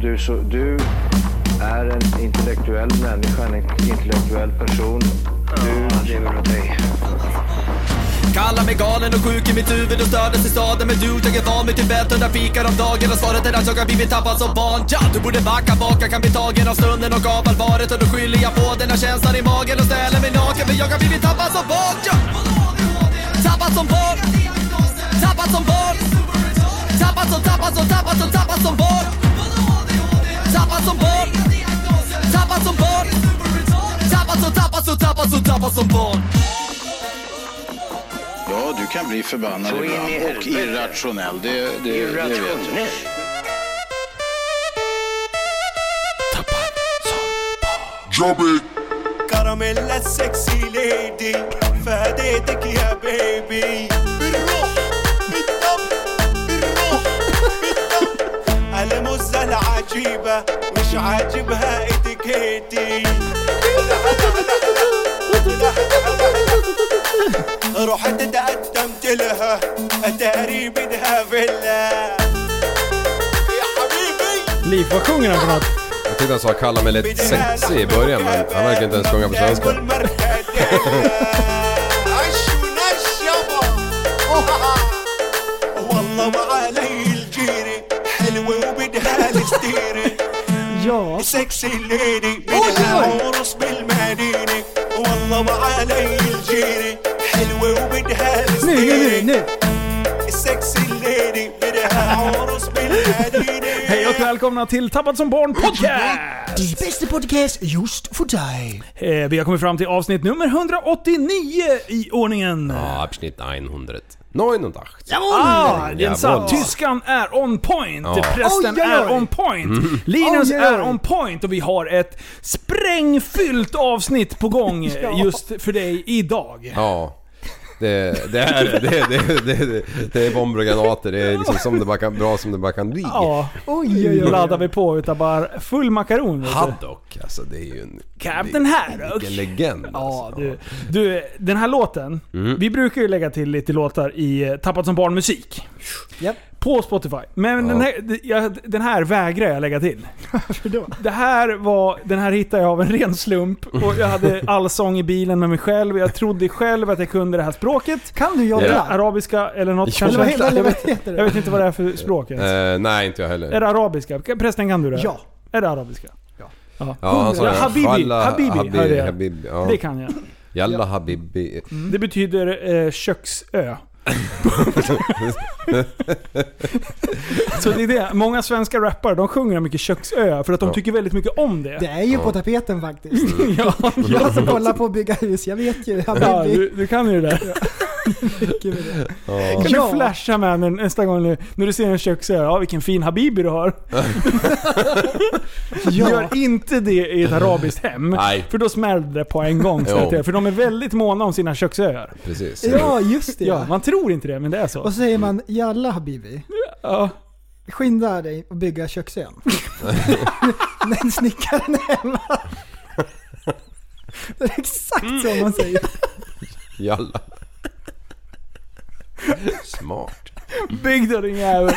du, så, du är en intellektuell människa, en intellektuell person. Du lever av dig. Kallar mig galen och sjuk i mitt huvud och stördes i staden Men du, jag är van vid Tibet och där fikar om dagen Och svaret är att jag har blivit tappad som barn ja, Du borde backa bak, jag kan bli tagen av stunden och av allvaret Och då skyller jag på den här känslan i magen och ställer mig naken För jag har blivit tappad som barn ja. Tappad som barn Tappad som barn Tappad som, tappad som, tappad som, tappad som barn Tappad som barn Tappad som barn Tappad som, tappad som, tappad som, tappad som barn Ja, du kan bli förbannad Så in i ibland och helvete. irrationell. Det, det, det vet jag. Irrationell. كراميلا السكسي ليدي فاديتك يا بيبي بالروح بالدم بالروح بالدم المزة العجيبة مش عاجبها اتيكيتي رحت تقدمت لها اتاري بدها فيلا يا حبيبي Liv, vad sjunger han för något? Jag tyckte han sa kalla mig lite sexig i början men han verkar inte ens sjunga på svenska. والله ما علي الجيري حلوة وبدها الستيري Ja. سكسي الليدي أوه. بدها عرس بالمدينة والله ما علي الجيري حلوة وبدها Nu, nu, nu, الستيري nu! سكسي الليدي بدها عرس بالمدينة Hej och välkomna till Tappad som barn podcast! Den bästa podcast just för dig. Eh, vi har kommit fram till avsnitt nummer 189 i ordningen. Ja, Abschnitt 100. 900. Ah, Jawohl. Jensa, tyskan är on point, Ja. prästen Oj, oj, oj. Mm. är on point, Linus Oj, oj, oj. är on point och vi har ett sprängfyllt avsnitt på gång just för dig idag. Ja. Det, det är det. Det, det, det, det, det är bomber och granater. Det är liksom som det bara kan, bra som det bara kan bli. Ja, Oj, nu oj, oj. laddar vi på utan bara full makaron. vet du. Haddock, alltså det är ju en... Captain Haddock. Vilken legend Ja, Mm. alltså. du, du, den här låten. Vi brukar ju lägga till lite låtar i eh, Tappat som barn musik. Japp. På Spotify. Men Ja. den, här, d- jag- den här vägrar jag lägga till. Varför då? Det här var, den här hittade jag av en ren slump. Och jag hade allsång i bilen med mig själv. Jag trodde själv att jag kunde det här språket. Kan du Ja. jobbla? Arabiska eller något Jo, kanske. Eller vad heter- eller jag, vad vet, heter jag det? vet inte vad det är för språk ens. Eh, nej, inte jag heller. Är det arabiska? Prästen kan du det? Ja. Är det arabiska? Ja. Ja, han sa det. Habibi, Jalla, Habibi, Habibi, hörde jag. Habibi, ja. Det kan Mm. jag. Jalla Habibi. Mm. Det betyder eh, köksö. så det är det. Många svenska rappare de sjunger mycket köksö för att de Ja. tycker väldigt mycket om det. Det är ju på tapeten faktiskt. Ja, Jag som kollar på att bygga hus, jag vet ju. ja, Habibi. du, du kan ju det där. Kan Ja. du flasha med när- nästa gång nu, när du ser en köksö? Ja, vilken fin Habibi du har. Ja. Gör inte det i ett arabiskt hem. Nej. För då smäller det på en gång. Så Jo. att det, för de är väldigt måna om sina köksöar. Precis. ja, just det. Ja, man tror inte det, men det är så. Och så säger man Jalla Habibi. Ja. Skynda dig och bygga köksön. Men snickaren är hemma. Det är exakt så man säger. Jalla. Smart. Bygg då din jävel.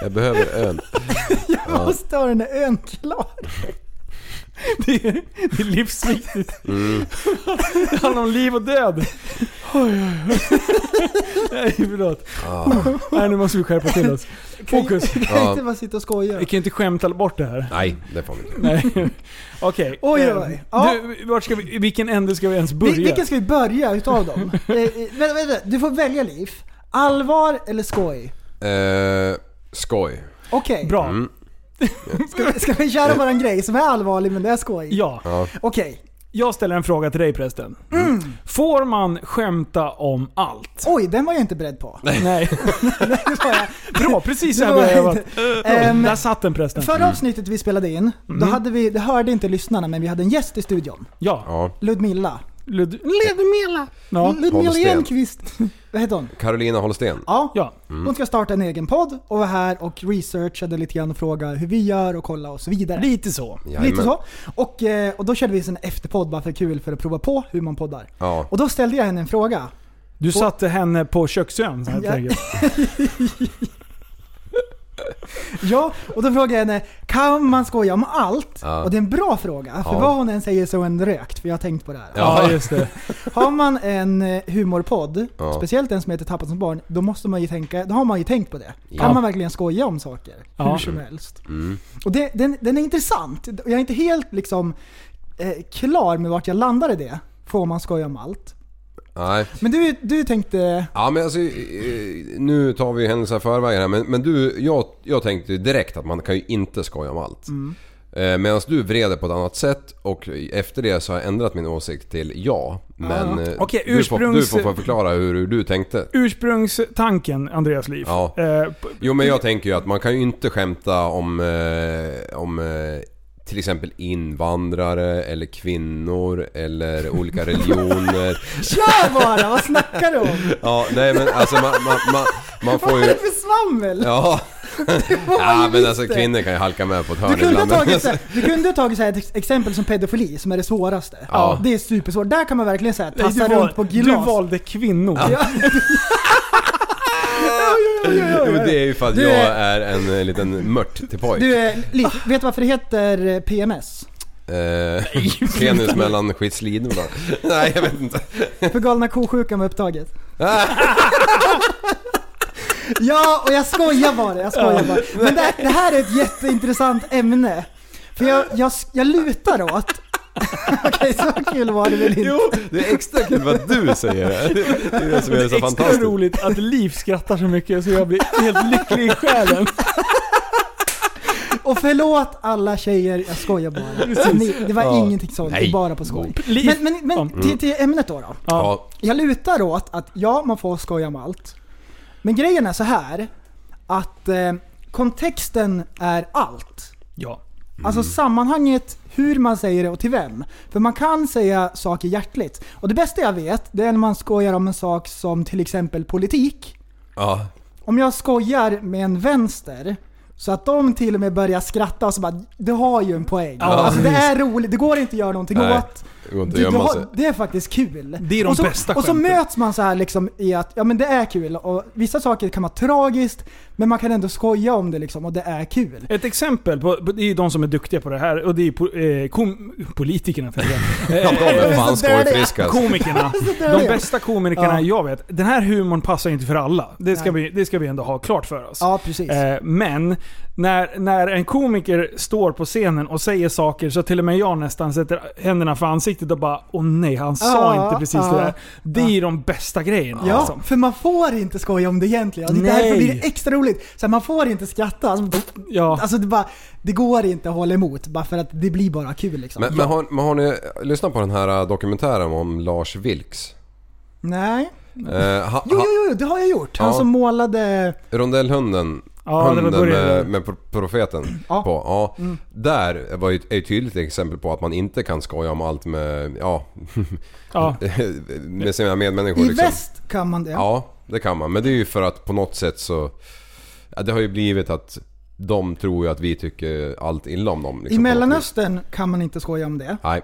Jag behöver öl. Mm. Jag måste ha den där ön klar. Det är, det är livsviktigt. Det handlar om liv och död. Oj, oj, oj. Nej, förlåt. Nej, nu måste vi skärpa till oss. Fokus. Jag kan Ja. inte bara sitta och skoja. Vi kan ju inte skämta bort det här. Nej, det får vi inte. Nej. Okej. Oj, oj, Eh, oj. Ja. Du, vart ska vi, vilken ände ska vi ens börja? Vil- Vilken ska vi börja utav dem? eh, eh, vänta, vänta, du får välja Liv. Allvar eller skoj? Eh, skoj. Okej, Bra. Eh. ska, ska vi köra våran grej som är allvarlig men det är skoj? Ja. Okej, Jag ställer en fråga till dig prästen. Mm. Får man skämta om allt? oj den var jag inte beredd på. Nej. Bra, precis så här Det var började jag. inte- vara. Ehm, Där satt den prästen. Förra avsnittet vi spelade in, Mm. då hade vi, det hörde inte lyssnarna men vi hade en gäst i studion. Ja. Ja. Ludmilla. Lud... Ludmilla! Ja. Mm. Ludmilla Holmsten. Enqvist. Vad heter hon? Carolina Holsten. Ja. Ja. Hon ska starta en egen podd och var här och researchade lite grann och frågade hur vi gör och kolla och så vidare. Lite så. Jajamän. Lite så. Och, eh, och då körde vi en efterpodd bara för kul för att prova på hur man poddar. Ja. Och då ställde jag henne en fråga. Du satte henne på köksön helt Ja. enkelt. Ja, och då frågade jag henne, kan man skoja om allt? Ja. Och det är en bra fråga, för Ja. vad hon än säger så är en rökt, för jag har tänkt på det här. Ja. Ja, just det. Har man en eh, humorpodd, Ja. speciellt en som heter Tappat som barn, då måste man ju tänka, då har man ju tänkt på det. Ja. Mm. Kan man verkligen skoja om saker? Ja. Hur som helst. Och det, den, den är intressant. Jag är inte helt liksom eh, klar med vart jag landade i det. Får man skoja om allt? Nej. Men du, du tänkte... Ja men alltså, eh, nu tar vi händelser i förväg här men, men du, jag, jag tänkte ju direkt att man kan ju inte skoja om allt. Mm. Eh, Medan du vred det på ett annat sätt och efter det så har jag ändrat min åsikt till ja. Men eh, Okej, du, får, du ursprungs- får förklara hur, hur du tänkte. Ursprungstanken, Andreas liv. Ja. Eh, p- Jo men jag tänker ju att man kan ju inte skämta om, eh, om eh, till exempel invandrare eller kvinnor eller olika religioner. Kör bara! Vad snackar du om? ja, nej men alltså man, man, man, man får Vad är ju... det för svammel? Ja, Vad ja visst men alltså det? kvinnor kan ju halka med på ett hörn Du kunde, ha ibland. men tagit, så alltså, här, du kunde ha tagit så här, ett ex- exempel som pedofili, som är det svåraste. Ja. Det är supersvårt. Där kan man verkligen så här, nej, tassa du val- runt på glas. Du valde kvinnor. jo, men det är ju för att Du jag är är- en eh, liten mört till pojk. Du, eh, Liv, vet du varför det heter eh, PMS? Eh, penis mellan skitslidorna. nej jag vet inte. För galna ko-sjukan var upptaget. ja, och jag skojar bara. Jag skojar bara. Men det, det här är ett jätteintressant ämne. För jag, jag, jag lutar åt... Okej, så kul var det väl inte? Jo, det är extra kul vad du säger det. Det är det som Det är så är extra fantastiskt. roligt att Liv skrattar så mycket så jag blir helt lycklig i själen. Och förlåt alla tjejer, jag skojar bara. Ni, det var ingenting sånt, det är bara på skoj. Liv. Men, men, men till, till ämnet då, då. Ja. Ja. Jag lutar åt att ja, man får skoja om allt. Men grejen är så här att eh, kontexten är allt. ja. Alltså sammanhanget, hur man säger det och till vem. För man kan säga saker hjärtligt. Och det bästa jag vet, det är när man skojar om en sak som till exempel politik. Ja. Om jag skojar med en vänster, så att de till och med börjar skratta och så bara du har ju en poäng. alltså det är roligt, det går inte att göra någonting Nej. åt. Det går inte Du, att du gömma sig. har, det är faktiskt kul. Det är de och så, bästa Och så skämten. möts man så här liksom i att, ja men det är kul och vissa saker kan vara tragiskt, men man kan ändå skoja om det liksom och det är kul. Ett exempel, på, på, det är ju de som är duktiga på det här och det är ju po, eh, kom, politikerna för det. Ja, de är fan alltså. Så där är alltså, det. skojfriskast. Komikerna. där är De det. bästa komikerna Ja. jag vet. Den här humorn passar inte för alla. Det ska, Nej. vi, det ska vi ändå ha klart för oss. Ja precis. Eh, Men när, när en komiker står på scenen och säger saker så till och med jag nästan sätter händerna för ansiktet och bara Åh nej, han sa Ja, inte precis ja, det där. Det är ju de bästa grejerna. Ja, Alltså. för man får inte skoja om det egentligen. Och det är Nej. därför blir det extra roligt. Så här, man får inte skratta. Alltså, pff, Ja. alltså det, bara, det går inte att hålla emot bara för att det blir bara kul liksom. Men, men, har, men har ni lyssnat på den här äh, dokumentären om Lars Vilks? Nej. Eh, ha, Jo, ha, jo, jo, det har jag gjort. Han Ja. som målade... rondellhunden. Ja, det var hunden början. med, med pro- profeten Ja. Mm. på. Ja, Där var ju ett, är ett tydligt exempel på att man inte kan skoja om allt med, ja, Ja. med sina medmänniskor. I liksom. väst kan man det. Ja, det kan man. Men det är ju för att på något sätt så... Ja, det har ju blivit att de tror ju att vi tycker allt illa om dem. I liksom, på något vis. Mellanöstern kan man inte skoja om det. Nej.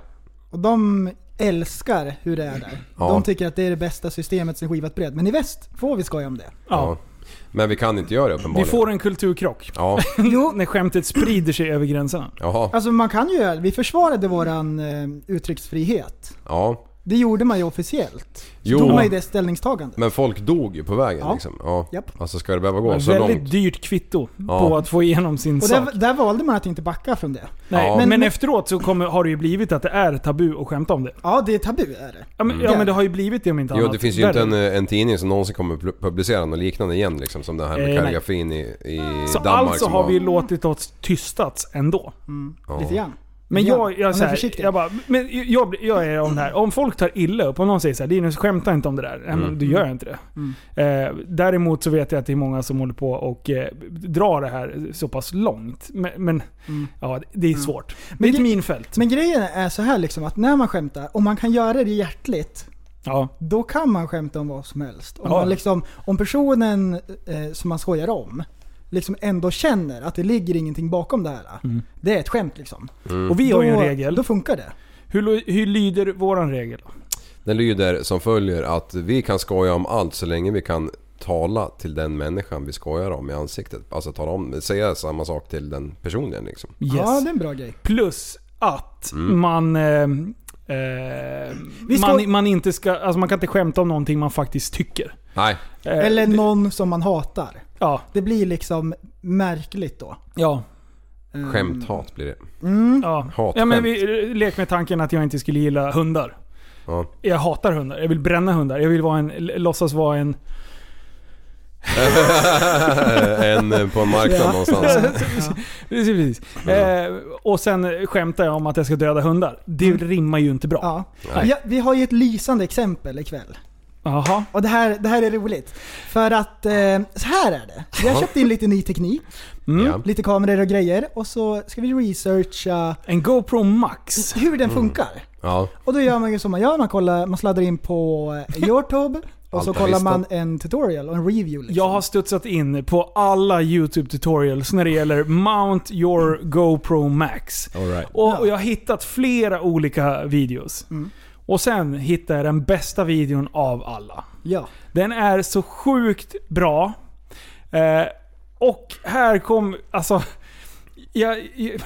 Och de älskar hur det är där. Ja. De tycker att det är det bästa systemet som skivat bröd. Men i väst får vi skoja om det. Ja. Ja. Men vi kan inte göra det Vi uppenbarligen. får en kulturkrock. Ja, När skämtet sprider sig över gränserna. jaha. Alltså man kan ju göra det. Vi försvarade våran eh, uttrycksfrihet. Ja. Det gjorde man ju officiellt. Jo. Jo. Tog man ju det ställningstagandet. Men folk dog ju på vägen Ja. liksom. Ja. Japp. Alltså ska det behöva gå så Väldigt långt? dyrt kvitto Ja. på att få igenom sin Och sak. där, där valde man att inte backa från det. Nej, Ja. men, Men- efteråt så kommer, har det ju blivit att det är tabu att skämta om det. Ja, det är tabu är det. Ja men, ja, Mm. men det har ju blivit det om inte Jo annat. det finns ju inte en, eh, Värre. en tidning som någonsin kommer pu- publicera något liknande igen liksom. Som det här Eh, med nej. koreografin i, i Så Danmark. alltså som har var- vi låtit oss tystats ändå. ja. Lite grann. Men Lite jag, grann. jag, Man så är här, försiktig. jag bara, men jag, jag är om det här. Om folk tar illa upp, om någon säger såhär Linus skämta inte om det där. Nej, Mm. men då gör jag inte det. Eh, däremot så vet jag att det är många som håller på och eh, drar det här så pass långt. Men, men Mm. ja, det är svårt. det är ett gre- minfält. Men grejen är så här liksom att när man skämtar, om man kan göra det hjärtligt, ja. då kan man skämta om vad som helst. Om, Ja. man liksom, om personen eh, som man skojar om liksom ändå känner att det ligger ingenting bakom det här. Det är ett skämt liksom. Och vi har Mm. ju en regel. Då funkar det. Hur, lo- hur lyder våran regel? Den lyder som följer att vi kan skoja om allt så länge vi kan tala till den människan vi skojar om i ansiktet. Alltså tala om, säga samma sak till den personen liksom. Yes. Ja, det är en bra grej. Plus att man... Eh, eh, Vi ska- man, man, inte ska, alltså man kan inte skämta om någonting man faktiskt tycker. Nej, Eh, Eller någon som man hatar. Ja. Det blir liksom märkligt då. Ja. Ehm, skämthat blir det. Mm. ja. Hatskämt. ja men vi, lek med tanken att jag inte skulle gilla hundar. Ja. Jag hatar hundar. Jag vill bränna hundar. Jag vill vara en, låtsas vara en... en eh, på en marknad Ja. någonstans. Precis. Eh, och sen skämtar jag om att jag ska döda hundar. Det rimmar ju inte bra. Ja. Nej. Ja, vi har ju ett lysande exempel ikväll. Jaha. Och det här, det här är roligt. För att, eh, så här är det. Vi har Ja. köpt in lite ny teknik, Mm. Ja. lite kameror och grejer. Och så ska vi researcha En GoPro Max. hur den funkar. Ja. Och då gör man ju som man gör, man, kollar, man sladdar in på eh, Youtube och så Alta kollar listan. man en tutorial och en review. Liksom. Jag har studsat in på alla YouTube tutorials när det gäller Mount Your GoPro Max. All right. Och, och jag har hittat flera olika videos. Och sen hittade jag den bästa videon av alla. Ja. Den är så sjukt bra. Eh, och här kom... Alltså... Jag, jag,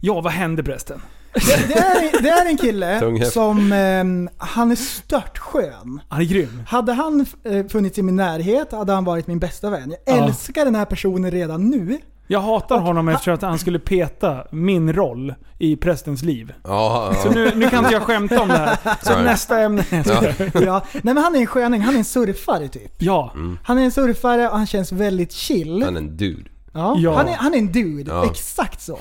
ja, vad hände prästen? Det, det, är, det är en Tung kille häft. som, eh, han är stört skön. Han är grym. Hade han eh, funnits i min närhet hade han varit min bästa vän. Jag Ja. älskar den här personen redan nu. Jag hatar honom eftersom att han skulle peta min roll i prästens liv. Ja, Så ja. nu, nu kan inte jag skämta om det här. Så Nej. nästa ämne. Ja. Ja. Nej men han är en sköning, han är en surfare typ. Ja. Han är en surfare och han känns väldigt chill. Han är en dude. Ja. Ja. Han, är, han är en dude, Ja. exakt så. Och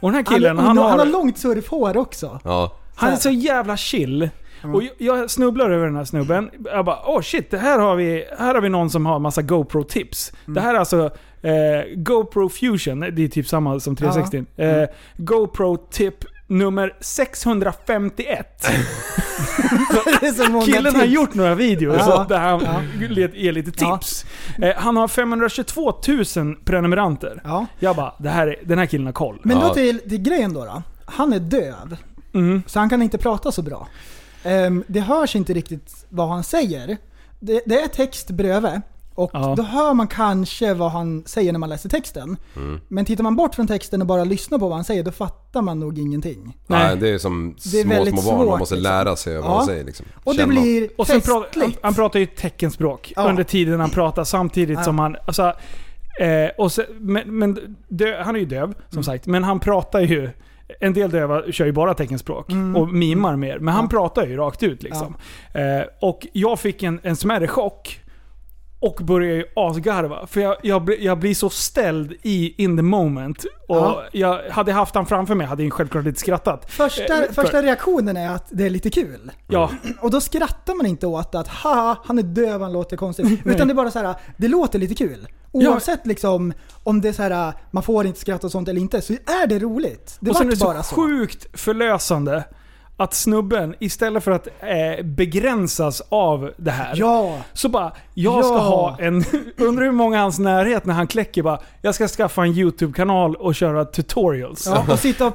den här Han, killen, han, han, har, han, har långt surfhår också. Ja. är så jävla chill. Och jag- jag snubblar över den här snubben. Jag bara åh oh shit, det här har, vi, här har vi någon som har massa GoPro-tips. Mm. Det här är alltså eh, GoPro Fusion, det är typ samma som 360. Mm. Eh, GoPro-tip nummer 651. det är så många Killen har tips. gjort några videos Ja. så där han le- ger lite Ja. tips. Eh, han har 522 000 prenumeranter. Ja. Jag bara, det här är, den här killen har koll. Men då Ja. till, till grejen då, då. Han är döv. Mm. Så han kan inte prata så bra. Ehm, det hörs inte riktigt vad han säger. Det, det är text bredvid. Och Ja. då hör man kanske vad han säger när man läser texten. Men tittar man bort från texten och bara lyssnar på vad han säger, då fattar man nog ingenting. Nej. Nej. det är som Det är små, väldigt små barn. Man svårt, måste liksom. lära sig vad Ja. man säger liksom. Och Känna. det blir Och sen pra- han, festligt. han pratar ju teckenspråk Ja. under tiden han pratar samtidigt Ja. som han... Alltså, eh, och sen, men men dö, han är ju döv Mm. som sagt, men han pratar ju... En del döva kör ju bara teckenspråk Mm. och mimar mer, men han pratar ju rakt ut liksom. Eh, och jag fick en, en smärre chock och började ju asgarva. För jag, jag, bli- jag blir så ställd i in the moment. Och Ja. jag hade jag haft han framför mig hade jag självklart inte skrattat. Första, Eh, för- första reaktionen är att det är lite kul. Ja, Och då skrattar man inte åt att ha han är döv, han låter konstigt. Utan det är bara så här, det låter lite kul. Ja. Oavsett liksom om det är så här, man får inte skratta och sånt eller inte, så är det roligt. Det och sen är vart det så bara så. sjukt förlösande att snubben, istället för att eh, begränsas av det här. Ja! Så bara, jag ska Ja. ha en... Undrar hur många i hans närhet när han kläcker bara, jag ska skaffa en YouTube-kanal och köra tutorials. ja! Och sitta och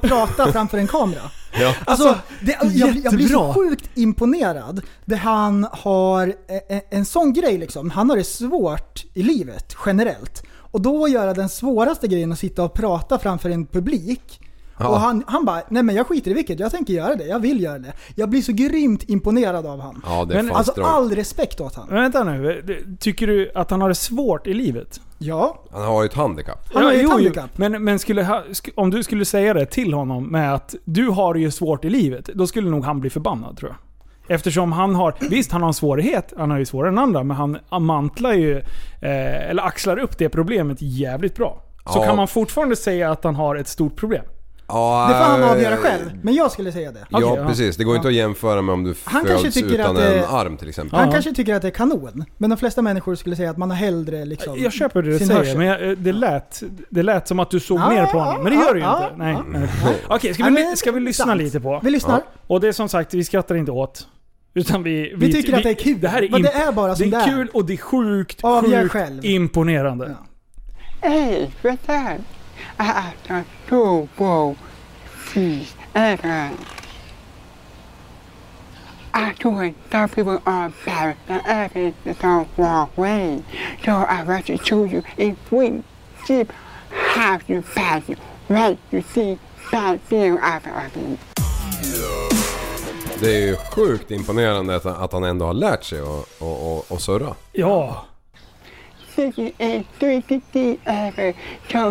prata framför en kamera. Ja. Alltså, det, jag, jag blir så jättebra. sjukt imponerad. Där han har en, en sån grej liksom. Han har det svårt i livet generellt. Och då göra den svåraste grejen att sitta och prata framför en publik. Och han, han bara, nej men jag skiter i vilket, jag tänker göra det, jag vill göra det. Jag blir så grymt imponerad av han. Ja, det är Men fan Alltså strångt. all respekt åt han. Men vänta nu, det- tycker du att han har det svårt i livet? Ja, Han har ju ett handikapp. han har ju jo, ett jo. handikapp. Men, men skulle, ha- sk- om du skulle säga det till honom med att du har det ju svårt i livet, då skulle nog han bli förbannad tror jag. Eftersom han har, visst han har en svårighet, han har ju svårare än andra, men han mantlar ju, eh, eller axlar upp det problemet jävligt bra. Så Ja. kan man fortfarande säga att han har ett stort problem. Ja, Det får han eh, avgöra själv, men jag skulle säga det. Ja, Okej, ja. precis. Det går inte att jämföra med om du Han kanske föds tycker utan att det- en arm till exempel. Han Ja. kanske tycker att det är kanon, men de flesta människor skulle säga att man har hellre liksom Jag köper det du sin säger, hörsel. men jag, eh, det, lät, det lät som att du såg Ja, ner på honom. Men det gör du ju ja, inte. Nej. ja. nej. Okej, ska vi, Nej, li- men ska vi lyssna sant. lite på? Vi lyssnar. Och det är som sagt, vi skrattar inte åt. Utan vi, Vi tycker att det är kul. Det här är, Men imp- det är bara som det det är är. kul och det är sjukt, Avgör sjukt själv. imponerande. Ja. Hej, Peter! Äta tobo fisäran. Afterwards, some people are embarrassed and others it's all wrong way. So I want to show you if we keep how you pass you, what you see, bad feel after others. Det är ju sjukt imponerande att, att han ändå har lärt sig att och, och, och surra. Ja. Sitting in 360 ever,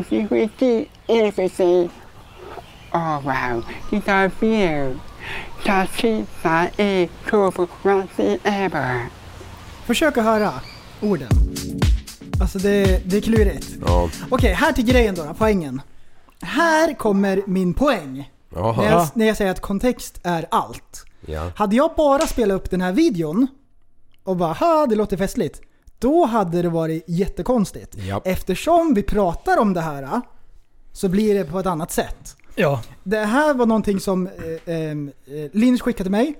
so you will see everything. Oh wow, these are views. Just see that a curve one see ever. Försök att höra orden. Alltså det, det är klurigt. Ja. Okej, här till grejen då, då, poängen. Här kommer min poäng. När Jaha. jag, när jag säger att kontext är allt. Ja. Hade jag bara spelat upp den här videon och bara ha det låter festligt. Då hade det varit jättekonstigt. Japp. Eftersom vi pratar om det här så blir det på ett annat sätt. Ja. Det här var någonting som eh, eh, Linus skickade till mig.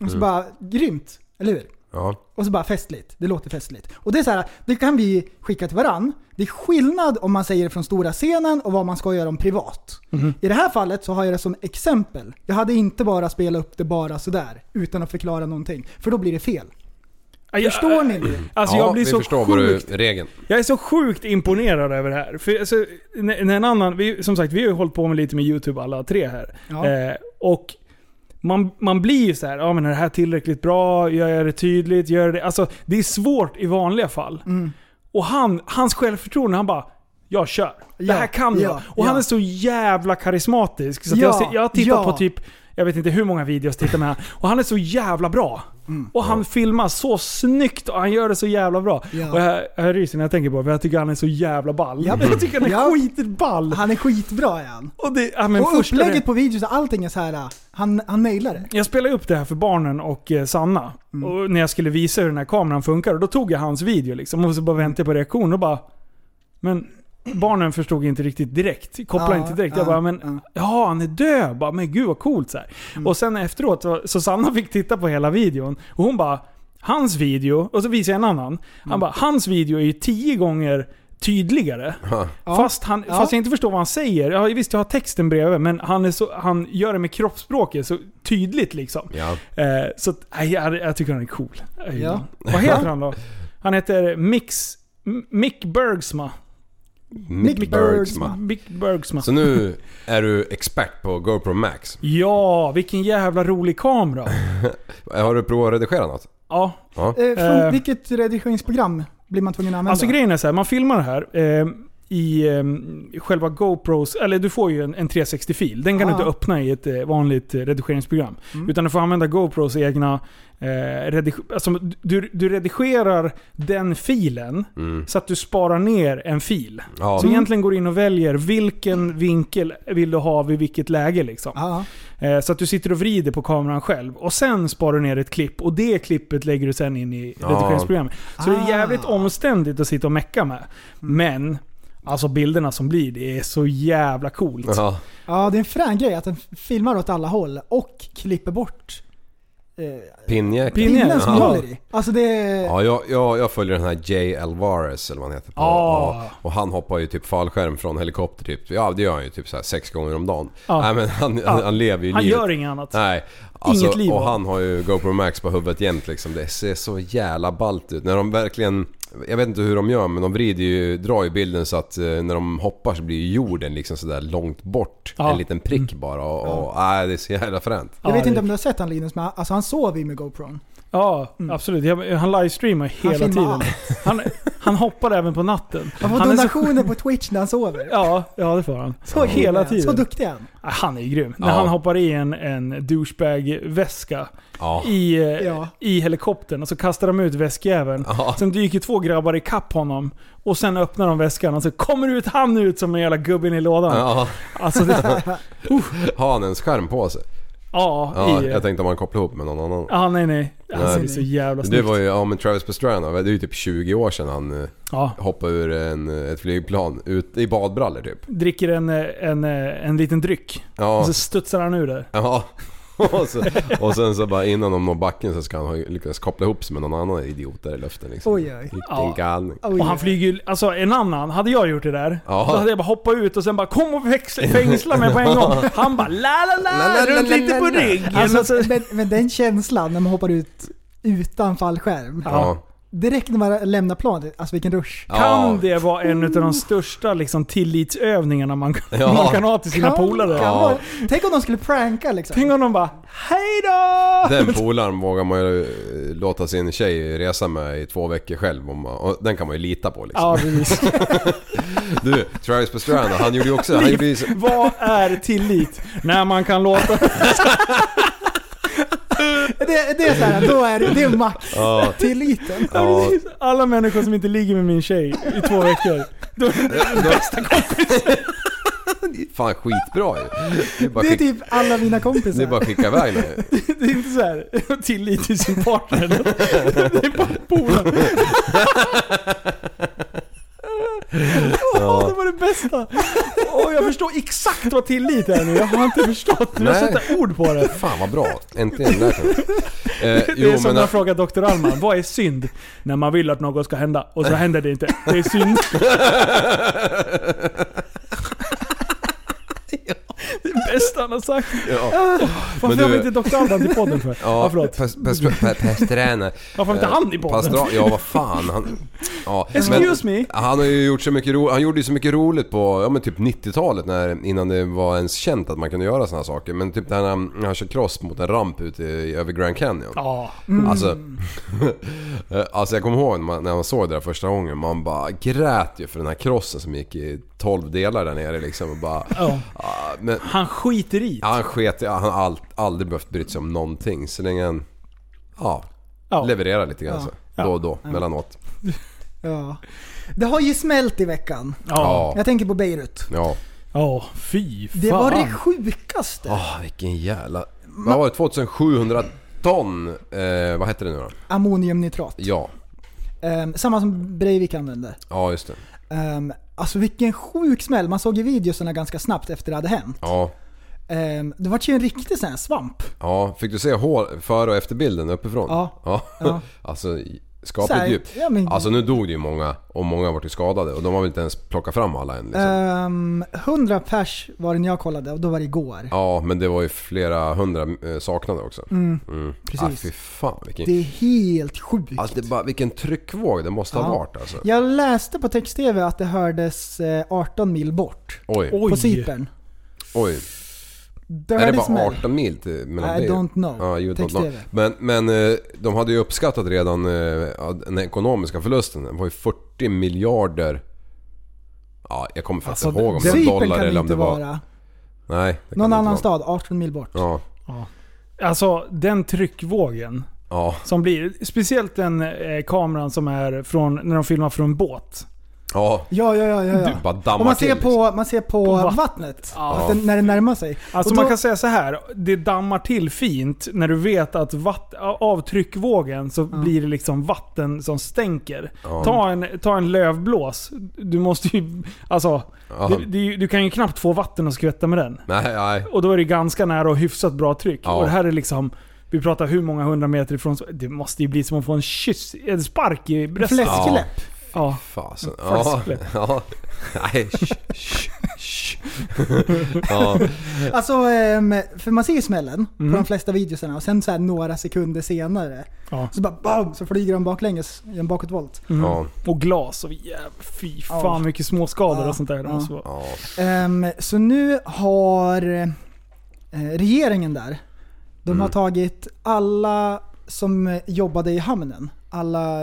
Och så Mm. bara, grymt, eller hur? Ja. Och så bara festligt. Det låter festligt. Och det är så här, det kan vi skicka till varann. Det är skillnad om man säger det från stora scenen och vad man ska göra om privat. Mm-hmm. I det här fallet så har jag det som exempel. Jag hade inte bara spelat upp det bara sådär utan att förklara någonting. För då blir det fel. Ja, jag- Förstår ni det? Alltså ja, jag blir vi så förstår vad du... sjukt Regeln. Jag är så sjukt imponerad över det här. För alltså, när när en annan, vi, som sagt, vi har ju hållit på med lite med YouTube alla tre här. Ja. Eh, och man, man blir ju så här, ja men är det här tillräckligt bra? Gör jag det tydligt? Gör jag det? Alltså, det är svårt i vanliga fall. Mm. Och han, hans självförtroende, han bara jag kör. Det Ja, här kan jag. ja, Och han ja. är så jävla karismatisk. Så att Ja, jag, ser- jag tittar ja. på typ, jag vet inte hur många videos jag tittar med han. Och han är så jävla bra. Mm. och han filmar så snyggt och han gör det så jävla bra. Ja. Och jag, jag ryser när jag tänker på det för jag tycker han är så jävla ball. Ja. Jag tycker han är Ja. skitball. Han är skitbra är han. Och, det, ja, men och första upplägget det- på videos och allting är så här. han, han nailar det. jag spelade upp det här för barnen och eh, Sanna. Mm. Och när jag skulle visa hur den här kameran funkar. Och då tog jag hans video liksom. Och så bara väntade jag på reaktion och bara... Men barnen förstod inte riktigt direkt. Kopplade Ja, inte direkt. ja, jag bara, men ja. Mm. ja. han är död. Bara, men gud vad coolt. Så här. Och sen efteråt, så, så Sanna fick titta på hela videon. Och hon bara, hans video. Och så visade jag en annan. Mm. Han bara, hans video är ju tio gånger tydligare. Fast, han, Ja. fast jag inte förstår vad han säger. Ja, visst, jag har texten bredvid, men han, är så, han gör det med kroppsspråket så tydligt liksom. Ja. Eh, så att, nej, jag, jag tycker han är cool. Jag gillar honom. Ja. Vad heter han då? Han heter Mix... M- Mick Bergsma. Mick Bergsman. Mick Bergsma. Så nu är du expert på GoPro Max. Ja, vilken jävla rolig kamera. Har du provat att redigera något? Ja, Ja. Eh, från Eh. vilket redigeringsprogram blir man tvungen att använda? Alltså grejen är så här, man filmar det här eh, i eh, själva GoPros, eller du får ju en, en 360-fil. Den kan Ah. du inte öppna i ett eh, vanligt eh, redigeringsprogram. Utan du får använda GoPros egna... Eh, redig- alltså, du, du redigerar den filen så att du sparar ner en fil. Ja. Så egentligen går du in och väljer vilken vinkel vill du ha vid vilket läge. Liksom. Ja, Eh, Så att du sitter och vrider på kameran själv. Och sen sparar du ner ett klipp och det klippet lägger du sen in i Ja. redigeringsprogrammet. Så det är jävligt Ah. Mm. omständigt att sitta och mecka med. Men, alltså bilderna som blir, det är så jävla coolt. Ja. ja, det är en frän grej att den filmar åt alla håll och klipper bort eh, Pinjäkel. Pin- Pinne, pinnen som ja. håller i. Alltså det är... Ja, jag, jag, jag följer den här Jay Alvarez eller vad han heter på. Ah. Ja, och han hoppar ju typ fallskärm från helikopter typ. Ja, det gör han ju typ så här sex gånger om dagen. Ja. Nej men han, han, han lever ju Ah. Han livet. gör inget annat. Nej. Alltså, Inget liv Och av han har ju GoPro Max på huvudet jämt liksom. Det ser så jävla ballt ut. När de verkligen... Jag vet inte hur de gör men de vrider ju, drar ju bilden så att eh, när de hoppar så blir ju jorden liksom sådär långt bort. Ja. En liten prick Mm. bara och... och nej, det är så jävla fränt. Jag Ja, vet det- inte om du har sett han Linus, men han- alltså han sover ju med GoPron. Ja, absolut. Jag- Han livestreamar hela Mm. filmar tiden. allt. Han, han hoppar även på natten. Han får är så- donationer på Twitch när han sover. Ja, ja, det får han. Så grym är hela han. tiden. Så duktig är han. Ah, Han är ju grym. När Ja. han hoppar i en, en douchebag-väska Ja. i, eh, Ja. i helikoptern och så kastar de ut väskjäveln. Ja. Sen dyker två grabbar i kapp honom och sen öppnar de väskan och så kommer ut han ut som en jävla gubben i lådan. Ja, Alltså det, har han ens skärm på sig? ja, Ja, i, jag tänkte om han kopplar ihop med någon annan. ja, nej nej. Alltså, Nej. Det är så jävla Det snyggt. var ju, ja men Travis Pastrana, det är ju typ 20 år sedan han eh, Ja. hoppade ur en, eh, ett flygplan ut, i badbrallor typ. Dricker en, eh, en, eh, en liten dryck. Ja, Och så studsar han ur där. ja. och, så, och sen så bara innan de når backen så ska han ha lyckats koppla ihop sig med någon annan idiot där i luften liksom. Oj, oj. Vilken Ja. galning. Oj. Och han flyger ju, alltså en annan, hade jag gjort det där, Ja. då hade jag bara hoppat ut och sen bara kom och växla, fängsla mig på en gång. Han bara la la La, la, la, la, runt la, lite la, på la. ryggen. Alltså, Alltså, men, men den känslan när man hoppar ut utan fallskärm. Ja. Direkt när man lämnar planet, alltså vilken rush. kan Ja. det vara en av de största liksom, tillitsövningarna man, kan- Ja. man kan ha till sina Kan- polare? kan vara- Tänk om de skulle pranka liksom. Tänk om de bara hejdå! Den polaren vågar man ju eh, låta sin tjej resa med i två veckor själv. Om man, och den kan man ju lita på liksom. Ja, precis. Du, Travis Pastrana, han gjorde ju också... Han gjorde ju, så- Vad är tillit? När man kan låta... Det, det är så här, då är det, det är max. ja, Tilliten. ja, Alla människor som inte ligger med min tjej i två veckor. Då, fan skitbra ju. Det är bara Det är skicka, typ alla mina det är bara kompisar. att skicka iväg nu. det är inte så här tillit till sin partner. Det är bara polare. Åh, det var det bästa! Åh, jag förstår exakt vad tillit är nu. Jag har inte förstått. Du har Nej. sätta ord på det. Fan vad bra. Äntligen lärt mig. Eh, Det jo, är som men, när jag frågar Dr. Alman, vad är synd? När man vill att något ska hända och så händer det inte. Det är synd. Det är det bästa han har sagt. ja, Varför du- har vi inte Dr. Alban till podden för? Ah, Ja, ja, förlåt. Pas- Pastra- Pa- Pastrana. Eh, Varför har vi inte han i podden? Pastra, ja, vad fan. Han, ja, Excuse me? Han har ju gjort så mycket ro, han gjorde ju så mycket roligt på, ja men typ 90-talet när, innan det var ens känt att man kunde göra sådana saker. Men typ när han, när han kör cross mot en ramp ute i, över Grand Canyon. Ja. Alltså, eh, alltså jag kommer ihåg när man, när man såg det där första gången. Man bara grät ju för den här crossen som gick i 12 delar där nere liksom. Och bara, ja. ah, men, Han skiter i. ja, han sket i- han har all, aldrig behövt bry sig om någonting. Så länge han ja, Ja. levererar lite grann så. Då och då, mellanåt. Ja. Det har ju smält i veckan. Ja. Ja. Jag tänker på Beirut. Ja. Ja, fy fan. Det var det sjukaste. Ah, vilken jävla... Vad var det? 2700 ton? Eh, vad hette det nu då? Ammoniumnitrat. Ja. Ehm, samma som Breivik använde. Ja, just det. Um, alltså vilken sjuk smäll. Man såg ju videosarna ganska snabbt efter det hade hänt. Ja. Ehm, det var ju en riktig sån här svamp. Ja, fick du se hår, före och efterbilden uppifrån? Ja. Ja. ja. alltså, Så här, skapligt djupt. ja, men- Alltså nu dog det ju många och många vart ju skadade och de har väl inte ens plockat fram alla än liksom. Ehm, 100 pers var det när jag kollade och då var det igår. Ja, men det var ju flera hundra eh, saknade också. Mm, Ah, precis. fy fan vilken... Det är helt sjukt. Alltså, det är bara, vilken tryckvåg det måste Ja. ha varit alltså. Jag läste på text-tv att det hördes eh, 18 mil bort. Oj, Oj. På Cypern. oj. Dirty Är det bara smäll. 18 mil till mellan I det? don't know. Ja, you don't know. Text-tv. Men, men eh, de hade ju uppskattat redan eh, att den ekonomiska förlusten. Den var ju 40 miljarder... Ja, jag kommer faktiskt Alltså, inte ihåg om det Cypern var dollar kan eller om inte det var... vara. Nej, det kan Någon det inte annan vara. stad, 18 mil bort. Ja, Alltså, den tryckvågen ja, som blir. Speciellt den eh, kameran som är från, när de filmar från båt. ja. Ja, ja, ja. ja, ja. Bara dammar Och man till, ser liksom. på, man ser på, På vattnet. vattnet. Ja. Att den, när det närmar sig. Alltså Och man då- kan säga så här, det dammar till fint när du vet att vatt, av tryckvågen så blir det liksom vatten som stänker. Ta, en, ta en lövblås. Du måste ju... Alltså, Ja. det, det, är ju- du kan ju knappt få vatten att skvätta med den. Nej, nej. Och då är det ganska nära och hyfsat bra tryck. Ja. Och det här är liksom... Vi pratar hur många hundra meter ifrån... så- Det måste ju bli som att få en kyss, en spark i bröstet. Fläskläpp. Ja. Fasen. Ja, Fläskläpp. ja. Nej, sh, sh, sh. Ja, Alltså, ehm, för man ser ju smällen på de flesta videosarna och sen så här några sekunder senare Ja. så bara BAM! Så flyger de baklänges i en bakåtvolt. Mm. ja, Och glas och jävlar, fy fan Ja. mycket småskador Ja. och sånt där. Alltså, Det måste Ja. vara- ja. Ehm, så nu har eh, regeringen där, de har tagit alla som jobbade i hamnen. Alla...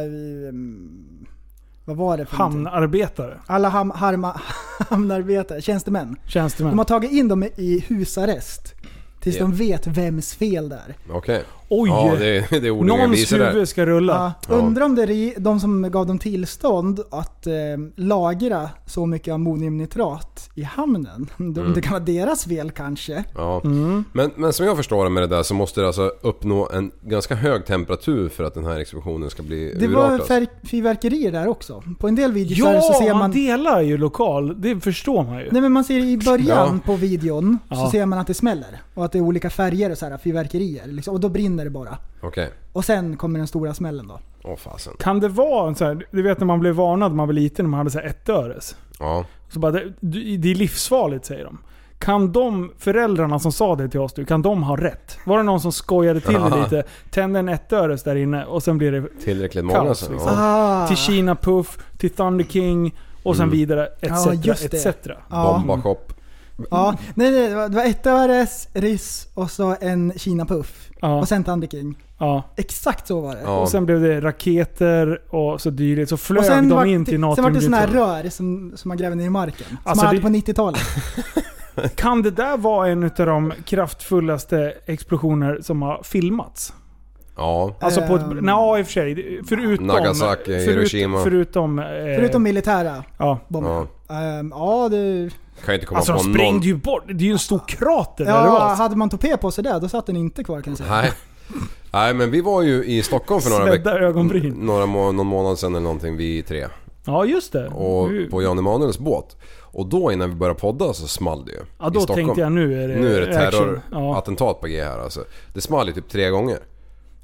ehm, vad var det för någonting? Hamnarbetare, Alla ham, harma, hamnarbetare, tjänstemän. tjänstemän. De har tagit in dem i husarrest. Tills Ja. de vet vems fel det är. okej. Oj! Ja, det är, det är olika Någons visor huvud där. ska rulla. Ja, undrar om det är re- de som gav dem tillstånd att eh, lagra så mycket ammoniumnitrat i hamnen. Det- Det kan vara deras fel kanske. Ja. Mm. Men, men som jag förstår det med det där så måste det alltså uppnå en ganska hög temperatur för att den här explosionen ska bli Det var urartad. fär- fyrverkerier där också. På en del videor Ja, så ser man man... delar ju lokal. Det förstår man ju. Nej men man ser i början på videon Ja. så ser man att det smäller. Och att det är olika färger och så här fyrverkerier. Liksom, och då brinner det bara. Okej. Och sen kommer den stora smällen då. Åh fasen. Kan det vara en så här, du vet när man blev varnad när man var liten, när man hade så här ett öres. Ja. Så bara, det, du- det är livsfarligt säger de. Kan de föräldrarna som sa det till oss nu, kan de ha rätt? Var det någon som skojade till det Ja. lite? Tände en ettöres där inne och sen blir det Tillräckligt många kaos. alltså. liksom. Ja. Ah. Till Kina Puff, till Thunder King och sen Mm. vidare etc. Ja, just det. etc. Ja, Bombashop. ja. Nej, nej, det var- det var ett öres, Riss och så en Kina-puff. Ja, Och sen Thunder King. ja. Exakt så var det. Ja. Och sen blev det raketer och så dylikt. Så flög Och sen de vart in det- till Sen var det sådana här natriumglycerol. rör som, som man gräver ner i marken. Som Alltså, man hade det- på 90-talet. Kan det där vara en av de kraftfullaste explosioner som har filmats? Ja. Alltså på ett... Ehm. Nej, i och för sig. det- Förutom... Nagasaki, Hiroshima. Förutom... eh, Förutom militära ja. bomber. ja. Ehm, ja, det, Kan jag inte komma Alltså de på någon... sprängde ju bort. Det är alltså. ju en stor krater där det ja, var. hade man topé på sig där, då satt den inte kvar kan jag säga. Nej. Nej men vi var ju i Stockholm för några Mm. Svedda veckor... ögonbryn. Några må- någon månad sedan eller någonting, vi tre. Ja, just det. Och Nu- på Jan Emanuels båt. Och då innan vi började podda så small det ju. ja, I då Stockholm. tänkte jag nu är det Nu är det action. Ja. terrorattentat på G här alltså. Det small ju typ tre gånger.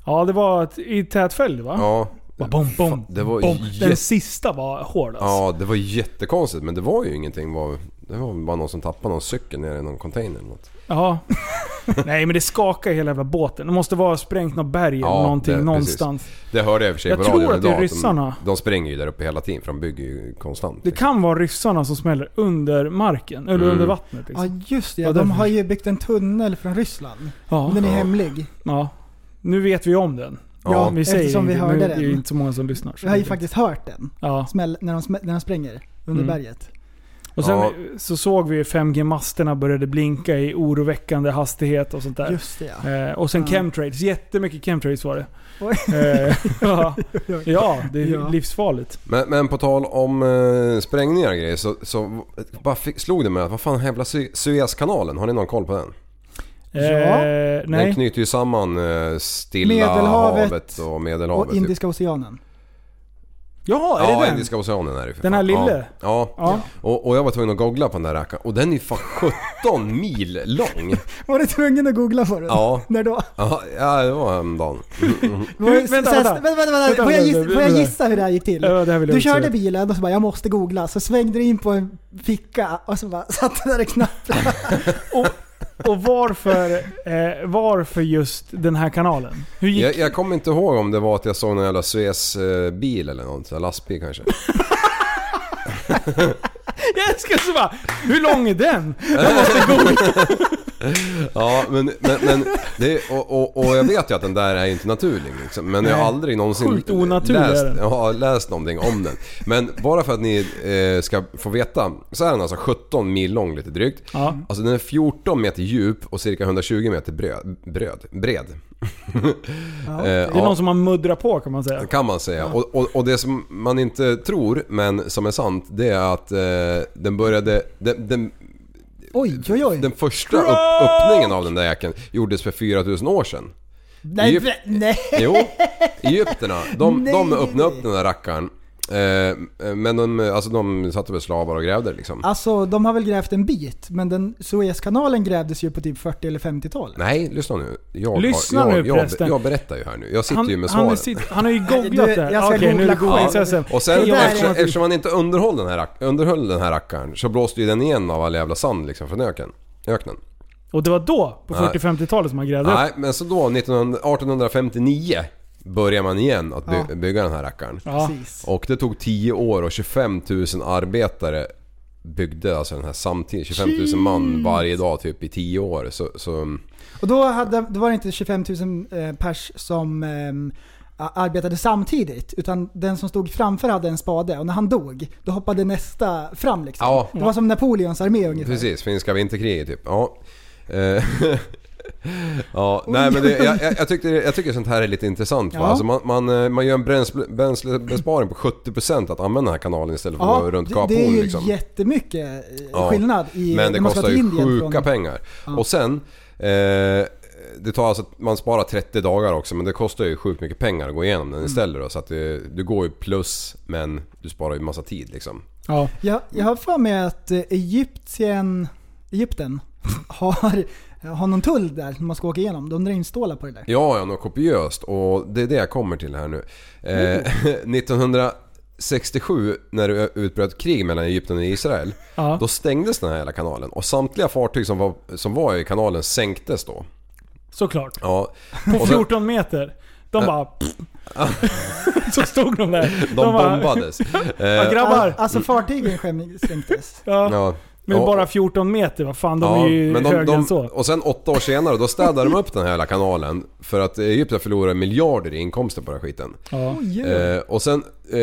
ja, det var ett, i tät följd va? Ja. Bara Ah. Bom, bom, det var bom. jätte- Den sista var hård alltså. Ja, det var jättekonstigt men det var ju ingenting. Det var, det var bara någon som tappade någon cykel ner i någon container eller något. Ja. Nej men det skakar hela jävla båten. Det måste vara sprängt något berg eller Ja, någonting det- någonstans. Det hörde jag i och för sig Jag på tror radion att det är idag. ryssarna. De, de springer ju där uppe hela tiden för de bygger ju konstant. Det kan vara ryssarna som smäller under marken, eller Mm. under vattnet. Ja Liksom. just det, Ja, ja, de därför. har ju byggt en tunnel från Ryssland. Ja, Den är hemlig. ja. Nu vet vi om den. Ja, vi säger eftersom vi det, hörde nu, den. Det är ju inte så många som lyssnar. så Jag har ju det- faktiskt hört den. Ja. Smäll, när, de, smä- när de spränger under Mm. berget. Och sen Ja. så såg vi ju 5G-masterna började blinka i oroväckande hastighet och sånt där. Just det ja. Eh, och sen Ja. chemtrails. Jättemycket chemtrails var det. Oj. Eh, ja. ja, det är Ja. livsfarligt. Men, men på tal om eh, sprängningar och grejer så, så bara fick, slog det mig att vad fan jävla Su- Suezkanalen, har ni någon koll på den? Eh, Den nej. knyter ju samman eh, Stilla Medelhavet havet och Medelhavet. Och Indiska oceanen. Jaha, är typ. det Ja, den? Indiska oceanen är det ju för Den fan. här lille? Ja. ja. Ja. Och, och jag var tvungen att googla på den där rackaren och den är ju fan 17 mil lång. Var du tvungen att googla för den? Ja. När då? Ja, ja det var en dag. Var det- Hur- vänta, så här- vänta. vänta, vänta, Vänta, vänta. Får jag vänta, gissa- vänta, Får jag vänta. gissa hur det här gick till? Ja, det här vill jag Du också körde se. bilen och så bara jag måste googla. Så svängde du in på en ficka och så bara satte där i knappen. Och varför, eh, varför just den här kanalen? Hur gick Jag, jag kommer inte ihåg om det var att jag såg någon jävla Suez-bil eller något, så här lastbil kanske. Jag älskar så bara, hur lång är den? Ja, men, men, men det, och, och, och jag vet ju att den där är ju inte naturlig liksom, Men jag har aldrig någonsin Sjukt onaturlig är läst, den. ja, läst någonting om den. Men bara för att ni eh, ska få veta. Så är den alltså 17 mil lång lite drygt. Ja. Alltså den är 14 meter djup och cirka 120 meter bröd, bröd, bred. Eh, Det är någon som har muddrat på kan man säga. kan man säga. Och, och, och det som man inte tror, men som är sant, det är att eh, den började... Den, den, Oj, oj, oj. den första upp, öppningen av den där jäkeln gjordes för 4000 år sedan. nej, Egypt- vä- nej. Jo, egyptierna. De, de Nej. öppnade upp den där rackaren. Eh, men de, alltså, de satte väl slavar och grävde liksom. Alltså de har väl grävt en bit, men den Suezkanalen grävdes ju på typ 40 eller 50-talet. Nej, lyssna nu. Jag, har- Lyssna jag, nu, jag, prästen. jag, berättar ju här nu. Jag sitter ju Han, med han, är svaren. sitt, han har ju googlat Du, det här. jag ska Okej, nu är det googla googlingsessen. Och sen Det där eftersom, är- eftersom han inte underhöll den, här, rack- underhöll den här rackaren så blåste ju den igen av all jävla sand liksom från öken, öknen. Och det var då, på Nej. 40-50-talet, som man grävde upp. Nej, men så då 1900 1859 börjar man igen att by- bygga den här rackaren. Ja. Precis. Och det tog 10 år och 25 000 arbetare byggde alltså den här samtidigt. 25 000 man varje dag typ i 10 år. Så, så Och då, hade, då var det inte 25 000 eh, pers som ehm, a- arbetade samtidigt. Utan den som stod framför hade en spade och när han dog, då hoppade nästa fram liksom. Ja. Det var som Napoleons armé ungefär. precis, finska vinterkriget typ. Ja. Eh, Ja, nej men det, jag, jag, jag, tycker, jag tycker sånt här är lite intressant. Va? Ja. Alltså man, man, eh, man gör en bränsle, bränslebesparing på 70% att använda den här kanalen istället för att Ja, gå runt det, det är Kapon. ju Liksom. jättemycket eh, Ja, skillnad i Men det när man ska kostar till ju Indien. sjuka från- pengar. Och sen, eh, det tar alltså, man sparar 30 dagar också men det kostar ju sjukt mycket pengar att gå igenom Mm. den istället. Då, så att det, du går ju plus men du sparar ju massa tid liksom. Ja. Jag, jag har för mig att eh, Egyptien, Egypten har, har någon tull där som man ska åka igenom. De drar in stålar på det där. Ja, ja, något kopiöst och det är det jag kommer till här nu. Eh, 1967 när det utbröt krig mellan Egypten och Israel. Ja. Då stängdes den här hela kanalen och samtliga fartyg som var, som var i kanalen sänktes då. Såklart. Ja. På Och sen- 14 meter. De bara... så stod de där. De bara, bombades. "Ja, Eh, grabbar. Alltså fartygen skäm- sänktes. Ja. ja. Men Ja, bara 14 meter, vad fan de är ju högre än så. Och sen åtta år senare, då städade de upp den här hela kanalen. För att Egypten förlorade miljarder i inkomster på den här skiten. Ja. Eh, och sen eh,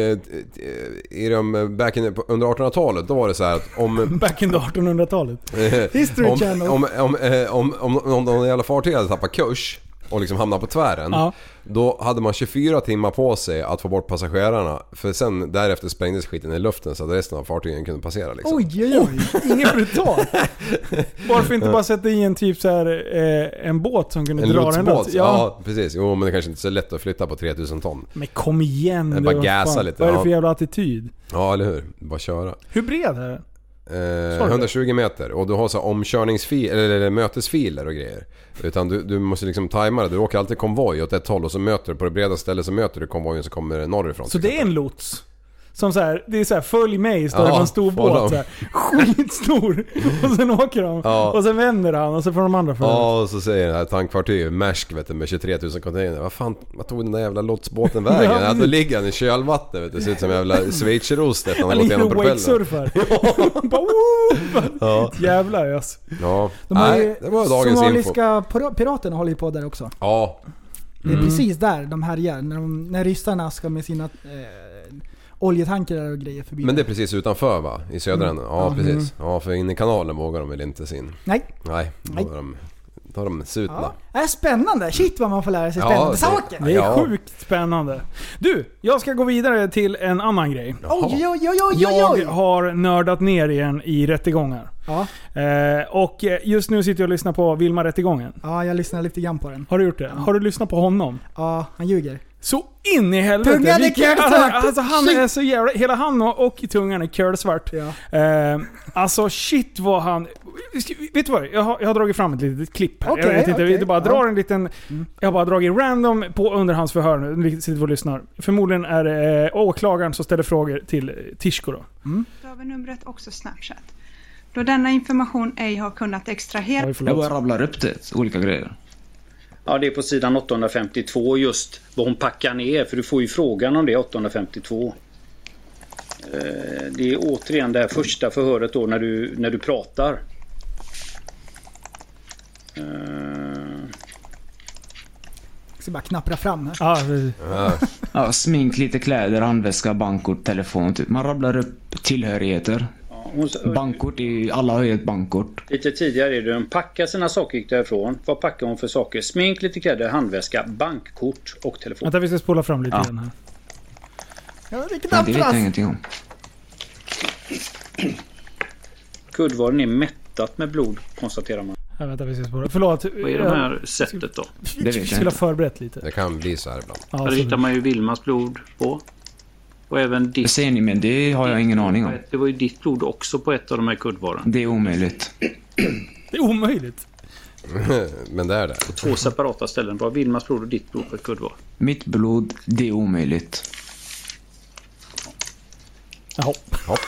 i de, back in, på- under 1800-talet, då var det så här att om... Back in the 1800-talet. History om, Channel. om, om, eh, om, om, om de jävla fartyg hade tappat kurs och liksom hamnat på tvären. Ja. Då hade man 24 timmar på sig att få bort passagerarna. För sen därefter sprängdes skiten i luften så att resten av fartygen kunde passera liksom. Oj, oj, oj. Inget brutalt. Varför inte bara sätta i en typ så här, eh, en båt som kunde En dra den alltså. lotsbåt? lots? Ja. precis. Jo men det kanske inte är så lätt att flytta på 3000 ton. Men kom igen Men du, bara vad gasa fan. lite, Vad är det ja. för jävla attityd? Ja eller hur. Bara köra. Hur bred är den? Eh, Sa du 120 meter och du har så här omkörningsfiler eller, eller mötesfiler och grejer. Utan du, du måste liksom tajma det. Du åker alltid konvoj åt ett håll och så möter du på det breda stället så möter du konvojen som kommer norrifrån. Så det är en lots? Som så här, det är så här, följ mig står det Ja, på en stor får de. båt. Så här, skitstor. Och sen åker de. Ja. Och sen vänder han och så får de andra följa. Ja, och så säger det här tankfartyget, Maersk vet du, med 23 000 container. Vad fan, vad tog den där jävla lotsbåten vägen? Ja, ja, då precis. ligger han i kölvattnet vet du. Ser ut som en jävla schweizerost efter han har Han gått ligger igenom och propellern. wakesurfar. Bara, "Woo!" Ja. Jävlar ös. Ja. De har Nej, ju, det var dagens info. somaliska info. piraterna håller ju på där också. Ja, Det är Mm. precis där de härjar. När, de, när ryssarna ska med sina eh, oljetankrar och grejer förbi. men det är precis utanför va? I södra änden? Ja, precis. Ja, för in i kanalen vågar de väl inte sig in. Nej. Nej, då Nej. är de, då är de sutna. Ja. Det är spännande. Shit vad man får lära sig Ja, spännande det- saker. Det är Ja. sjukt spännande. Du, jag ska gå vidare till en annan grej. Oj, oj, oj, oj, oj, Jag oj. har nördat ner igen i rättegångar. Ja, Eh, och eh, just nu sitter jag och lyssnar på Vilma-rättegången. ja, jag lyssnar lite grann på den. Har du gjort det? Har du lyssnat på honom? Ja, han ljuger. Så in i helvete! Tungan är Vilken- kölsvart. Alltså han är så jävla... Hela han och, och tungan är kölsvart. Ja. Eh, alltså shit vad han... Vet du vad? Jag har, jag har dragit fram ett litet klipp här. jag Okej, vet inte, okej. jag bara Ja. Mm. drar en liten... Jag har bara dragit random på underhandsförhör nu. Vi sitter och lyssnar. Förmodligen är det eh, åklagaren som ställer frågor till eh, Tishko då. Över-numret också Snapchat. Då denna information ej har kunnat extraheras Oj, förlåt. rabblar upp det, olika grejer. Ja, det är på sidan 852 just vad hon packar ner, för du får ju frågan om det 852. Eh, Det är återigen det här första förhöret då när du, när du pratar. Eh, Jag ska bara knappra fram här. Ja, precis. Ja, smink, lite kläder, handväska, bankkort, telefon. Typ. Man rabblar upp tillhörigheter. ja, hon, s- Bankkort, är ju- alla har ju ett bankkort. lite tidigare är det hon packar sina saker gick därifrån. Vad packar hon för saker? Smink, lite kläder, handväska, bankkort och telefon. Vänta, vi ska spola fram lite Ja. igen här. Ja, vilken Men det vet jag applås! ingenting om. Kuddvaden är mättat med blod konstaterar man. Ja, vänta, vi ska spola. Förlåt. Vad är det här sättet då? Det Jag vet jag skulle ha inte. förberett lite. Det kan bli så här ibland. Ja, Där så- hittar man ju Vilmas blod på. Och även Det ditt. säger ni, men det har jag ingen aning om. Det var ju ditt blod också på ett av de här kuddvaren. Det är omöjligt. Det är omöjligt. Men det är det. Två separata ställen. Det var Vilmas blod och ditt blod på ett kuddvar. Mitt blod, det är omöjligt. Jaha. Och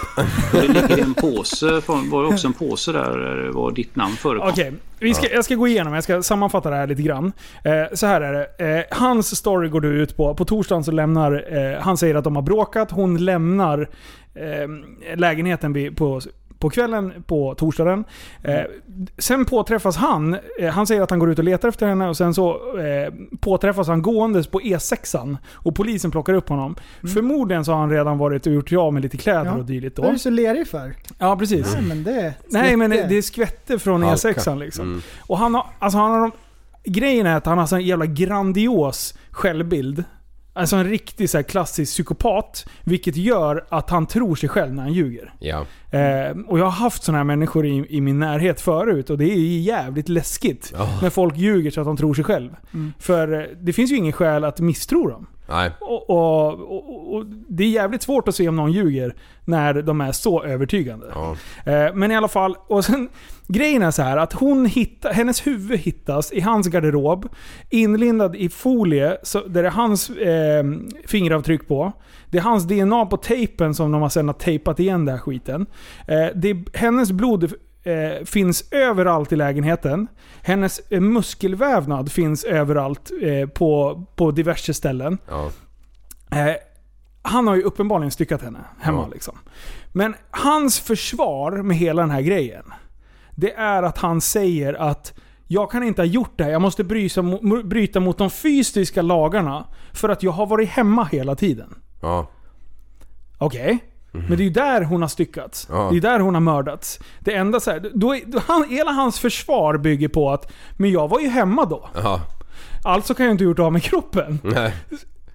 det ligger i en påse. från- Var det också en påse där eh, var ditt namn förekom? Okej, vi ska, jag ska gå igenom, jag ska sammanfatta det här lite grann. Eh, så här är det. Eh, hans story går du ut på. På torsdagen så lämnar... Eh, han säger att de har bråkat. Hon lämnar eh, lägenheten vid, på, på kvällen på torsdagen. Eh, Mm. sen påträffas han. Eh, han säger att han går ut och letar efter henne och sen så eh, påträffas han gåendes på E6an. Och polisen plockar upp honom. Förmodligen så har han redan varit och gjort sig av med lite kläder Mm. Ja. Mm. och dylikt då. Vad är du så lerig för? Ja, precis. Nej men det... Nej men det är skvätter från Halka. E6an liksom. Och han har, alltså han har de, grejen är att han har sån jävla grandios självbild. Alltså en riktig så här klassisk psykopat. Vilket gör att han tror sig själv när han ljuger. Ja. Eh, och jag har haft sådana här människor i, i min närhet förut och det är ju jävligt läskigt. Ja. När folk ljuger så att de tror sig själv. För eh, det finns ju ingen skäl att misstro dem. Nej. Och, och, och, och Det är jävligt svårt att se om någon ljuger när de är så övertygande. Eh, Men i alla fall, och sen, grejen är så här att hon hitta, hennes huvud hittas i hans garderob, inlindad i folie så, där det är hans eh, fingeravtryck på. Det är hans DNA på tejpen som de har sen har tejpat igen den här skiten. Eh, det är, hennes blod eh, finns överallt i lägenheten. Hennes eh, muskelvävnad finns överallt eh, på, på diverse ställen. Ja. Eh, han har ju uppenbarligen styckat henne hemma. Liksom. Men hans försvar med hela den här grejen, det är att han säger att jag kan inte ha gjort det här. Jag måste brysa, mo- bryta mot de fysiska lagarna för att jag har varit hemma hela tiden. Ja. Okej. Men det är ju där hon har styckats. Ja. Det är där hon har mördats. Det enda så här, då är, då, han, hela hans försvar bygger på att men jag var ju hemma då. Ja. Alltså kan jag inte ha gjort av med kroppen. Nej.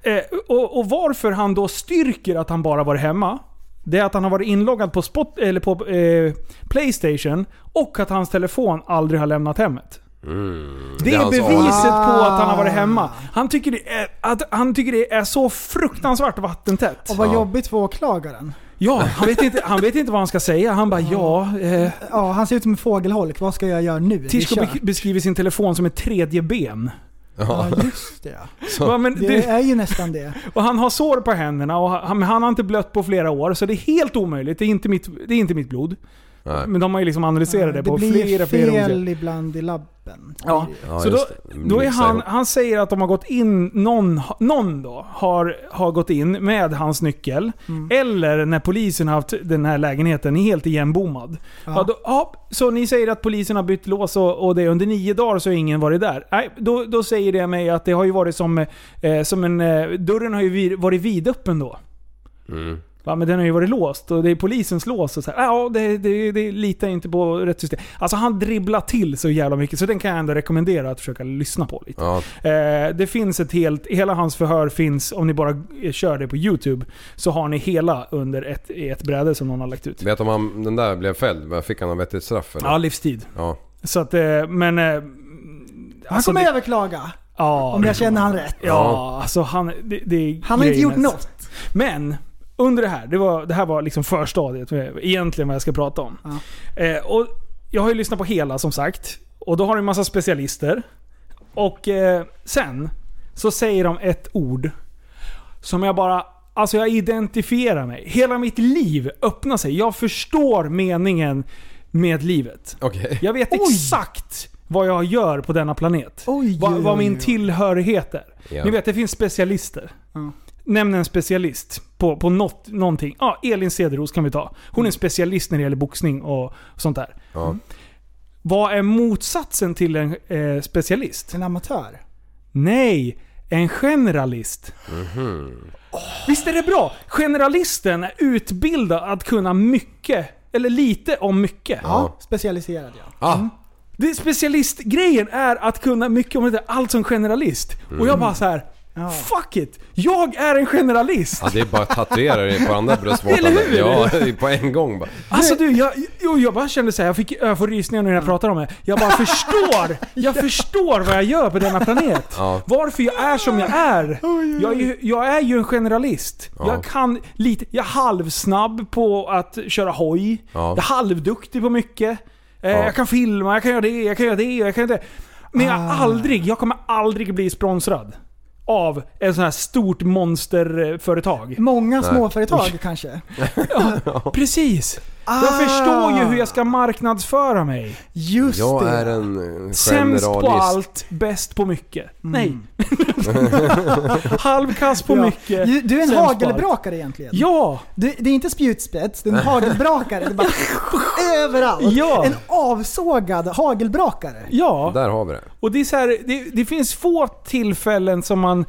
Eh, och, och varför han då styrker att han bara var hemma, det är att han har varit inloggad på, spot, eller på eh, Playstation och att hans telefon aldrig har lämnat hemmet. Mm. Det är alltså- hans beviset alibi. på att han har varit Ah. hemma. Han tycker det är, att, han tycker det är så fruktansvärt vattentätt. Och vad jobbigt för åklagaren. Ja, han vet, inte, han vet inte vad han ska säga. Han bara ja. Eh, Ja, han ser ut som en fågelholk. Vad ska jag göra nu? Vi Tishko kör. be- beskriver sin telefon som ett tredje ben. Ja, just det. Så. Va, men du- Det är ju nästan det. Och han har sår på händerna och han, han har inte blött på flera år. Så det är helt omöjligt. Det är inte mitt, det är inte mitt blod. Men de har ju liksom analyserat det, Det på blir flera, flera fel olika... ibland i labben. Ja, Ja, så då, just det. då är Mixa han, ihop. han säger att de har gått in, någon, ha- någon då, har, har gått in med hans nyckel. Mm. Eller när polisen har haft den här lägenheten helt igenbommad. Ja. då, ja, så ni säger att polisen har bytt lås och, och det är under nio dagar så har ingen varit där. Nej, då, då säger det mig att det har ju varit som, eh, som en... Eh, dörren har ju vid, varit vidöppen då. Mm. Va, men den har ju varit låst och det är polisens lås och så här. "Ah, Ja, det, det, det litar inte på rätt system. Alltså han dribblar till så jävla mycket så den kan jag ändå rekommendera att försöka lyssna på lite. Ja. Eh, det finns ett helt, hela hans förhör finns, om ni bara eh, kör det på YouTube, så har ni hela under ett, i ett bräde som någon har lagt ut. Vet om han, den där blev fälld, vad fick han något vettigt straff eller? Ja, livstid. Ja. Så att, eh, men... eh, Han alltså, kommer det- överklaga. Ja, Om det jag kommer känner han rätt. Ja, alltså han... Det, det Han har inte grejen är- gjort något. Men, under det här. Det, var, det här var liksom förstadiet, med- egentligen vad jag ska prata om. Eh, och jag har ju lyssnat på hela som sagt. Och då har du en massa specialister. Och eh, sen så säger de ett ord som jag bara... Alltså jag identifierar mig. Hela mitt liv öppnar sig. Jag förstår meningen med livet. Jag vet exakt vad jag gör på denna planet. vad, oj, vad min oj. tillhörighet är. Ja. Ni vet, det finns specialister. Ja. Nämn en specialist på, på något, någonting. Ja, Elin Cederros kan vi ta. Mm. Hon är specialist när det gäller boxning och sånt där. Ja. Vad är motsatsen till en eh, specialist? En amatör? Nej, en generalist. Oh. Mhm. Visst är det bra? Generalisten är utbildad att kunna mycket, eller lite om mycket. Ja, specialiserad ja. Ah. Det specialistgrejen är att kunna mycket om det där, allt som generalist. Och jag bara så här. Fuck it! Jag är en generalist! Ja, det är bara att tatuera dig på andra bröstvårtan. Eller hur? Ja, på en gång bara. Alltså du, jag, jo, jag bara kände såhär, jag, fick, jag får rysningar nu när jag pratar om det. Jag bara förstår! Jag förstår vad jag gör på denna planet. Ja. Varför jag är som jag är. Jag är ju, jag är ju en generalist. Ja. Jag kan lite, jag är halvsnabb på att köra hoj. Ja. Jag är halvduktig på mycket. Eh, Ja. Jag kan filma, jag kan göra det, jag kan göra det, jag kan göra det. Men Ah. jag, är aldrig, jag kommer aldrig bli sponsrad. Av ett sånt här stort monsterföretag. Många Nej. småföretag Oj. kanske. Ja, precis. Jag förstår ju hur jag ska Ah. marknadsföra mig. Just Jag det. är en, eh, Sämst på generalist. allt, bäst på mycket. Mm. Nej. Halvkass på Ja. mycket. Du, du är en sämst på allt. hagelbrakare egentligen. Ja! Du, det är inte spjutspets, det är en hagelbrakare. Det är bara överallt. Ja. En avsågad hagelbrakare. Ja. Där har vi det. Och det är så här, det, det finns få tillfällen som man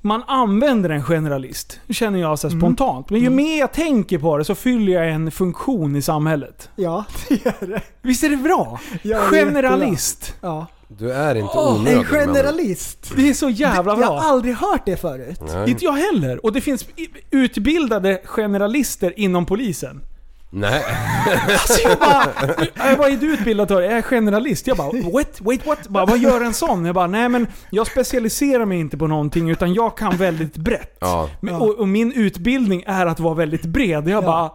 man använder en generalist, känner jag Mm. så här spontant. Men ju mer jag tänker på det så fyller jag en funktion i samhället. Ja, det gör det. Visst är det bra? Ja, det är generalist. Ja. Du är inte Åh, onödig. en men- generalist. Det är så jävla Jag bra. har aldrig hört det förut. Nej. Inte jag heller. Och det finns i- utbildade generalister inom polisen. Nej. Alltså jag bara, jag bara, är du utbildad till det? Jag är generalist. Jag bara, what? Wait what? Bara, vad gör en sån? Jag bara, nej men jag specialiserar mig inte på någonting utan jag kan väldigt brett. Ja. Men- Och, och min utbildning är att vara väldigt bred. Jag bara,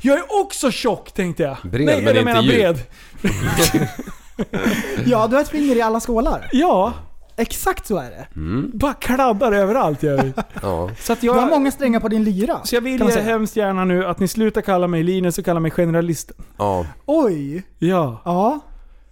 jag är också tjock tänkte jag. Bred, nej, men jag inte menar djup. bred. Ja, du har ett finger i alla skålar. Ja, Exakt så är det. bara kladdar överallt gör vi. Ja. Mm. Så att Du har jag... många strängar på din lyra. Så jag vill kan man ju säga. hemskt gärna nu att ni slutar kalla mig Linus och kalla mig generalisten. ja. Oj. Ja. Ja.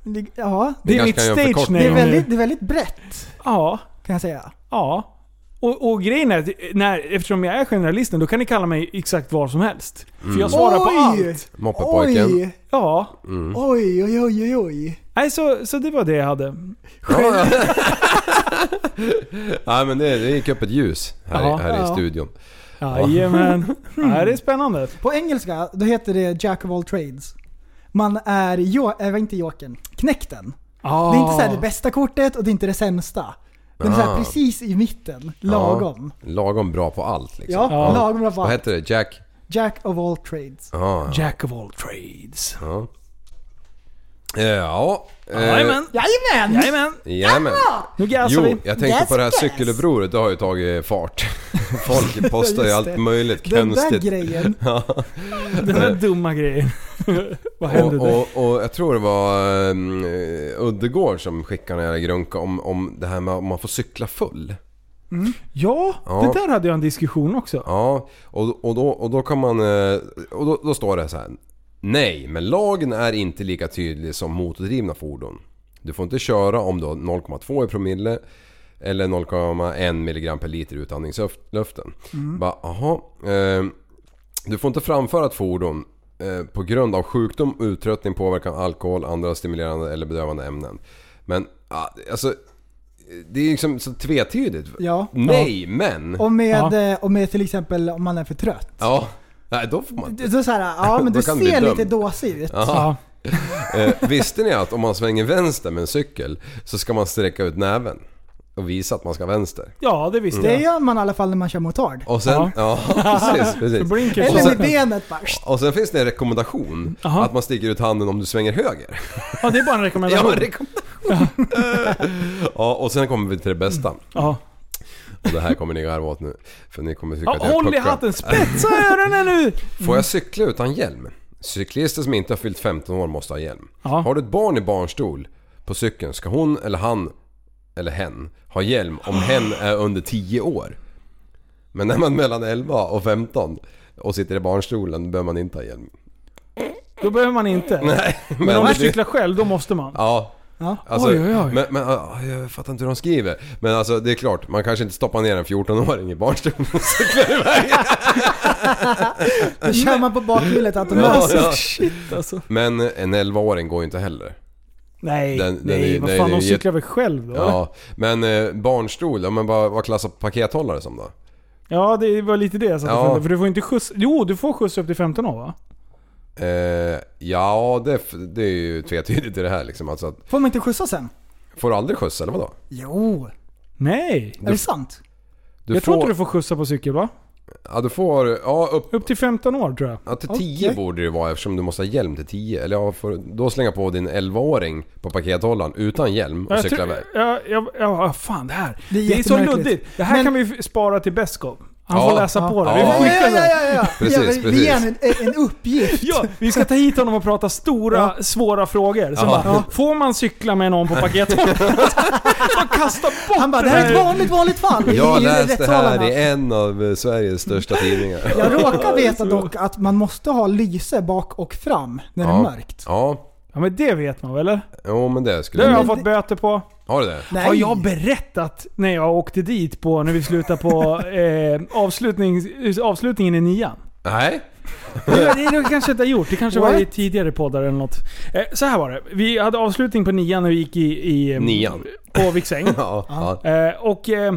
Det- Ja. Det är mitt kanske kan göra en stage förkortning Det name är nu. väldigt, det är väldigt brett Ja. kan jag säga. Ja. Och, och grejen är att när, eftersom jag är generalisten, då kan ni kalla mig exakt vad som helst. För jag svarar på Mm. Oj! allt. Moppepojken. Oj! Ja. Mm. Oj, oj, oj, oj, oj. Nej, så, så det var det jag hade. Ja, ja. Nej men det, det gick upp ett ljus här, Ja. i, här Ja. i studion. Jajamän. Nej, det är spännande. På engelska, då heter det Jack of all trades. Man är, jo, äh, inte jokern, knäkten. Ah. Det är inte så här det bästa kortet och det är inte det sämsta. Den är så Ah. här precis i mitten, lagom. Ja. Lagom bra på allt liksom. Ja, lagom bra Vad val. hette det? Jack? Jack of all trades. Ja. Jack of all trades. Ja. Eh, Ja. eh, Jajamän. Jajamän! Jajamän. Jajamän. Nu Alltså, gasar Jo, vi. jag tänkte på det här Yes, yes. cykelupproret. Det har ju tagit fart. Folk postar ju Just allt det. möjligt Den där konstigt. grejen. Ja. Den där dumma grejen. Vad hände eh. Och, där? och, och jag tror det var um, Uddegård som skickade en jävla grunka om, om det här med om man får cykla full. Ja, Ja. det där hade jag en diskussion också. Ja, och, och, då, och då kan man... eh, Och då, då står det så här. Nej, men lagen är inte lika tydlig som motordrivna fordon. Du får inte köra om du har 0,2 i promille eller 0,1 milligram per liter i utandningsluften. Mm. Bara, aha, eh, du får inte framföra ett fordon eh, på grund av sjukdom, uttröttning, påverkan av alkohol, andra stimulerande eller bedövande ämnen. Men ah, alltså, det är liksom så tvetydigt. Ja. Nej, men... Och med, Ah. Ja. eh, och med till exempel om man är för trött. Ja, nej då får man inte. Det- Så så här, ja men Då du kan du ser bli Ah. lite dömd. dåsig ut. Ja. Eh, visste ni att om man svänger vänster med en cykel så ska man sträcka ut näven och visa att man ska vänster? ja, det visste Det jag. gör man i alla fall när man kör motard. Och sen, ja, precis, precis. Blinkers. Eller med benet bara. Och sen finns det en rekommendation Aha. att man sticker ut handen om du svänger höger. Ja, det är bara en Ja, rekommendation. men rekommendation. ja, och sen kommer vi till det bästa. Ja. Och det här kommer ni garva åt nu. För ni kommer tycka Ja, att jag är håll i puckad. hatten, spetsa öronen nu! Får jag cykla utan hjälm? Cyklister som inte har fyllt 15 år måste ha hjälm. Ja. Har du ett barn i barnstol på cykeln ska hon eller han eller hen ha hjälm om hen är under 10 år. Men när man är mellan 11 och 15 och sitter i barnstolen behöver man inte ha hjälm. Då behöver man inte. Nej, men, Men om du det- cyklar själv, då måste man. Ja. Ja. Alltså, Oj, oj, oj. Men, men ah, jag fattar inte hur de skriver. Men alltså det är klart, man kanske inte stoppar ner en 14-åring i barnstolen och cyklar iväg. Då kör man på bakhjulet automatiskt. Ja, ja. Shit alltså. Men eh, en 11-åring går ju inte heller. Nej, Den- den nej, är- vad nej, fan, den de är ju cyklar väl själv då? Ja. Ja, men eh, barnstol, ja, men vad, vad klassar pakethållare som då? ja, det var lite det jag satt och Ja. funderade För du får inte skjuts... Jo, du får skjuts upp till 15 år va? Eh, ja, det, det är ju tvetydigt i det här liksom. Alltså, att, Får man inte skjutsa sen? får du aldrig skjuts eller vadå? Jo, Nej. är det sant? Du jag får, tror inte du får skjutsa på cykel va? Ja, du får... Ja, upp, Upp till 15 år tror jag. ja, till 10 Okej. borde det ju vara eftersom du måste ha hjälm till 10. Eller ja, får, då slänga på din 11-åring på pakethållaren utan hjälm och Jag cykla tror- iväg. Ja, ja, ja, fan det här. Det Det är är, så jättemärkligt. luddigt. Det här Men- kan vi f- spara till Beskov. Han får läsa på det. Vi Ja, skickar ja, det. ja, ja, ja. Precis, ja, vi- precis. Vi ger en, en- en uppgift. Ja, vi ska ta hit honom och prata stora, svåra frågor. Sen Ja. bara, får man cykla med någon på pakethållaren? Bara kasta bort Han bara, det här är ett här. vanligt, vanligt fall. i Jag läste det här rättssalarna." alltså. i en av eh, Sveriges största tidningar. Jag råkar veta dock att man måste ha lyse bak och fram när det är Ja. mörkt. Ja, Ja men det vet man väl eller? jo men det Det skulle har jag... jag fått böter på. Har du det? Nej. Har jag berättat när jag åkte dit på, när vi slutade på eh, avslutning, avslutningen i nian? Nej? Det, det, det kanske jag inte har gjort. Det kanske var i What? tidigare poddar eller något. Eh, så här var det. Vi hade avslutning på nian när vi gick i... i eh, Nian. På Viksäng. Ja. ja. Eh, och eh,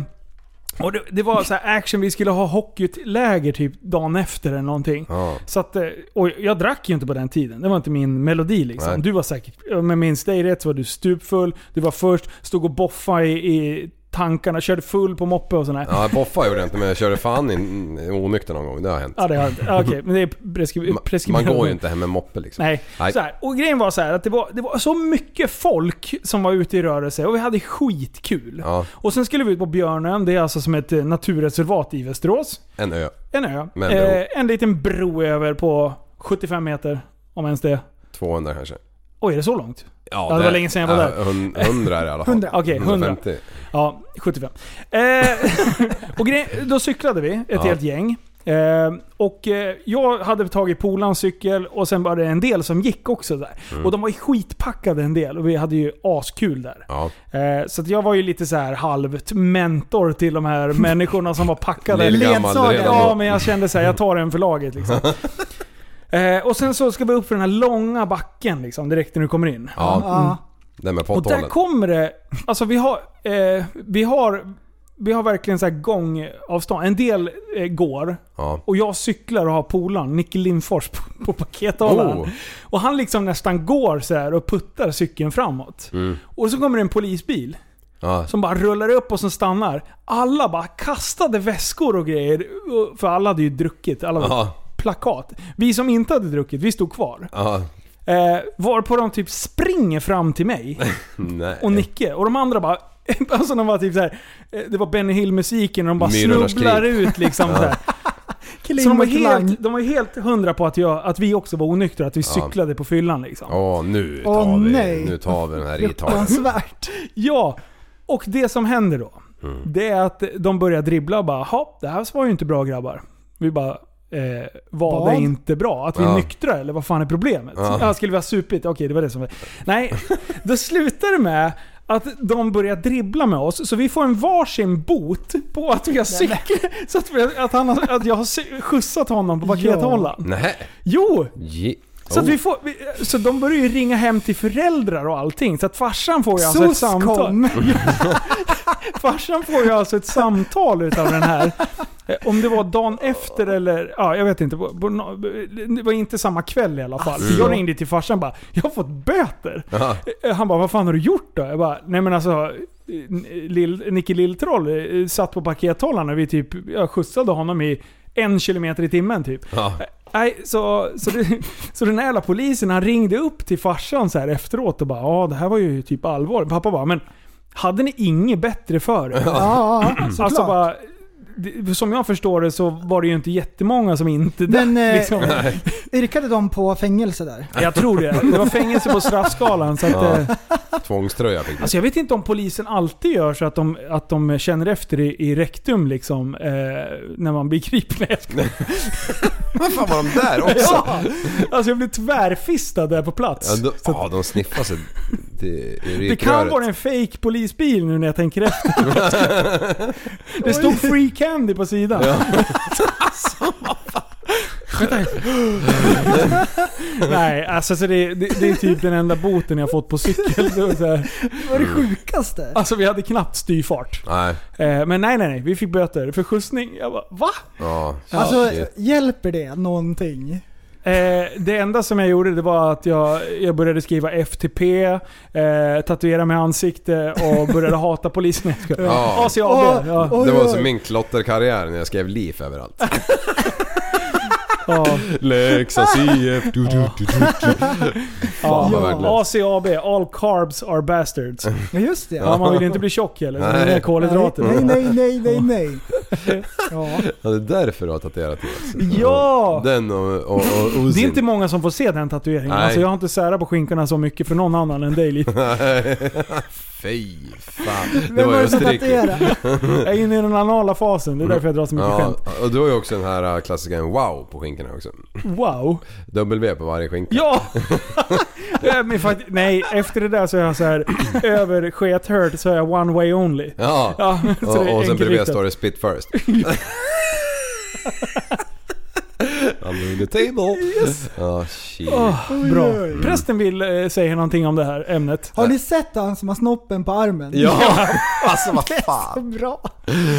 och det, det var så här action, vi skulle ha hockeyläger typ dagen efter eller någonting. ja. Så att, eh, och jag drack ju inte på den tiden. Det var inte min melodi liksom. Nej. Du var säkert, med minns dig rätt så var du stupfull, du var först, stod och boffa i, i tankarna, körde full på moppe och sådär. Ja. Ja, boffa gjorde jag inte men jag körde fan in onykter någon gång. Det har hänt. det har Okej, men det är preskri- Ma- preskriberat. Man går ju inte hem med moppe liksom. Nej. Nej. Så här. Och grejen var så här att det var, det var så mycket folk som var ute i rörelse och vi hade skitkul. Ja, Och sen skulle vi ut på Björnön, det är alltså som ett eh, naturreservat i Västerås. en ö. En ö. Med en bro. Eh, en liten bro över på 75 meter, om ens det. 200 kanske. Oj, är det så långt? Ja, det var länge sedan jag var ja, hun- 100 är det i alla fall. 100. Okej, 100. 150. Ja, 75. Eh, och grej, då cyklade vi, ett Ja. helt gäng. Eh, och eh, jag hade tagit polans cykel och sen var det en del som gick också där. Mm. Och de var ju skitpackade en del och vi hade ju askul där. Ja. Eh, så att jag var ju lite så här halvt mentor till de här människorna som var packade. Lillgammal ledsagare. redan Ja, då. men jag kände så här, jag tar en för laget liksom. Eh, och sen så ska vi upp för den här långa backen liksom, direkt när du kommer in. Ja, Ja. den med Och där potthålen. kommer det... Alltså vi har... Eh, vi har... Vi har verkligen så här gångavstånd. En del eh, går. Ja. Och jag cyklar och har polaren, Nick Lindfors, på, på pakethållaren. Oh. Och han liksom nästan går så här och puttar cykeln framåt. Mm. Och så kommer det en polisbil. Ja. Som bara rullar upp och som stannar. Alla bara kastade väskor och grejer. och- För alla hade ju druckit. Alla var Ja. plakat. Vi som inte hade druckit, vi stod kvar. Ja. Eh, varpå de typ springer fram till mig Nej. och Nicke. Och de andra bara... Alltså de var typ så här, eh, det var Benny Hill-musiken och de bara Myrornas snubblar krig. ut liksom. Så, här. så Kling de, var och klang. helt, de var helt hundra på att, jag, att vi också var onyktra, att vi cyklade på fyllan liksom. Ja. Åh, nu tar Åh, vi nej. Nu tar vi den här gitarren. Fruktansvärt. och det som händer då, det är att de börjar dribbla och bara "Ha, det här var ju inte bra grabbar. Vi bara, eh, var Vad? det inte bra? Att vi är Ja. nyktra eller vad fan är problemet? Ja. Ja. skulle vi ha supit? Okej, det var det som var... Nej, då slutar det med att de börjar dribbla med oss, så vi får en varsin bot på att vi har cyklat. Så att, vi, att, han, har- att jag har cy- skjutsat honom på pakethållaren. Nej. Jo! Ge- Så, att Oh. vi får, vi, så de börjar ju ringa hem till föräldrar och allting. Så att farsan får ju alltså ett SOS samtal. kom. Farsan får ju alltså ett samtal utav den här. Eh, Om det var dagen efter eller... Ja, jag vet inte. På- på nå- Det var inte samma kväll i alla fall. Ah, För jag ringde till farsan och bara “Jag har fått böter”. Ja. Eh, Han bara “Vad fan har du gjort då?” Jag bara “Nej men alltså, eh, Lill- Nicke Lilltroll eh, satt på pakethållaren och vi typ, jag skjutsade honom i en kilometer i timmen typ. Ja. Nej, så, så, det, så den här jävla polisen han ringde upp till farsan så här efteråt och bara ja det här var ju typ allvar. Pappa bara men hade ni inget bättre för er? Ja, såklart. alltså bara, det, som jag förstår det så var det ju inte jättemånga som inte Men, eh, drack. Liksom. Yrkade de på fängelse där? Jag tror det. Det var fängelse på straffskalan. Så att, Ja. eh, Tvångströja fick du. alltså jag vet inte om polisen alltid gör så att de, att de känner efter i, i rektum liksom, eh, när man blir gripna. Vad fan var de där också? Ja! Alltså jag blev tvärfistad där på plats. Ja, de, ja, de sniffar sig till Det kan vara en fake polisbil nu när jag tänker efter. det stod free candy på sidan. Nej, alltså så det, det, det är typ den enda boten jag fått på cykel. Så så här. Det var det sjukaste. Alltså vi hade knappt styrfart. Nej. Eh, Men nej, nej, nej. Vi fick böter för skjutsning. Jag bara, va? Ja. Alltså, shit. hjälper det någonting? Eh, det enda som jag gjorde det var att jag, jag började skriva FTP, eh, tatuera mig i ansikte och började hata polisen. Ja. ACAB. ja. Oj, Det var oj. som min klotterkarriär när jag skrev LIF överallt. ja. Leksands IF. Du, du, du, du, du. Fan vad värdelöst. ACAB, all carbs are bastards. Ja, just det. Ja, man vill ju inte bli tjock heller. så Det är Nej. kolhydrater. Nej, nej, nej, nej, nej. Ja. Ja, det är därför du har tatuerat Therese. Ja! Den och, och, och Det är Ozin. inte många som får se den tatueringen. Nej. Alltså jag har inte särat på skinkorna så mycket för någon annan än dig Liv. Fy fan. Vem var det som Österrike. tatuerade? Jag är inne i den anala fasen, det är därför jag drar så mycket Ja, skämt. och du har ju också den här klassikern wow på skinkorna också. Wow. W på varje skinka. Ja! Nej, men fakt- nej, efter det där så är jag så här över sket hört så är jag one way only. Ja, så det är och, och sen bredvid enkelriktat. står det spit first. Under the table. Ja, shit. Åh, Oj, bra. oj, oj. Prästen vill eh, säga någonting om det här ämnet. Har ni sett han som har snoppen på armen? Ja. alltså vad Så fan. bra.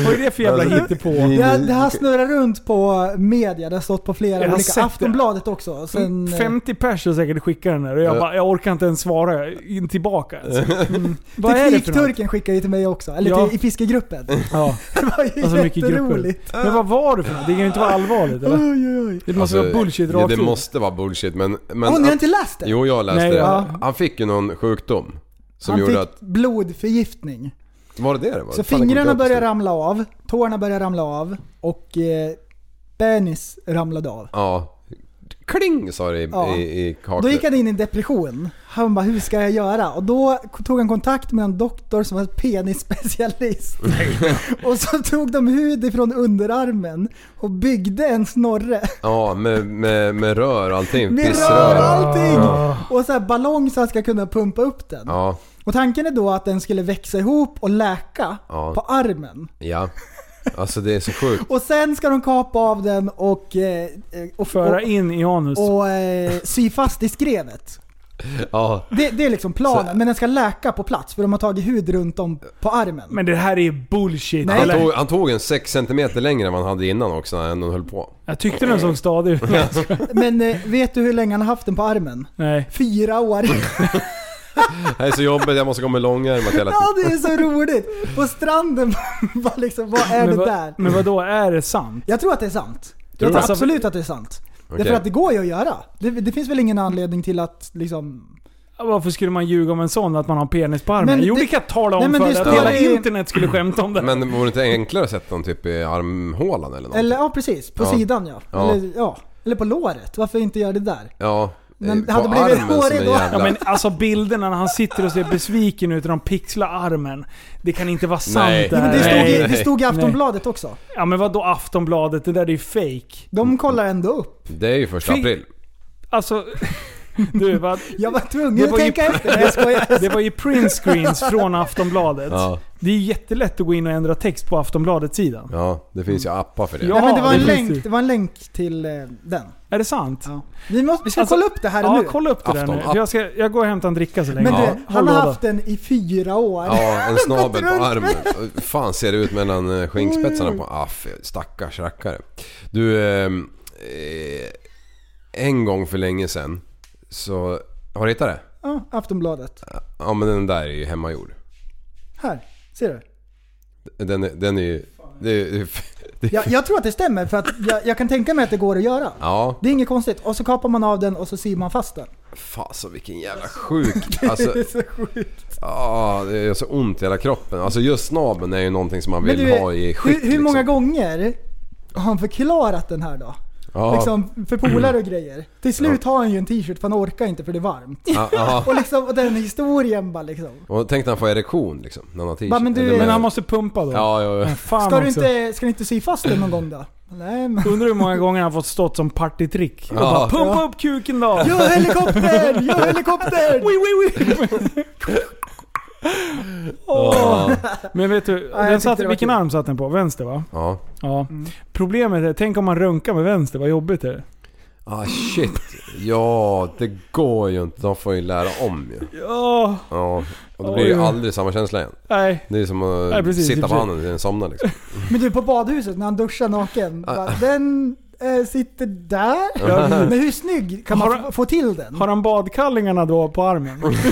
Vad är det för jävla Alltså, hittepå? Det, här- det här snurrar runt på media, det har stått på flera Mm. Jag har sett det. olika. Mm, Aftonbladet också. Sen, eh, 50 pers har säkert skickat den där och jag, Ja. bara, jag orkar inte ens svara in tillbaka. Alltså. Mm. Vad är det för något? Teknikturken skickade ju till mig också, eller Ja. till, i fiskegruppen. Det Ja, var ju alltså mycket grupper. jätteroligt. Men vad var det för något? Det kan ju inte vara allvarligt eller? Oj, oj, oj. Det måste Alltså, vara bullshit ja, rakt Det ut. måste vara bullshit men... men Åh, ni har han- inte läst det? Jo, jag läste Nej, det. ja. Han fick ju någon sjukdom. Som han gjorde fick att... blodförgiftning. Var det det det var? Så Fan, jag kommer fingrarna inte ihåg började det. ramla av, tårna började ramla av och eh, penis ramlade av. Ja. Kling sa det i, Ja. i, i kaklet. Då gick han in i en depression. Han bara, hur ska jag göra? Och då tog han kontakt med en doktor som var penisspecialist. och så tog de hud ifrån underarmen och byggde en snorre. Ja, med, med, med rör och allting. Med rör Pissrör. och allting! Och så här ballong så han ska kunna pumpa upp den. Ah. Ja, Och tanken är då att den skulle växa ihop och läka Ja. på armen. ja. Alltså det är så sjukt. Och sen ska de kapa av den och, eh, eh, och, Föra in i anus. och, och eh, sy fast i skrevet. Ja. Det, det är liksom planen, men den ska läka på plats för de har tagit hud runt om på armen. Men det här är bullshit. Nej. Han Eller? tog, han tog en 6 cm längre än vad han hade innan också när han höll på. Jag tyckte den såg stadig ut. Nej, jag skojar. Men eh, vet du hur länge han har haft den på armen? Nej. Fyra år. Det här är så jobbigt, jag måste gå med långärmat hela Ja, tiden. det är så roligt. På stranden, bara liksom, vad är Men, det vad, där? men vadå, är det sant? Jag tror att det är sant. Tror Jag du? tror absolut att det är sant. Okej. Därför att det går ju att göra. Det, det finns väl ingen anledning till att liksom... Varför skulle man ljuga om en sån, att man har en penis på armen? Men jo, det- det kan jag tala om Nej, men för det dig. Att står hela i- internet skulle skämta om det. här. Men vore det inte enklare att sätta någon typ i armhålan eller något? Eller ja, precis. På Ja. sidan ja. Ja. Eller, ja. Eller på låret. Varför inte göra det där? Ja. Men eh, det hade på blivit armen som hårig en då. jävla- Ja, men alltså bilderna när han sitter och ser besviken ut och de pixlar armen. Det kan inte vara sant Nej. det Nej, här. men det, stod Nej, i, nej. det stod i Aftonbladet också. Ja men vadå Aftonbladet? Det där är ju fake. De kollar ändå upp. Det är ju första Fy- april. Alltså... Du, vad, Jag var tvungen Det att var ju- tänka efter. Nej, jag skojar. det var ju printscreens från Aftonbladet. Ja, Det är ju jättelätt att gå in och ändra text på Aftonbladet-sidan. ja, det finns ju appar för det. Ja. Nej, men det, var en det finns länk, det. det var en länk till eh, den. Är det sant? Vi, måste, vi ska Alltså, kolla upp det här Ja, nu. kolla upp det där nu. Afton- För Jag, ska, jag går och hämtar en dricka så länge. Men Ja, du, håll han har låda. haft den i fyra år. Ja, en snabel på runt med- armen. Hur fan ser det ut mellan eh, skinkspetsarna på... Ah, fy, stackars rackare. Du, ehm, eh, en gång för länge sedan så... Har du hittat det? Ja, Aftonbladet. Ja men den där är ju hemmagjord. Här, ser du? Den, är- den är ju... Det är, det är, det är, Jag, jag tror att det stämmer för att jag, jag kan tänka mig att det går att göra. ja, Det är inget konstigt. Och så kapar man av den och så syr man fast den. fasen vilken jävla sjuk... Alltså, det är så sjukt. ah, det gör så ont i hela kroppen. Alltså just snabeln är ju någonting som man Men vill du, ha i hur, skick hur många liksom. gånger har han förklarat den här då? Ja, Liksom för polare och grejer. Till slut har han ju en t-shirt för han orkar inte för det är varmt. ja, ja. Och, liksom, och den historien bara liksom. Och tänk när han får erektion liksom. När han har t-shirt. Va, men du- Eller med- Men han måste pumpa då. Ja, ja, ja. Fan Ska du, också. inte, ska du inte sy fast den någon gång då? Nej men... Undrar hur många gånger han fått stått som partytrick. Och Ja. bara pumpa upp kuken då! Jo helikopter! Jo helikopter! Wee, wee, wee. Åh. Men vet du, jag den tyckte satt, det var vilken kul. Mm. arm satt den på? Vänster va? ja. Ja. Problemet är, tänk om man röntgar med vänster, vad jobbigt det är. Ah shit. Ja, det går ju inte. De får ju lära om ju. Ja, Ja. Och då blir det ju Oj. aldrig samma känsla igen. nej. Det är som att Nej, precis, i sitta och på för sig. handen och somna liksom. Men du på badhuset när han duschar naken. Bara, den eh, sitter där. Men hur snygg kan man få- få till den? Har han badkallingarna då på armen?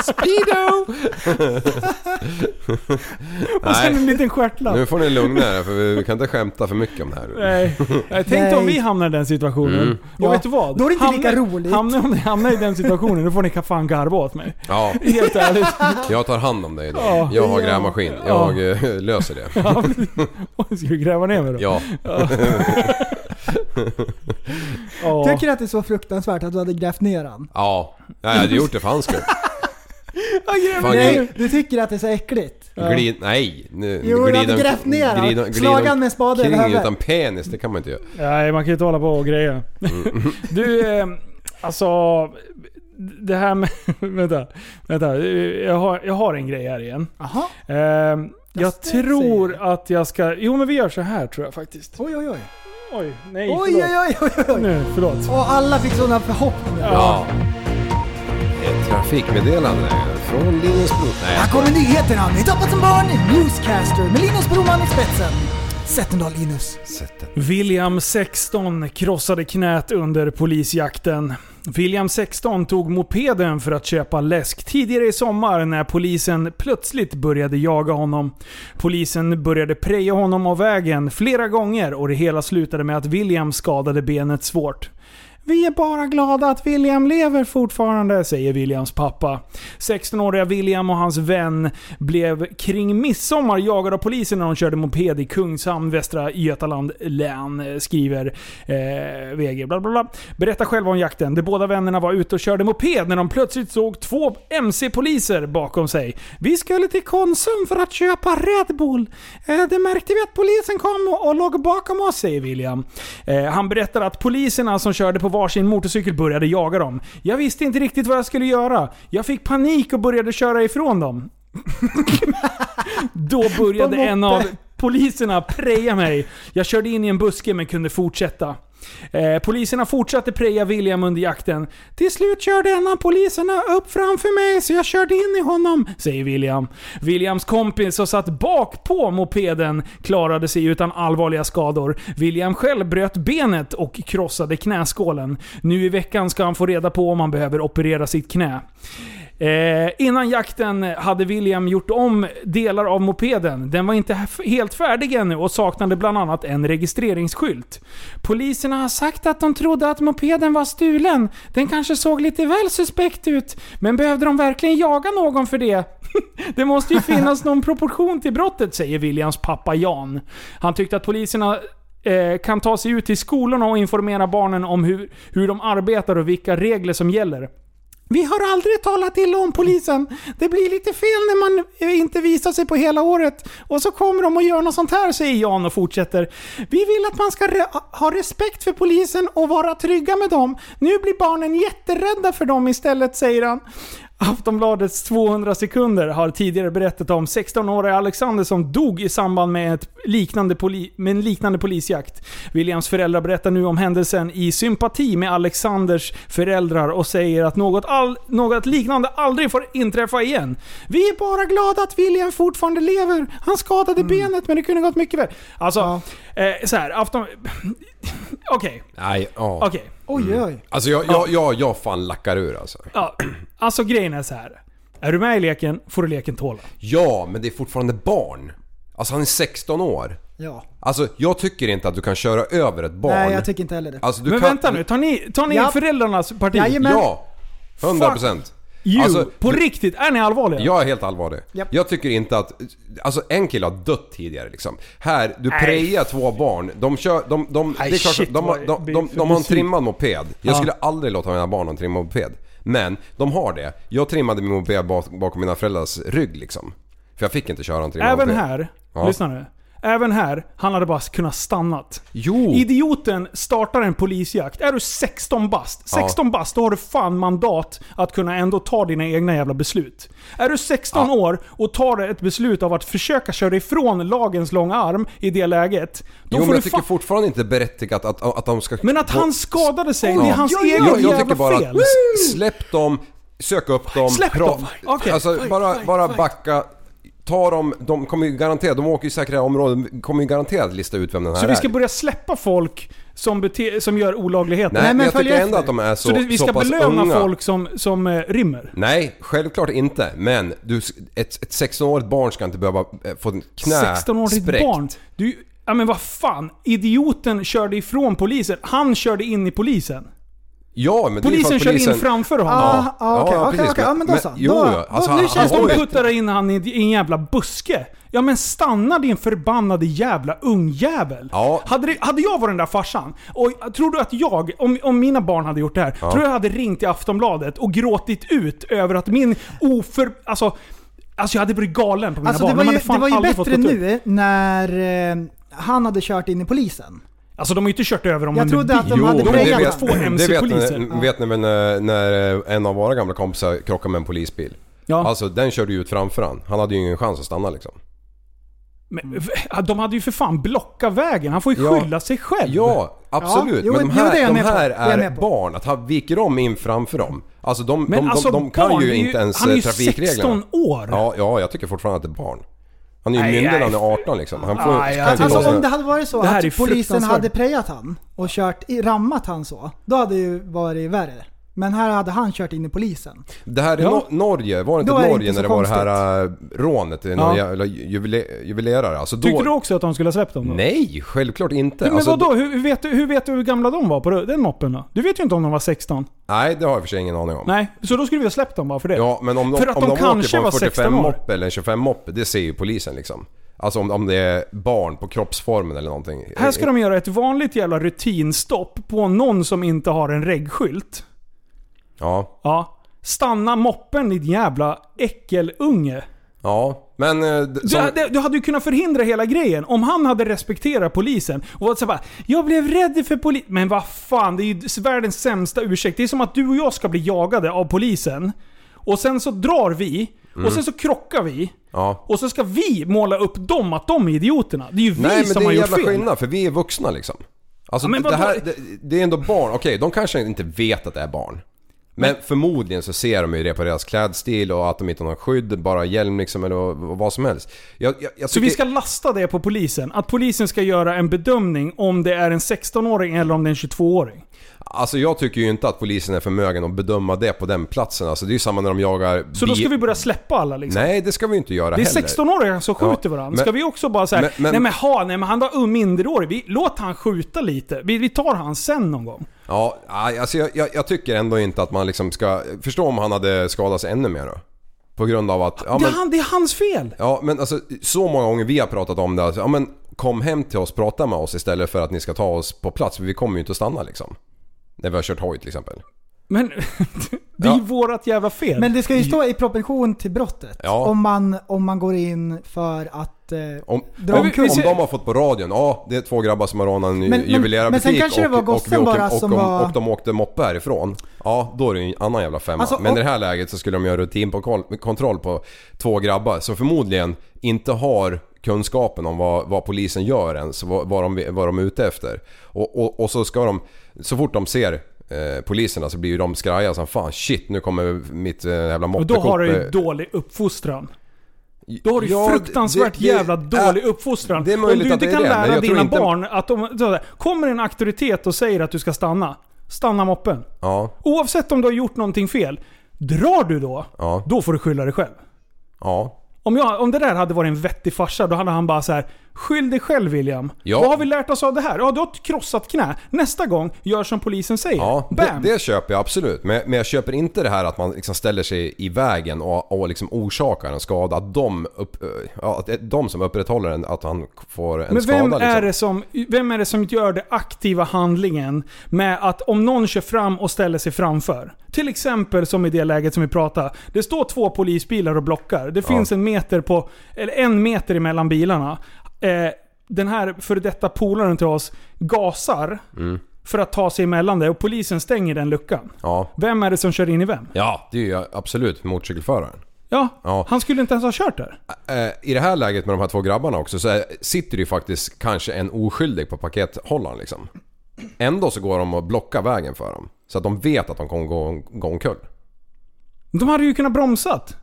Speedo! Och sen en liten stjärtlapp. Nu får ni lugna er för vi- vi kan inte skämta för mycket om det här. Nej. Jag tänkte om vi hamnar i den situationen. Mm. Och vet du vad? då är det inte hamnar, lika roligt. Hamnar, om ni hamnar i den situationen, då får ni fan garva åt mig. Ja. Helt ärligt. Jag tar hand om dig idag. Ja. Jag har grävmaskin. Ja. Jag eh, löser det. Ja, precis. Oj, Ska du gräva ner mig då? Ja. Ja. Tycker du att det är så fruktansvärt att du hade grävt ner han? Ja, jag hade gjort det för hans skull. Fan, Nej, du tycker att det är så äckligt? Glid, nej. Nu, Jo, jag hade grävt ner han. Slagan med en spade över kring huvudet. utan penis, det kan man inte göra. Nej, man kan ju inte hålla på och greja. Du, eh, alltså... Det här med... vänta. vänta. Jag har, jag har en grej här igen. Aha. Eh, jag tror att jag ska... Jo men vi gör så här tror jag faktiskt. Oj, oj, oj. Oj, nej Oj, förlåt. oj, oj, oj, oj. Nu, förlåt. Och alla fick sådana förhoppningar. Ja. Ett trafikmeddelande från Linus Bro. Nej, Här kommer nyheterna med Tappat som barn, Newscaster med Linus Broman i spetsen. Sättendal Linus. William 16 krossade knät under polisjakten. William 16 tog mopeden för att köpa läsk tidigare i sommar när polisen plötsligt började jaga honom. Polisen började preja honom av vägen flera gånger och det hela slutade med att William skadade benet svårt. Vi är bara glada att William lever fortfarande, säger Williams pappa. 16-åriga William och hans vän blev kring midsommar jagade av polisen när de körde moped i Kungshamn, Västra Götaland län, eh, skriver eh, VG. Bla, bla, bla. Berätta själva om jakten. De båda vännerna var ute och körde moped när de plötsligt såg två MC-poliser bakom sig. Vi skulle till Konsum för att köpa Red Bull. Eh, det märkte vi att polisen kom och, och låg bakom oss, säger William. Eh, han berättar att poliserna som körde på varsin motorcykel började jaga dem. Jag visste inte riktigt vad jag skulle göra. Jag fick panik och började köra ifrån dem. Då började På en av moppe. poliserna preja mig. Jag körde in i en buske men kunde fortsätta. Eh, poliserna fortsatte preja William under jakten. Till slut körde en av poliserna upp framför mig så jag körde in i honom, säger William. Williams kompis som satt bak på mopeden klarade sig utan allvarliga skador. William själv bröt benet och krossade knäskålen. Nu i veckan ska han få reda på om han behöver operera sitt knä. Eh, innan jakten hade William gjort om delar av mopeden. Den var inte he- helt färdig ännu och saknade bland annat en registreringsskylt. Poliserna har sagt att de trodde att mopeden var stulen. Den kanske såg lite väl suspekt ut, men behövde de verkligen jaga någon för det? Det måste ju finnas någon proportion till brottet, säger Williams pappa Jan. Han tyckte att poliserna eh, kan ta sig ut till skolorna och informera barnen om hur, hur de arbetar och vilka regler som gäller. Vi har aldrig talat illa om polisen. Det blir lite fel när man eh, inte visar sig på hela året. Och så kommer de och gör något sånt här, säger Jan och fortsätter. Vi vill att man ska re- ha respekt för polisen och vara trygga med dem. Nu blir barnen jätterädda för dem istället, säger han. Aftonbladets 200 sekunder har tidigare berättat om 16-åriga Alexander som dog i samband med, ett liknande poli- med en liknande polisjakt. Williams föräldrar berättar nu om händelsen i sympati med Alexanders föräldrar och säger att något, all- något liknande aldrig får inträffa igen. Vi är bara glada att William fortfarande lever. Han skadade Mm. benet men det kunde gått mycket värre. Alltså, eh, så här, afton... Okej, Nej, ja. okej. Oj, oj. Alltså jag, jag, jag, jag fan lackar ur alltså. Ja, alltså grejen är så här. Är du med i leken får du leken tåla. Ja, men det är fortfarande barn. Alltså han är 16 år. Ja. Alltså jag tycker inte att du kan köra över ett barn. Nej, jag tycker inte heller det. Alltså, du men kan... vänta nu, tar ni, tar ni Ja. föräldrarnas parti? Jajamän. Ja! 100%. procent. You, Alltså, på riktigt, är ni allvarliga? Jag är helt allvarlig. Japp. Jag tycker inte att... Alltså en kille har dött tidigare liksom. Här, du Nej. prejar två barn. De kör... De, de, Nej, det är klart, shit, de, har- vad jag de, de, blir de, för de har en besviken. trimmad moped. Jag Ja. skulle aldrig låta mina barn ha en trimmad moped. Men de har det. Jag trimmade min moped bak, bakom mina föräldrars rygg liksom. För jag fick inte köra en trimmad Även moped. här, Ja. lyssna nu. Även här, han hade bara kunnat stannat. Jo! Idioten startar en polisjakt. Är du 16 bast, 16 bast, då har du fan mandat att kunna ändå ta dina egna jävla beslut. Är du 16 år och tar ett beslut av att försöka köra ifrån lagens långa arm i det läget, då jo får men du jag tycker fan... fortfarande inte berättigat att, att, att de ska... Men att han skadade sig, det är hans Ja, ja, eget ja, jag, jag jävla tycker bara fel. att släpp dem, sök upp dem. Släpp dem. Okej, Alltså fight, bara, fight, bara fight. backa. tar de, de kommer ju garanterat, de åker ju i säkra områden, kommer ju garanterat lista ut vem den här Så är. vi ska börja släppa folk som, bete- som gör olagligheter? Nej, Nej, men men jag följ tycker ändå efter. att de är så- det, vi så ska pass belöna unga. folk som, som eh, rymmer? Nej, självklart inte. Men du, ett, ett 16-årigt barn ska inte behöva eh, få en knä 16-årigt spräckt. barn. Du, ja men vad fan. Idioten körde ifrån polisen. Han körde in i polisen. Ja, men det är polisen, för att körde in Ah, framför honom. Ja, ja, precis, Jo, jo, alltså, han, han, de har ju- puttar in han i i en jävla buske. Ja men stanna din förbannade jävla ungjävel. Hade, det, hade jag varit den där farsan, och tror du att jag, om, om mina barn hade gjort det här, Ja. tror du jag hade ringt till Aftonbladet och gråtit ut över att min oför... Alltså, alltså jag hade blivit galen på mina Alltså det barn. var De ju, hade fan det var ju aldrig fått bättre gå ut. nu när eh, han hade kört in i polisen. Alltså de har ju inte kört över dem Jag under trodde att bil. de hade Jo, men prejat det honom. två vet, det vet, MC-poliser. ni, vet ni väl när, när eh, en av våra gamla kompisar krockade med en polisbil? Ja. Alltså den körde ju ut framför han. Han hade ju ingen chans att stanna liksom. Men, v- de hade ju för fan blockat vägen. Han får ju Mm. Ja. skylla sig själv. Ja, absolut. jo, men de jo, det är här, jag de med på. här Det är jag är, med på. barn. Att han viker om in framför dem. Alltså de, de, de, alltså, de kan barn, ju det är ju- inte ens eh, han är ju trafikreglerna. 16 år. Ja, ja, jag tycker fortfarande att det är barn. Han är ju Nej, myndig när han nej. är 18 liksom. Han får, Nej, kan jag tycker- inte ta Alltså sig- om det hade varit så Det här är att polisen fruktansvärt. hade prejat han och kört, i- rammat han så, då hade det ju varit värre. Men här hade han kört in i polisen. Det här är Ja. Nor- Norge, var det inte Då är det Norge inte så när det var det här äh, rånet? Det är någon Ja. jävla juvele- juvelerare. Alltså då... Tyckte du också att de skulle ha släppt dem då? Nej, självklart inte. Men Alltså, vadå? Hur hur vet, du, hur vet du hur gamla de var på den moppen då? Du vet ju inte om de var 16. Nej, det har jag i och för sig ingen aning om. Nej, så då skulle vi ha släppt dem bara för det. Ja, men om de, för att om de, de, kanske var åker på en 16 år. 45-moppe eller en 25-moppe, det ser ju polisen liksom. Alltså om, om det är barn på kroppsformen eller någonting. Här ska de göra ett vanligt jävla rutinstopp på någon som inte har en reggskylt. Ja. Ja. Stanna moppen ditt jävla äckelunge. Ja, men... eh, d- Du, som- hade- du hade ju kunnat förhindra hela grejen om han hade respekterat polisen och varit så bara “Jag blev rädd för polisen”. Men vad fan, det är ju världens sämsta ursäkt. Det är som att du och jag ska bli jagade av polisen. Och sen så drar vi, Mm. och sen så krockar vi. Ja. Och så ska vi måla upp dem att de är idioterna. Det är ju vi Nej, men som det är har en gjort jävla fel. skillnad för vi är vuxna liksom. Alltså Ja, men det, vadå? här, det, det är ändå barn. Okej, de kanske inte vet att det är barn. Men förmodligen så ser de ju det på deras klädstil och att de inte har någon skydd, bara hjälm liksom eller vad vad som helst. Jag, jag, jag Så tycker- vi ska lasta det på polisen? Att polisen ska göra en bedömning om det är en 16-åring eller om det är en 22-åring? Alltså jag tycker ju inte att polisen är förmögen att bedöma det på den platsen. Alltså det är ju samma när de jagar... Så då ska vi börja släppa alla liksom? Nej, det ska vi ju inte göra Det är heller. 16-åringar som skjuter Ja, varandra. men- Ska vi också bara säga men- men- nej men ha, nej men han var ung minderårig. Vi, låt han skjuta lite. Vi, vi tar han sen någon gång. Ja, aj, alltså jag, jag, jag tycker ändå inte att man liksom ska... Förstå om han hade skadat sig ännu mer då. På grund av att... Ja, det, är men, han, det är hans fel! ja, men alltså så många gånger vi har pratat om det. Alltså, ja, men kom hem till oss, prata med oss istället för att ni ska ta oss på plats. För vi kommer ju inte att stanna liksom. När vi har kört hoj till exempel. Men det är ju vårat jävla fel. Men det ska ju stå i proportion till brottet. Ja. Om, man, om man går in för att eh, Om, dra om, omkull. om de har fått på radion, ja det är två grabbar som har rånat en Men- men- men sen juvelerarbutik kanske det var och, och, vi gossen åker- bara och, som om- var- och de åkte moppe härifrån. Ja, då är det ju en annan jävla femma. Alltså, men och- i det här läget så skulle de göra rutinkontroll på två grabbar som förmodligen inte har kunskapen om vad, vad polisen gör ens, vad, vad, de, vad de är ute efter. Och, och, och så ska de, så fort de ser eh, poliserna så blir ju de skraja som fan shit nu kommer mitt eh, jävla Och moppekort. då har du eh, ju dålig uppfostran. Då har du ju Ja, fruktansvärt det- det- jävla dålig uppfostran. det är möjligt Om du att inte det är kan det, men lära jag tror dina inte- barn att de... så här, Kommer en auktoritet och säger att du ska stanna, stanna moppen. Ja, Oavsett om du har gjort någonting fel, drar du då, Ja. då får du skylla dig själv. ja. Om, jag, om det där hade varit en vettig farsa, då hade han bara så här: Skyll dig själv William. Ja. Vad har vi lärt oss av det här? Ja, du har ett krossat knä. Nästa gång, gör som polisen säger. Ja, det, Bam! det köper jag absolut. Men, men jag köper inte det här att man liksom ställer sig i vägen och, och liksom orsakar en skada. Att de, upp, eh, ja, att det är de som upprätthåller en, att han får en Men skada vem liksom. är, det som, vem är det som gör den aktiva handlingen med att om någon kör fram och ställer sig framför? Till exempel som i det läget som vi pratade. Det står två polisbilar och blockar. Det finns en meter på, eller en meter emellan bilarna. Eh, den här före detta polaren till oss gasar Mm. för att ta sig emellan det och polisen stänger den luckan. Ja. Vem är det som kör in i vem? ja, det är ju absolut motorcykelföraren. Ja, Ja. han skulle inte ens ha kört där. Eh, I det här läget med de här två grabbarna också så är- sitter det ju faktiskt kanske en oskyldig på pakethållaren liksom. Ändå så går de och blockar vägen för dem. Så att de vet att de kommer gå, gå omkull. De hade ju kunnat bromsat.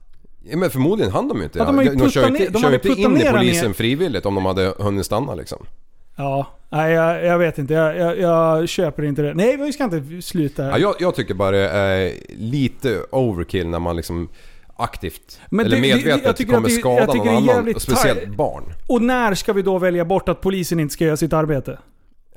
Ja, men förmodligen hann de ju inte. Ja, de har ju de kör puttat ju ner- inte, de kör hade ju inte puttat in i ner den polisen i- frivilligt om de hade hunnit stanna liksom. Ja, nej jag, jag vet inte. Jag, jag, jag köper inte det. Nej, vi ska inte sluta här. Ja, jag, jag tycker bara det är lite overkill när man liksom aktivt Men eller det- det- medvetet jag tycker kommer att det- jag skada tycker någon det är annan. jävligt Och speciellt tar- barn. Och när ska vi då välja bort att polisen inte ska göra sitt arbete?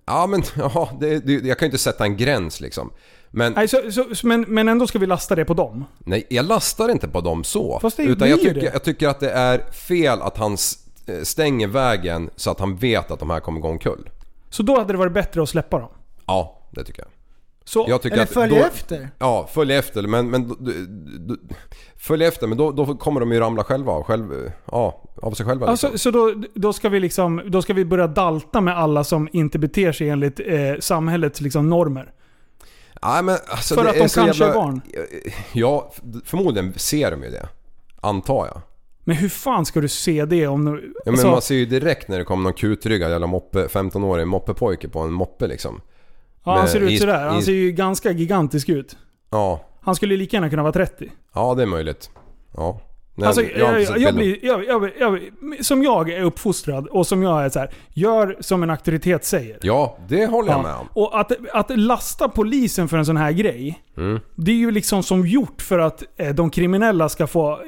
Ja men ja, det, det, jag kan ju inte sätta en gräns liksom. Men Nej, så, så, så, men, men ändå ska vi lasta det på dem. nej, jag lastar inte på dem så. Fast det utan blir jag ju tycker, det. jag tycker att det är fel att han s- eh, stänger vägen så att han vet att de här kommer gå omkull. Så då hade det varit bättre att släppa dem. Ja, det tycker jag. Så, jag tycker eller att följ efter. Ja, följ efter. Men, men, då- då- då- följ efter, men då, då kommer de ju ramla själva av, själv, ja, av sig själva. Alltså, liksom. Så då, då, ska vi liksom, då ska vi börja dalta med alla som inte beter sig enligt eh, samhällets liksom, normer. Nej, men, alltså, för det att de är så kanske jävla- är barn. Ja, förmodligen ser de ju det. Antar jag. Men hur fan ska du se det om du... Ja, men alltså, man ser ju direkt när det kommer någon kutryggad jävla moppe, 15-årig moppepojke på en moppe liksom. ja, han med ser ut is- sådär. Han is- ser ju ganska gigantisk ut. Ja, Han skulle lika gärna kunna vara 30. ja det är möjligt. Ja. Nej, alltså, jag har jag, inte jag, sett bilden. blir, jag, jag, jag, som jag är uppfostrad och som jag är så här, gör som en auktoritet säger. Ja, det håller jag Ja. med om. Och att, att lasta polisen för en sån här grej, Mm. det är ju liksom som gjort för att eh, de kriminella ska få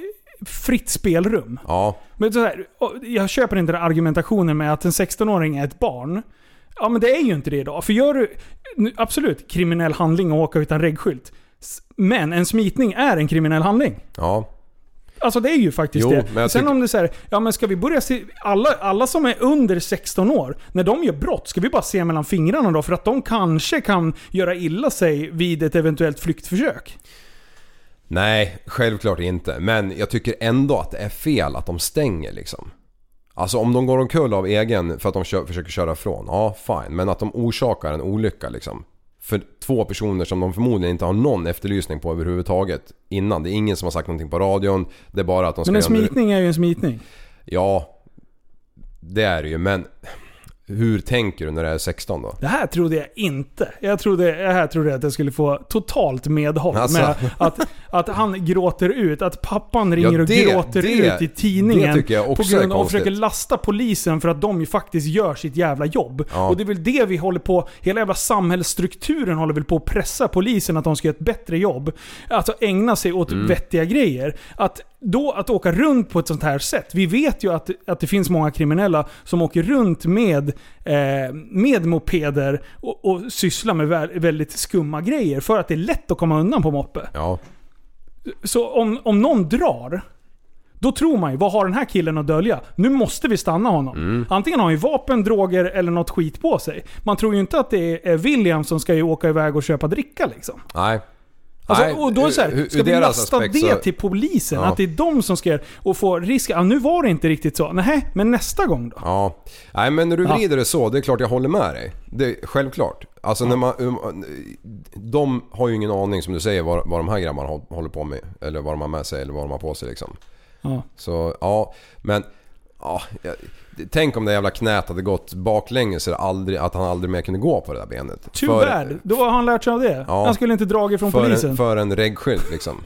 fritt spelrum. Ja, Men så här, och jag köper inte den här argumentationen med att en 16-åring är ett barn. Ja men det är ju inte det idag. För gör du, nu, absolut, kriminell handling att åka utan reggskylt. S- Men en smitning är en kriminell handling. ja. Alltså det är ju faktiskt Jo, det. men jag Sen tycker- om det säger, ja men ska vi börja se, alla, alla som är under 16 år, när de gör brott, ska vi bara se mellan fingrarna då? För att de kanske kan göra illa sig vid ett eventuellt flyktförsök. Nej, självklart inte. Men jag tycker ändå att det är fel att de stänger liksom. Alltså om de går omkull av egen för att de kö- försöker köra ifrån, ja fine. Men att de orsakar en olycka liksom. För två personer som de förmodligen inte har någon efterlysning på överhuvudtaget innan. Det är ingen som har sagt någonting på radion. Det är bara att de ska... Men en göra nu- smitning är ju en smitning. Ja, det är det ju. Men hur tänker du när det är 16 då? Det här trodde jag inte. Jag trodde, det här trodde jag att jag skulle få totalt medhåll Alltså. med att, att han gråter ut, att pappan ringer Ja, och det- gråter det- ut i tidningen. det tycker jag också på grund är av och konstigt. försöker lasta polisen för att de ju faktiskt gör sitt jävla jobb. Ja. Och det är väl det vi håller på, hela jävla samhällsstrukturen håller väl på att pressa polisen att de ska göra ett bättre jobb. Alltså ägna sig åt Mm. vettiga grejer. Att då att åka runt på ett sånt här sätt. Vi vet ju att, att det finns många kriminella som åker runt med, eh, med mopeder och, och sysslar med vä- väldigt skumma grejer för att det är lätt att komma undan på moppe. Ja, Så om, om någon drar, då tror man ju vad har den här killen att dölja? Nu måste vi stanna honom. Mm. Antingen har han ju vapen, droger eller något skit på sig. Man tror ju inte att det är William som ska ju åka iväg och köpa dricka liksom. nej. Alltså, Nej, och då är det så ur- ur- här, ska ur vi deras lasta aspekt det så- till polisen? Ja. Att det är de som ska och få risk. Ja, nu var det inte riktigt så. Nej, men nästa gång då? Ja. Nej men när du Ja. vrider det så, det är klart jag håller med dig. Det, självklart. Alltså när man... um, De har ju ingen aning som du säger vad, vad de här grabbarna hå- håller på med. Eller vad de har med sig eller vad de har på sig liksom. Ja. Så ja, men... Ja, jag, tänk om det jävla knät hade gått baklänges så det aldrig, att han aldrig mer kunde gå på det där benet. Too För- bad. Då har han lärt sig av det. Ja. Han skulle inte dragit från För polisen. en, för en reggskylt liksom.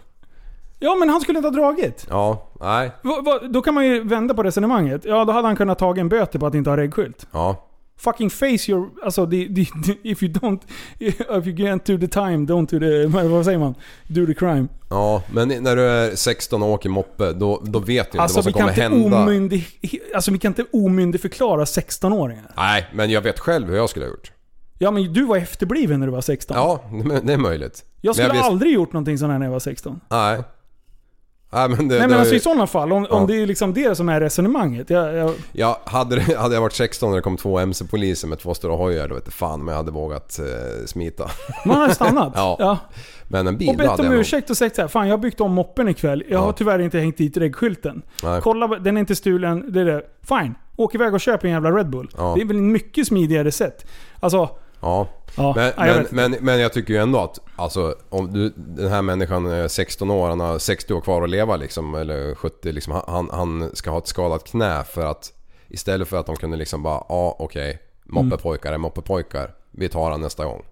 Ja, men han skulle inte ha dragit. Ja, nej. Va, va, då kan man ju vända på resonemanget. Ja, då hade han kunnat ta en böter på att inte ha reggskylt. Ja. Fucking face your... Alltså, the, the, the, if you don't... If you can't do the time, don't do the... Vad säger man? Do the crime. Ja, men när du är 16 och åker moppe då, då vet du inte Alltså vad som vi, kan kommer inte hända. omyndig, alltså vi kan inte omyndigförklara 16-åringar. Nej, men jag vet själv hur jag skulle ha gjort. Ja men du var efterbliven när du var 16. Ja, men det är möjligt. jag skulle men visste- aldrig gjort någonting sånt här när jag var 16. Nej. Nej men det... Nej det men har alltså ju- i sådana fall, om, Ja. om det är liksom det som är resonemanget. Jag, jag, ja, hade, det- hade jag varit 16 när det kom två MC-poliser med två stora hojar då vet jag fan om jag hade vågat eh, smita. man hade stannat. Ja. Men en bil Och bett hade om jag nog- ursäkt och sagt så här, fan jag har byggt om moppen ikväll. Jag Ja. har tyvärr inte hängt dit regskylten. Nej. Kolla, den är inte stulen. Det är det. Fine. Åk iväg och köp en jävla Red Bull. Ja. Det är väl en mycket smidigare sätt. Alltså, Ja. ja. Men, Nej, jag men, vet. men, men jag tycker ju ändå att alltså, om du, den här människan är 16 år, han har 60 år kvar att leva liksom, eller 70 liksom, han, han ska ha ett skadat knä för att istället för att de kunde liksom bara ja okej, moppepojkar är moppepojkar, vi tar han nästa gång.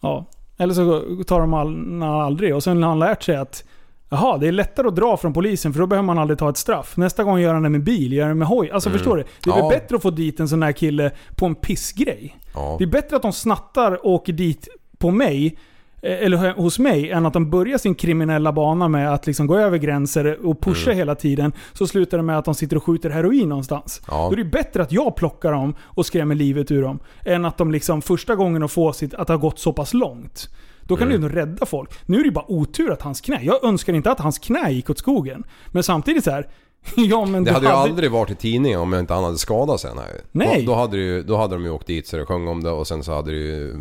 Ja. Eller så tar de all, na, aldrig och sen har han lärt sig att Jaha, det är lättare att dra från polisen för då behöver man aldrig ta ett straff. Nästa gång gör han det med bil, gör han det med hoj. Alltså Mm. förstår du? Det är väl Ja. bättre att få dit en sån här kille på en pissgrej. Ja. Det är bättre att de snattar och åker dit på mig, eh, eller hö- hos mig, än att de börjar sin kriminella bana med att liksom gå över gränser och pusha Mm. hela tiden. Så slutar det med att de sitter och skjuter heroin någonstans. Ja. Då är det ju bättre att jag plockar dem och skrämmer livet ur dem. Än att de liksom första gången och får sitt, att det har gått så pass långt. Då kan Mm. du ju rädda folk. Nu är det ju bara otur att hans knä. Jag önskar inte att hans knä gick åt skogen. Men samtidigt så här. ja men Det du hade ju aldrig varit i tidningen om jag inte han hade skadat sig. den här. Nej. Då, då, hade det ju, då hade de ju åkt dit så det sjöng om det och sen så hade det ju eh,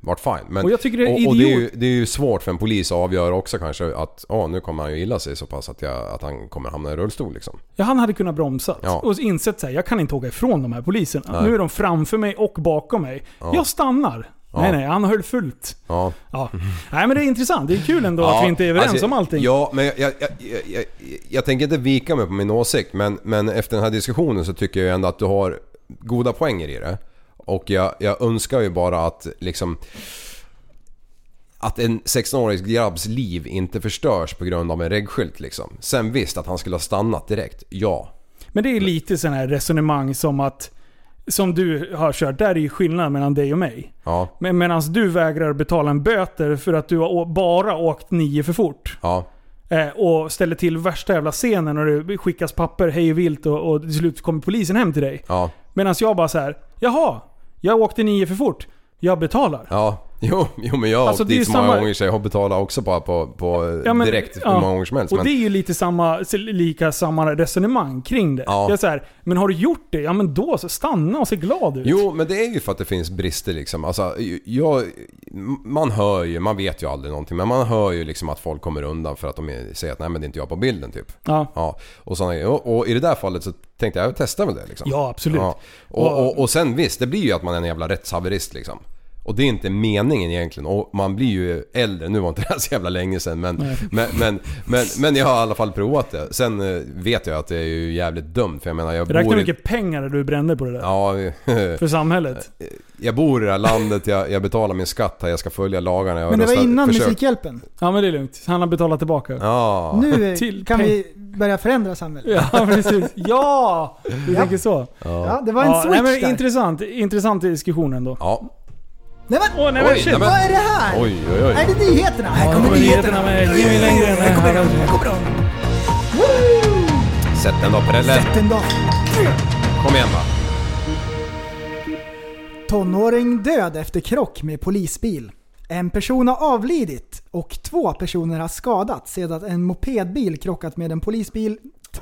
varit fine. Men, Och jag tycker det är och, och det, är ju, idiot. det är ju svårt för en polis att avgöra också kanske att ja nu kommer han ju illa sig så pass att, jag, att han kommer hamna i rullstol liksom. Ja, han hade kunnat bromsa Ja. och insett så här, jag kan inte åka ifrån de här poliserna. Nej. Nu är de framför mig och bakom mig. Ja. Jag stannar. Ja. Nej, nej, han höll fullt. Ja. Ja. Nej, men det är intressant. Det är kul ändå att vi inte är överens alltså, om allting. Ja, men jag, jag, jag, jag, jag, jag tänker inte vika mig på min åsikt men, men efter den här diskussionen så tycker jag ändå att du har goda poänger i det. Och jag, jag önskar ju bara att liksom att en 16-årig grabbs liv inte förstörs på grund av en reggskylt liksom. Sen visst att han skulle ha stannat direkt, ja. Men det är lite sån här resonemang som att, som du har kört, där är ju skillnaden mellan dig och mig. Ja. Men medan du vägrar betala en böter för att du har å- bara åkt nio för fort. Ja. Eh, och ställer till värsta jävla scenen och det skickas papper hej och vilt och, och till slut kommer polisen hem till dig. Ja. Medan jag bara så här, jaha, jag åkte nio för fort. Jag betalar. Ja, jo, jo men jag har Alltså, åkt det är dit så ju många samma- gånger så jag har betalat också bara på, på Ja, men- direkt hur ja. många gånger som helst. Och men- det är ju lite samma, lika samma resonemang kring det. Ja. Det är så här, men har du gjort det? Ja men då så, stanna och se glad ut. Jo, men det är ju för att det finns brister liksom. Alltså, jag, man hör ju, man vet ju aldrig någonting, men man hör ju liksom att folk kommer undan för att de säger att nej men det är inte jag på bilden typ. Ja. och, såna, och, och i det där fallet så tänkte jag, jag testar väl det liksom. Ja, absolut. Och, och, och sen visst, det blir ju att man är en jävla rättshaverist liksom. Och det är inte meningen egentligen. Och man blir ju äldre, nu var inte det här så jävla länge sedan men, Nej. men, men, men, men jag har i alla fall provat det. Sen eh, vet jag att det är ju jävligt dumt för jag menar jag Räkna bor i... mycket pengar du brände på det där. Ja, För samhället. jag bor i det här landet, jag, jag betalar min skatt här, jag ska följa lagarna. Jag har Men det var röstat- innan försökt- Musikhjälpen. Ja men det är lugnt. Han har betalat tillbaka. Ja. Nu Till kan peng- vi börja förändra samhället. Ja precis. Ja! Du Ja. tänker så. Ja, det var en nej, switch men där. Intressant, intressant diskussion ändå. Ja. Nej men, Åh, nej, men shit. vad är det här? Oj, oj, oj. Är det nyheterna? Här kommer kommer nyheterna med Jimmy Längren. Här kommer de, här kommer de. Sätt den då Prelle. Sätt en dag. Kom igen va. Tonåring död efter krock med polisbil. En person har avlidit och två personer har skadats sedan en mopedbil krockat med en polisbil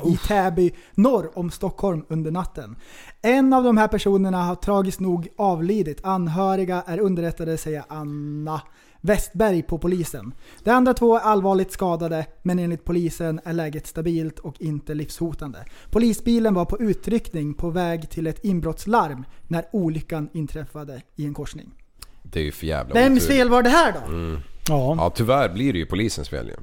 i Täby norr om Stockholm under natten. En av de här personerna har tragiskt nog avlidit. Anhöriga är underrättade säger Anna Westberg på polisen. De andra två är allvarligt skadade men enligt polisen är läget stabilt och inte livshotande. Polisbilen var på utryckning på väg till ett inbrottslarm när olyckan inträffade i en korsning. Det är ju för jävla Vems otur. fel var det här då? Mm. Ja. ja, tyvärr blir det ju polisens fel ju.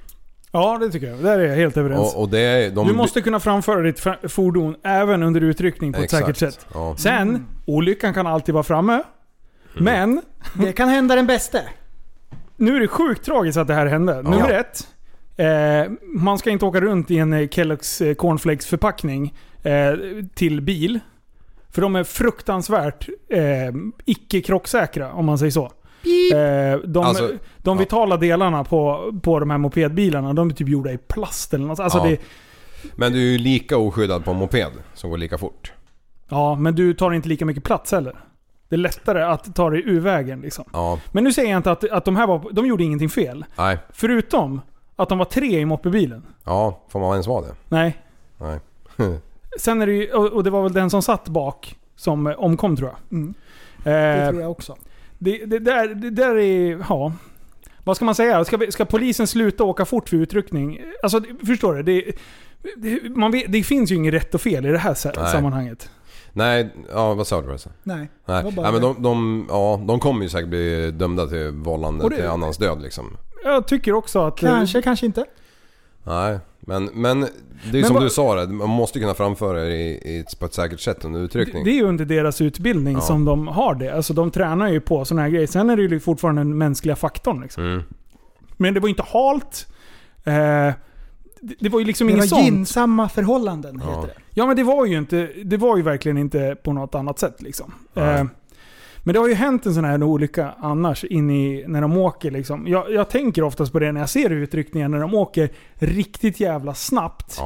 Ja det tycker jag. Där är jag helt överens. Och, och det är, de, du måste kunna framföra ditt fra- fordon även under utryckning på ett Exakt. säkert sätt. Ja. Sen, Mm. olyckan kan alltid vara framme. Mm. Men... Det kan hända den bäste. Nu är det sjukt tragiskt att det här hände. Nummer ett. Eh, man ska inte åka runt i en eh, Kellogg's eh, cornflakes-förpackning eh, till bil. För de är fruktansvärt eh, icke-krocksäkra, om man säger så. Eh, de, Alltså, de vitala delarna på, på de här mopedbilarna, de är typ gjorda i plast eller något. Alltså Ja. det, Men du är ju lika oskyddad på en moped som går lika fort. ja, men du tar inte lika mycket plats heller. Det är lättare att ta dig ur vägen liksom. Ja, Men nu säger jag inte att, att de här var, de gjorde ingenting fel. nej. Förutom att de var tre i moppebilen. Ja, får man ens vara det? Nej. Nej. Sen är det ju, och och det var väl den som satt bak som eh, omkom tror jag. Mm. Eh, Det tror jag också. Det, det, där, det där är... Ja. Vad ska man säga? Ska, vi- ska polisen sluta åka fort vid utryckning? Alltså, det- förstår du? Det, det, man vet, det finns ju inget rätt och fel i det här sa- Nej. sammanhanget. Nej, ja vad sa du Rosa? Nej. Nej, var bara nej men det. de, de, ja, de kommer ju säkert bli dömda till vållande Och det- till annans död liksom. Jag tycker också att... eh, Kanske, kanske inte. Nej, men, men det är ju Men som vad- du sa det, man måste ju kunna framföra det i, i, på ett säkert sätt under Det, utryckning. det är ju under deras utbildning Ja. som de har det. Alltså de tränar ju på sådana här grejer. Sen är det ju fortfarande den mänskliga faktorn liksom. Mm. Men det var inte halt. Eh, det, det var ju liksom Det inget var sånt. gynnsamma förhållanden heter det. Ja men det var ju inte, det var ju verkligen inte på något annat sätt liksom. Eh, men det har ju hänt en sån här olycka annars in i, när de åker liksom. Jag, jag tänker oftast på det när jag ser utryckningar när de åker riktigt jävla snabbt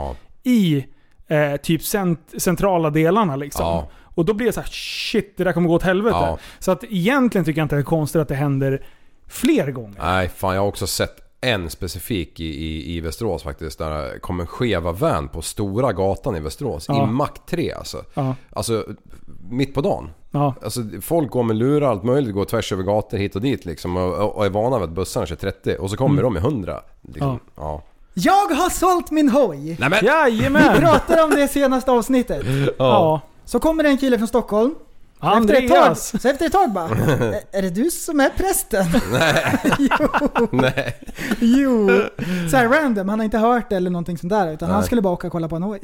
i eh, typ cent, centrala delarna liksom. Ja. Och då blir det så här: shit det där kommer gå åt helvete. Ja. Så att egentligen tycker jag inte det är konstigt att det händer fler gånger. Nej, fan jag har också sett en specifik i, i, i Västerås faktiskt. Där kom en skeva van på Stora gatan i Västerås. Ja. I Mack 3 alltså. Ja. Alltså mitt på dagen. Ja. Alltså, folk går med lurar allt möjligt, går tvärs över gator hit och dit liksom. Och, och är vana vid att bussarna kör 30 och så kommer Mm. de i 100. Liksom. Ja. Jag har sålt min hoj! Nej, men- Jajamän! Vi pratade om det i senaste avsnittet. Ja. Ja. Så kommer det en kille från Stockholm. Så efter, ett tag, Andreas. så efter ett tag bara, "Ä- är det du som är prästen? Nej. Nej. Jo. Så här random, han har inte hört det eller någonting sånt där utan han Nej. skulle bara åka och kolla på en hoj.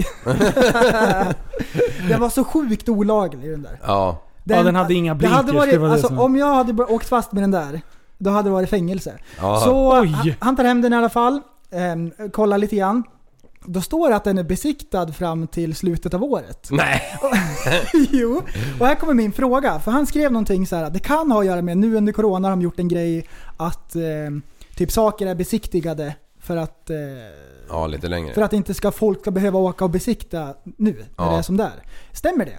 den var så sjukt olaglig den där. Ja. Ja, den hade inga det hade blinkers, varit, det var det alltså, som- Om jag hade bara åkt fast med den där, då hade det varit fängelse. Ja. Så Oj. Ah, han, han tar hem den i alla fall, ehm, kollar lite grann. Då står det att den är besiktad fram till slutet av året. Nej. jo, och här kommer min fråga. För han skrev någonting så här att det kan ha att göra med nu under corona har de gjort en grej att eh, typ saker är besiktigade för att, eh, ja, lite längre. för att inte ska folk ska behöva åka och besikta nu när Ja. det är som där. Stämmer det?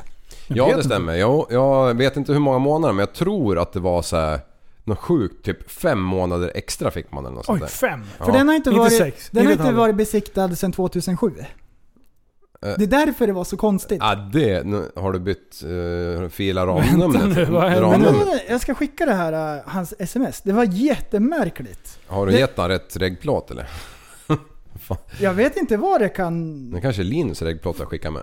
Ja det stämmer. Jag, jag vet inte hur många månader men jag tror att det var så här något sjukt. Typ fem månader extra fick man eller ah, något sånt där. Ja. För den har inte, varit, den har ett inte halvår. varit besiktad sedan 2007. Eh. Det är därför det var så konstigt. Ja det, nu har du bytt uh, fila Vänta ramnumret? nu, vad händer? Men, ramnumret. nu- jag ska skicka det här, eh, hans sms. Det var jättemärkligt. Har du Det- gett han rätt regplåt eller? Jag vet inte vad det kan... Det kanske är Linus regplåt jag skickar med.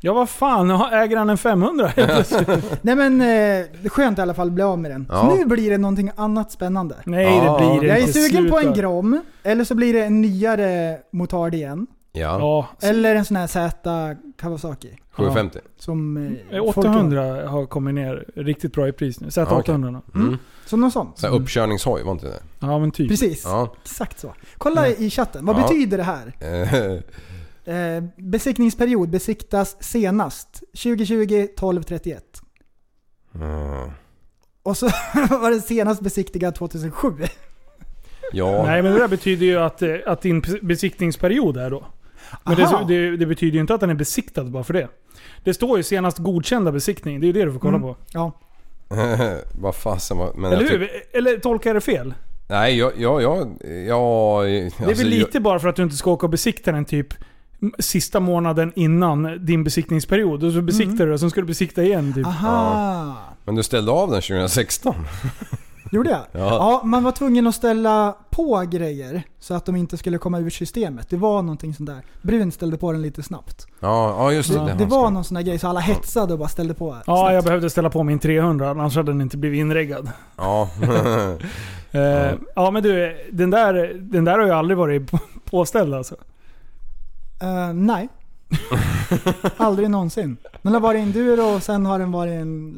Ja vad fan, har- äger han en 500 helt plötsligt? Nej men eh, det är skönt i alla fall att bli av med den. Ja. Så nu blir det någonting annat spännande. Nej, det Ja. blir det Jag är inte. sugen på en Sluta. Grom, eller så blir det en nyare motard igen. Ja. Eller en sån här Z Kawasaki. 750. Som, eh, folk- 800 har kommit ner riktigt bra i pris nu. Sätt Ja, okej. 800 nu. Mm. Så någon sån. Så här uppkörningshoj, var inte det? Ja men typ. Precis. Ja. Exakt så. Kolla Mm. i chatten, vad Ja. betyder det här? Eh, Eh, besiktningsperiod besiktas senast 2020 12 31. mm. Och så var den senast besiktigad 2007. Ja. Nej men det där betyder ju att, eh, att din besiktningsperiod är då. Men det, Aha. det, det betyder ju inte att den är besiktad bara för det. Det står ju senast godkända besiktning. Det är ju det du får Mm. kolla på. Ja. vad fasen var... Men Eller jag tyck- hur? typ. Eller tolkar jag det fel? Nej, jag... jag, jag, alltså, jag det är väl lite bara för att du inte ska åka och besikta den typ m- sista månaden innan din besiktningsperiod. Och så besiktar du och sen ska du besikta igen typ. Ah, Aha. Men du ställde av den 2016? Gjorde jag? Ja. Ja. man var tvungen att ställa på grejer så att de inte skulle komma ur systemet. Det var någonting sånt där. Brun ställde på den lite snabbt. Ja, ja just det. Det, han var någon sån där grej så alla hetsade och bara ställde på. Ja, jag behövde ställa på min 300 annars hade den inte blivit inreggad. Ja. Eh, ja. men du, den där, den där har ju aldrig varit på- påställd alltså. Eh, nej. Aldrig någonsin. Den har varit en enduro och sen har den varit en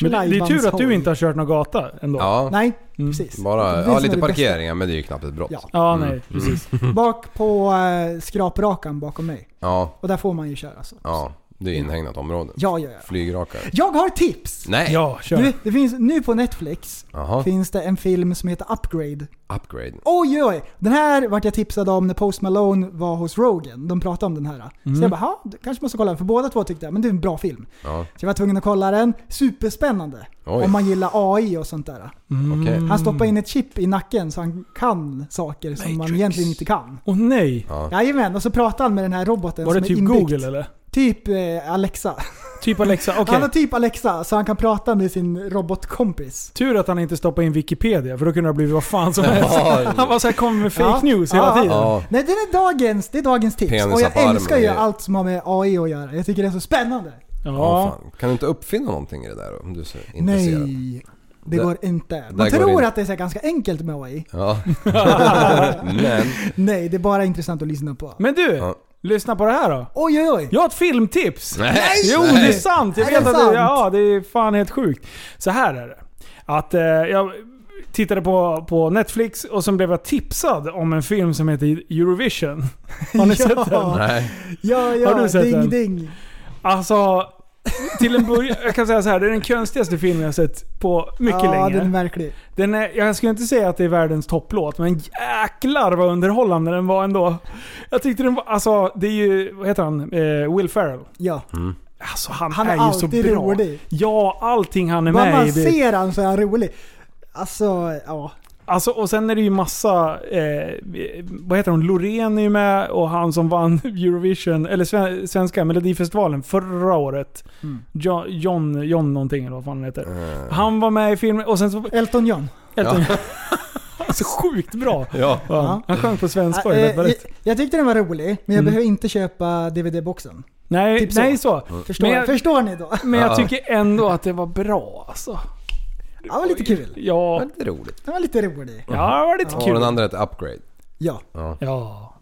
Men det, det är tur att du Lattjo-lajbans-hoj. inte har Mm. kört någon gata ändå. Ja. Nej, precis. Bara, Det ja, som är lite Mm. det bästa. parkeringar men det är ju knappt ett brott. Ja. Ja, nej, precis. Bak på eh, skraprakan bakom mig. Ja, Och där får man ju köra så. ja. Det är inhägnat område. Ja, ja, ja. Flygrakar. Jag har tips! Nej! Ja, Du, det finns, nu på Netflix Jaha. finns det en film som heter Upgrade. Upgrade. Oj, oj, Den här vart jag tipsad om när Post Malone var hos Rogan. De pratade om den här. Mm. Så jag bara, "Ha, du kanske måste kolla den. För båda två tyckte jag, men det är en bra film. Ja. Så jag var tvungen att kolla den. Superspännande. Oj. Om man gillar AI och sånt där. Mm. Okej. Han stoppar in ett chip i nacken så han kan saker som man egentligen inte kan. Åh nej! Jajamän, och så pratar han med den här roboten Var det som är typ inbyggd. Google eller? Typ eh, Alexa. Typ Alexa, okej. Han har typ Alexa så han kan prata med sin robotkompis. Tur att han inte stoppade in Wikipedia för då kunde det ha blivit vad fan som helst. Ja. Han bara så här kommer med fake Ja. news hela Ja. tiden. Ja. Nej, det är dagens, det är dagens tips. Penisar och på jag armen, älskar ju det är- allt som har med AI att göra. Jag tycker det är så spännande. Ja, fan. Kan du inte uppfinna någonting i det där då, om du är så intresserad? Nej, det Där- går inte. där Man går tror det att det är så här ganska enkelt med AI. Ja. Men. Nej, det är bara intressant att lyssna på. Men du, lyssna på det här då. Oj, oj, oj. Jag har ett filmtips! Nej. Jo, Nej. det är sant! Jag Är det vet att det, sant? ja, det är fan helt sjukt. Så här är det. Att eh, jag tittade på, på Netflix och sen blev jag tipsad om en film som heter Eurovision. Har ni Ja. sett den? Nej. Ja, ja, Har du sett ding, den? ding. Alltså, till en början, jag kan säga så här, det är den konstigaste film jag sett på mycket ja, länge. den är märklig. Den är, jag skulle inte säga att det är världens topplåt, men jäklar vad underhållande den var ändå. Jag tyckte den var, alltså det är ju, vad heter han? Eh, Will Ferrell. Ja. Alltså han, Han är är, ju så alltid bra. rolig. Ja, allting han är Bara med man i. det- ser han så är han rolig. Alltså, ja. Alltså, och sen är det ju massa, eh, vad heter hon, Loreen är ju med och han som vann Eurovision, eller sven- svenska melodifestivalen förra året. Mm. John, John, John någonting eller vad fan han heter. Eh. Han var med i filmen och sen så... Elton John. Elton alltså sjukt bra. Ja. Han sjöng på svenska och Eh, det lät jag, väldigt- jag tyckte den var rolig, men jag Mm. behöver inte köpa DVD-boxen. Nej, typ så. nej så. Mm. Förstår, Men jag- förstår ni då? Men jag tycker ändå att det var bra alltså. Det var lite kul. Ja. Det är roligt. Den var lite rolig. Ja, det var lite Ja, kul. den andra heter Upgrade. Ja. Ja. Ja.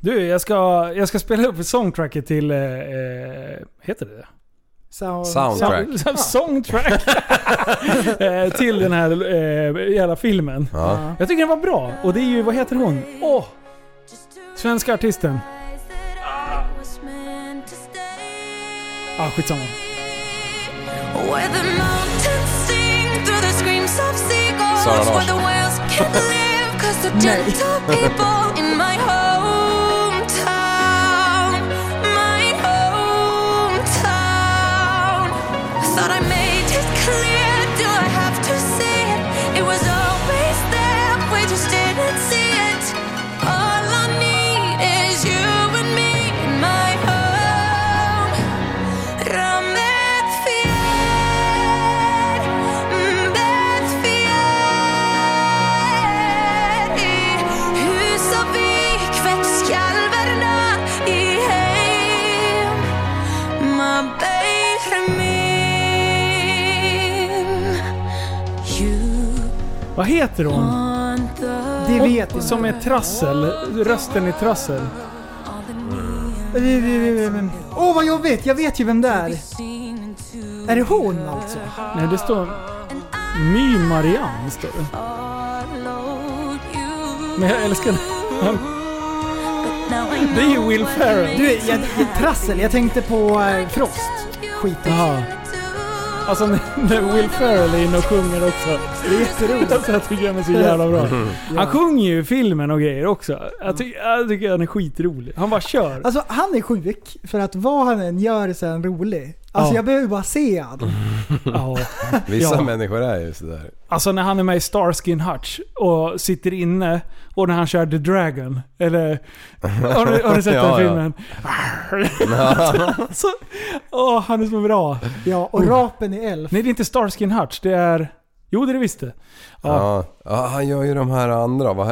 Du, jag ska, jag ska spela upp songtracket till... Eh, eh, heter det det Sound- Soundtrack. Sound- Songtrack. Eh, till den här eh, jävla filmen. Ja. Jag tycker den var bra. Och det är ju, vad heter hon? Åh! Svenska artisten. Ah, skitsamma. Where the mountains sing through the screams of seagulls. Sara Where the Larsson. whales can't live because the gentle people in my hometown. My hometown. I thought I made it clear. Do I have to say it? It was always there. We just didn't see it. All I need is you and me in my home. Vad heter hon? Det vet jag. Som är trassel. Rösten i trassel. Åh oh, vad jobbigt, jag vet ju vem det är. Är det hon alltså? Nej, det står... My Marianne, står det. Men jag älskar den. Det är ju Will Ferrell. Du, jag, trassel. Jag tänkte på eh, Frost. Skit. Jaha. Alltså när- när Will Ferrell är inne och sjunger också. Det är jätteroligt. Alltså, jag tycker han är så jävla bra. Mm. Han sjunger ju i filmen och grejer också. Jag, ty jag tycker han är skitrolig. Han bara kör. Alltså han är sjuk för att vad han än gör så är han rolig. Alltså Ja. Mm. jag behöver bara se han. Ja. Vissa Ja. människor är ju sådär. Alltså när han är med i Starskin Hutch och sitter inne och när han kör The Dragon. Eller... Har du, har du sett den Ja, ja. filmen? alltså, åh, han är så bra. Ja, Mm. och rapen i Elf. Nej, det är inte Starskin Hutch. Det är... Jo, det är det visst det. Ja. Ja, han gör ju de här andra. Vad,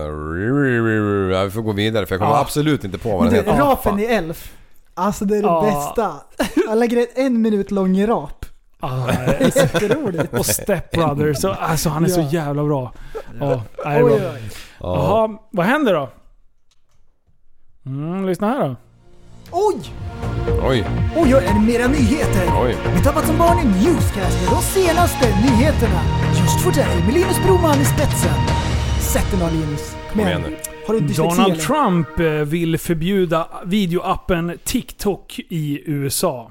uh, vi får gå vidare för jag kommer Ja. absolut inte på vad Men den du, heter. rapen i Elf. Alltså det är det Ja. bästa. Alla grejer, en minut lång rap. Ah, Det är jätteroligt. och Step Brothers. Så, alltså han är Ja. så jävla bra. Ja, nej, det är Oj, bra. oj. Jaha, vad händer då? Mm, lyssna här då. Oj! Oj, Oj, oj, är det mera nyheter? oj. Vi tappar som barn i Newscaster, de senaste nyheterna. Just för dig, med Linus Broman i spetsen. Sätt den då Linus. Kom igen igen. nu. Har du dyslexi Donald eller? Trump eh, vill förbjuda videoappen TikTok i USA.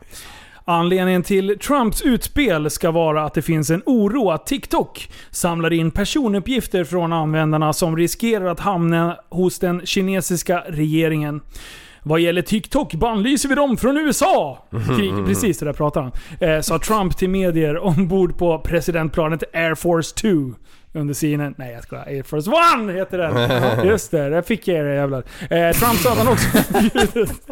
Anledningen till Trumps utspel ska vara att det finns en oro att TikTok samlar in personuppgifter från användarna som riskerar att hamna hos den kinesiska regeringen. Vad gäller TikTok bannlyser vi dem från USA! Skrik, precis det där pratar han. Eh, sa Trump till medier ombord på presidentplanet Air Force 2. Under CNN. Nej jag skojar. Air Force One heter den. Just det, där fick jag er jävlar. Eh, Trump sa att han också förbjudit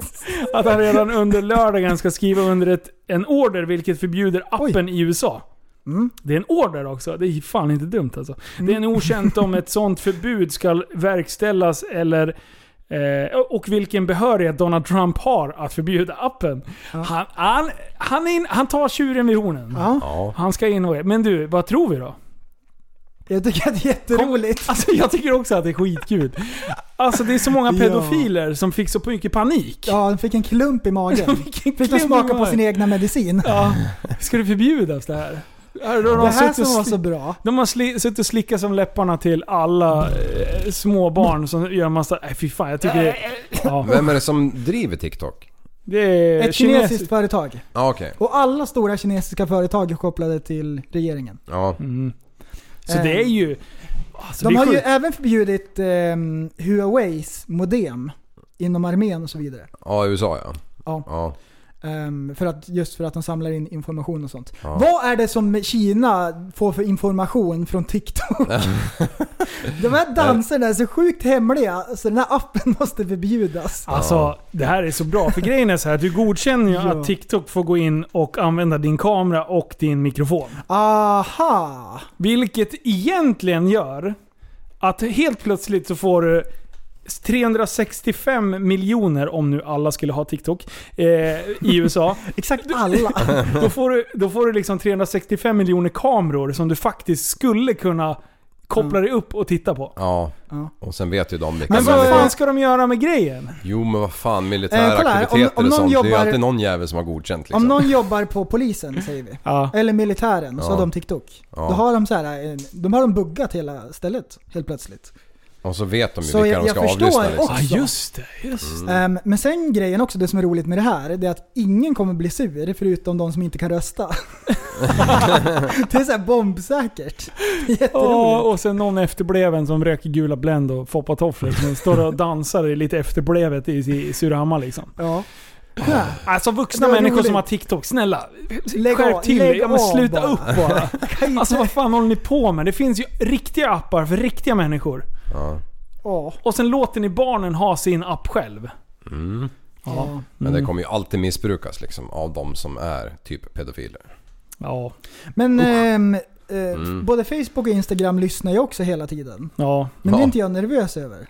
att han redan under lördagen ska skriva under ett, en order vilket förbjuder appen i USA. Mm. Det är en order också. Det är fan inte dumt alltså. Det är en okänt om ett sånt förbud ska verkställas eller Eh, och vilken behörighet Donald Trump har att förbjuda appen. Han, han, han, är in, han tar tjuren vid hornen. Ja. Han ska in och... Men du, vad tror vi då? Jag tycker att det är jätteroligt. Alltså jag tycker också att det är skitkul. Alltså det är så många Ja. pedofiler som fick så mycket panik. Ja, han fick en klump i magen. Vilken Fick han klump i smaka på magen. sin egna medicin. Ja. Ska det förbjudas det här? Här har de Det här suttit som var sli- så bra. De har sli, suttit och slickat som läpparna till alla eh, småbarn som gör massa... Nej fy fan, jag tycker Eh, det, ja. Vem är det som driver TikTok? det är... Ett Eh, kines- kinesiskt företag. Ja, okej. Och alla stora kinesiska företag är kopplade till regeringen. Ja. Mm. Så det är ju... Alltså, Eh. De det är har ju sjukt. även förbjudit ehm, Huaweis modem inom armén och så vidare. Ja, i USA ja. Ja. ja. Ehm, för att, just för att de samlar in information och sånt. Ja. Vad är det som Kina får för information från TikTok? De här danserna är så sjukt hemliga så den här appen måste förbjudas. Alltså, det här är så bra. För grejen är så här, du godkänner ju Ja. att TikTok får gå in och använda din kamera och din mikrofon. Aha! Vilket egentligen gör att helt plötsligt så får du 365 miljoner, om nu alla skulle ha TikTok, eh, i USA. Exakt alla. då, får du, då får du liksom 365 miljoner kameror som du faktiskt skulle kunna koppla dig upp och titta på. Ja. Ja. Och sen vet ju de vilka Men som vad är- fan ska de göra med grejen? Jo men vad fan, militära Eh, kolla här, om- aktiviteter och om någon sånt. Det är ju jobbar- alltid någon jävel som har godkänt liksom. Om någon jobbar på polisen säger vi. Ja. Eller militären och så Ja. har de TikTok. Ja. Då har de så här, eh, de har de buggat hela stället helt plötsligt. Och så vet de ju Så vilka jag- de jag ska förstår avlyssna liksom. också. Ja, just det, just Mm. Ehm, men sen grejen också, det som är roligt med det här, det är att ingen kommer bli sur förutom de som inte kan rösta. det är så här bombsäkert. Ja, och sen någon efterbleven som röker gula Blend och foppatofflor som står och dansar i lite efterblevet i, i Surahammar liksom. Ja. Alltså vuxna Det var människor roligt. som har TikTok, snälla. Lägg av- Skärp till lägg er. Ja, men av sluta bara. upp bara. Alltså vad fan håller ni på med? Det finns ju riktiga appar för riktiga människor. Ja. Ja. Och sen låter ni barnen ha sin app själv. Mm. Ja. Mm. Men Mm. det kommer ju alltid missbrukas liksom av de som är typ pedofiler. Ja. Men ehm, eh, Mm. både Facebook och Instagram lyssnar jag också hela tiden. Ja. Men det är inte jag nervös över.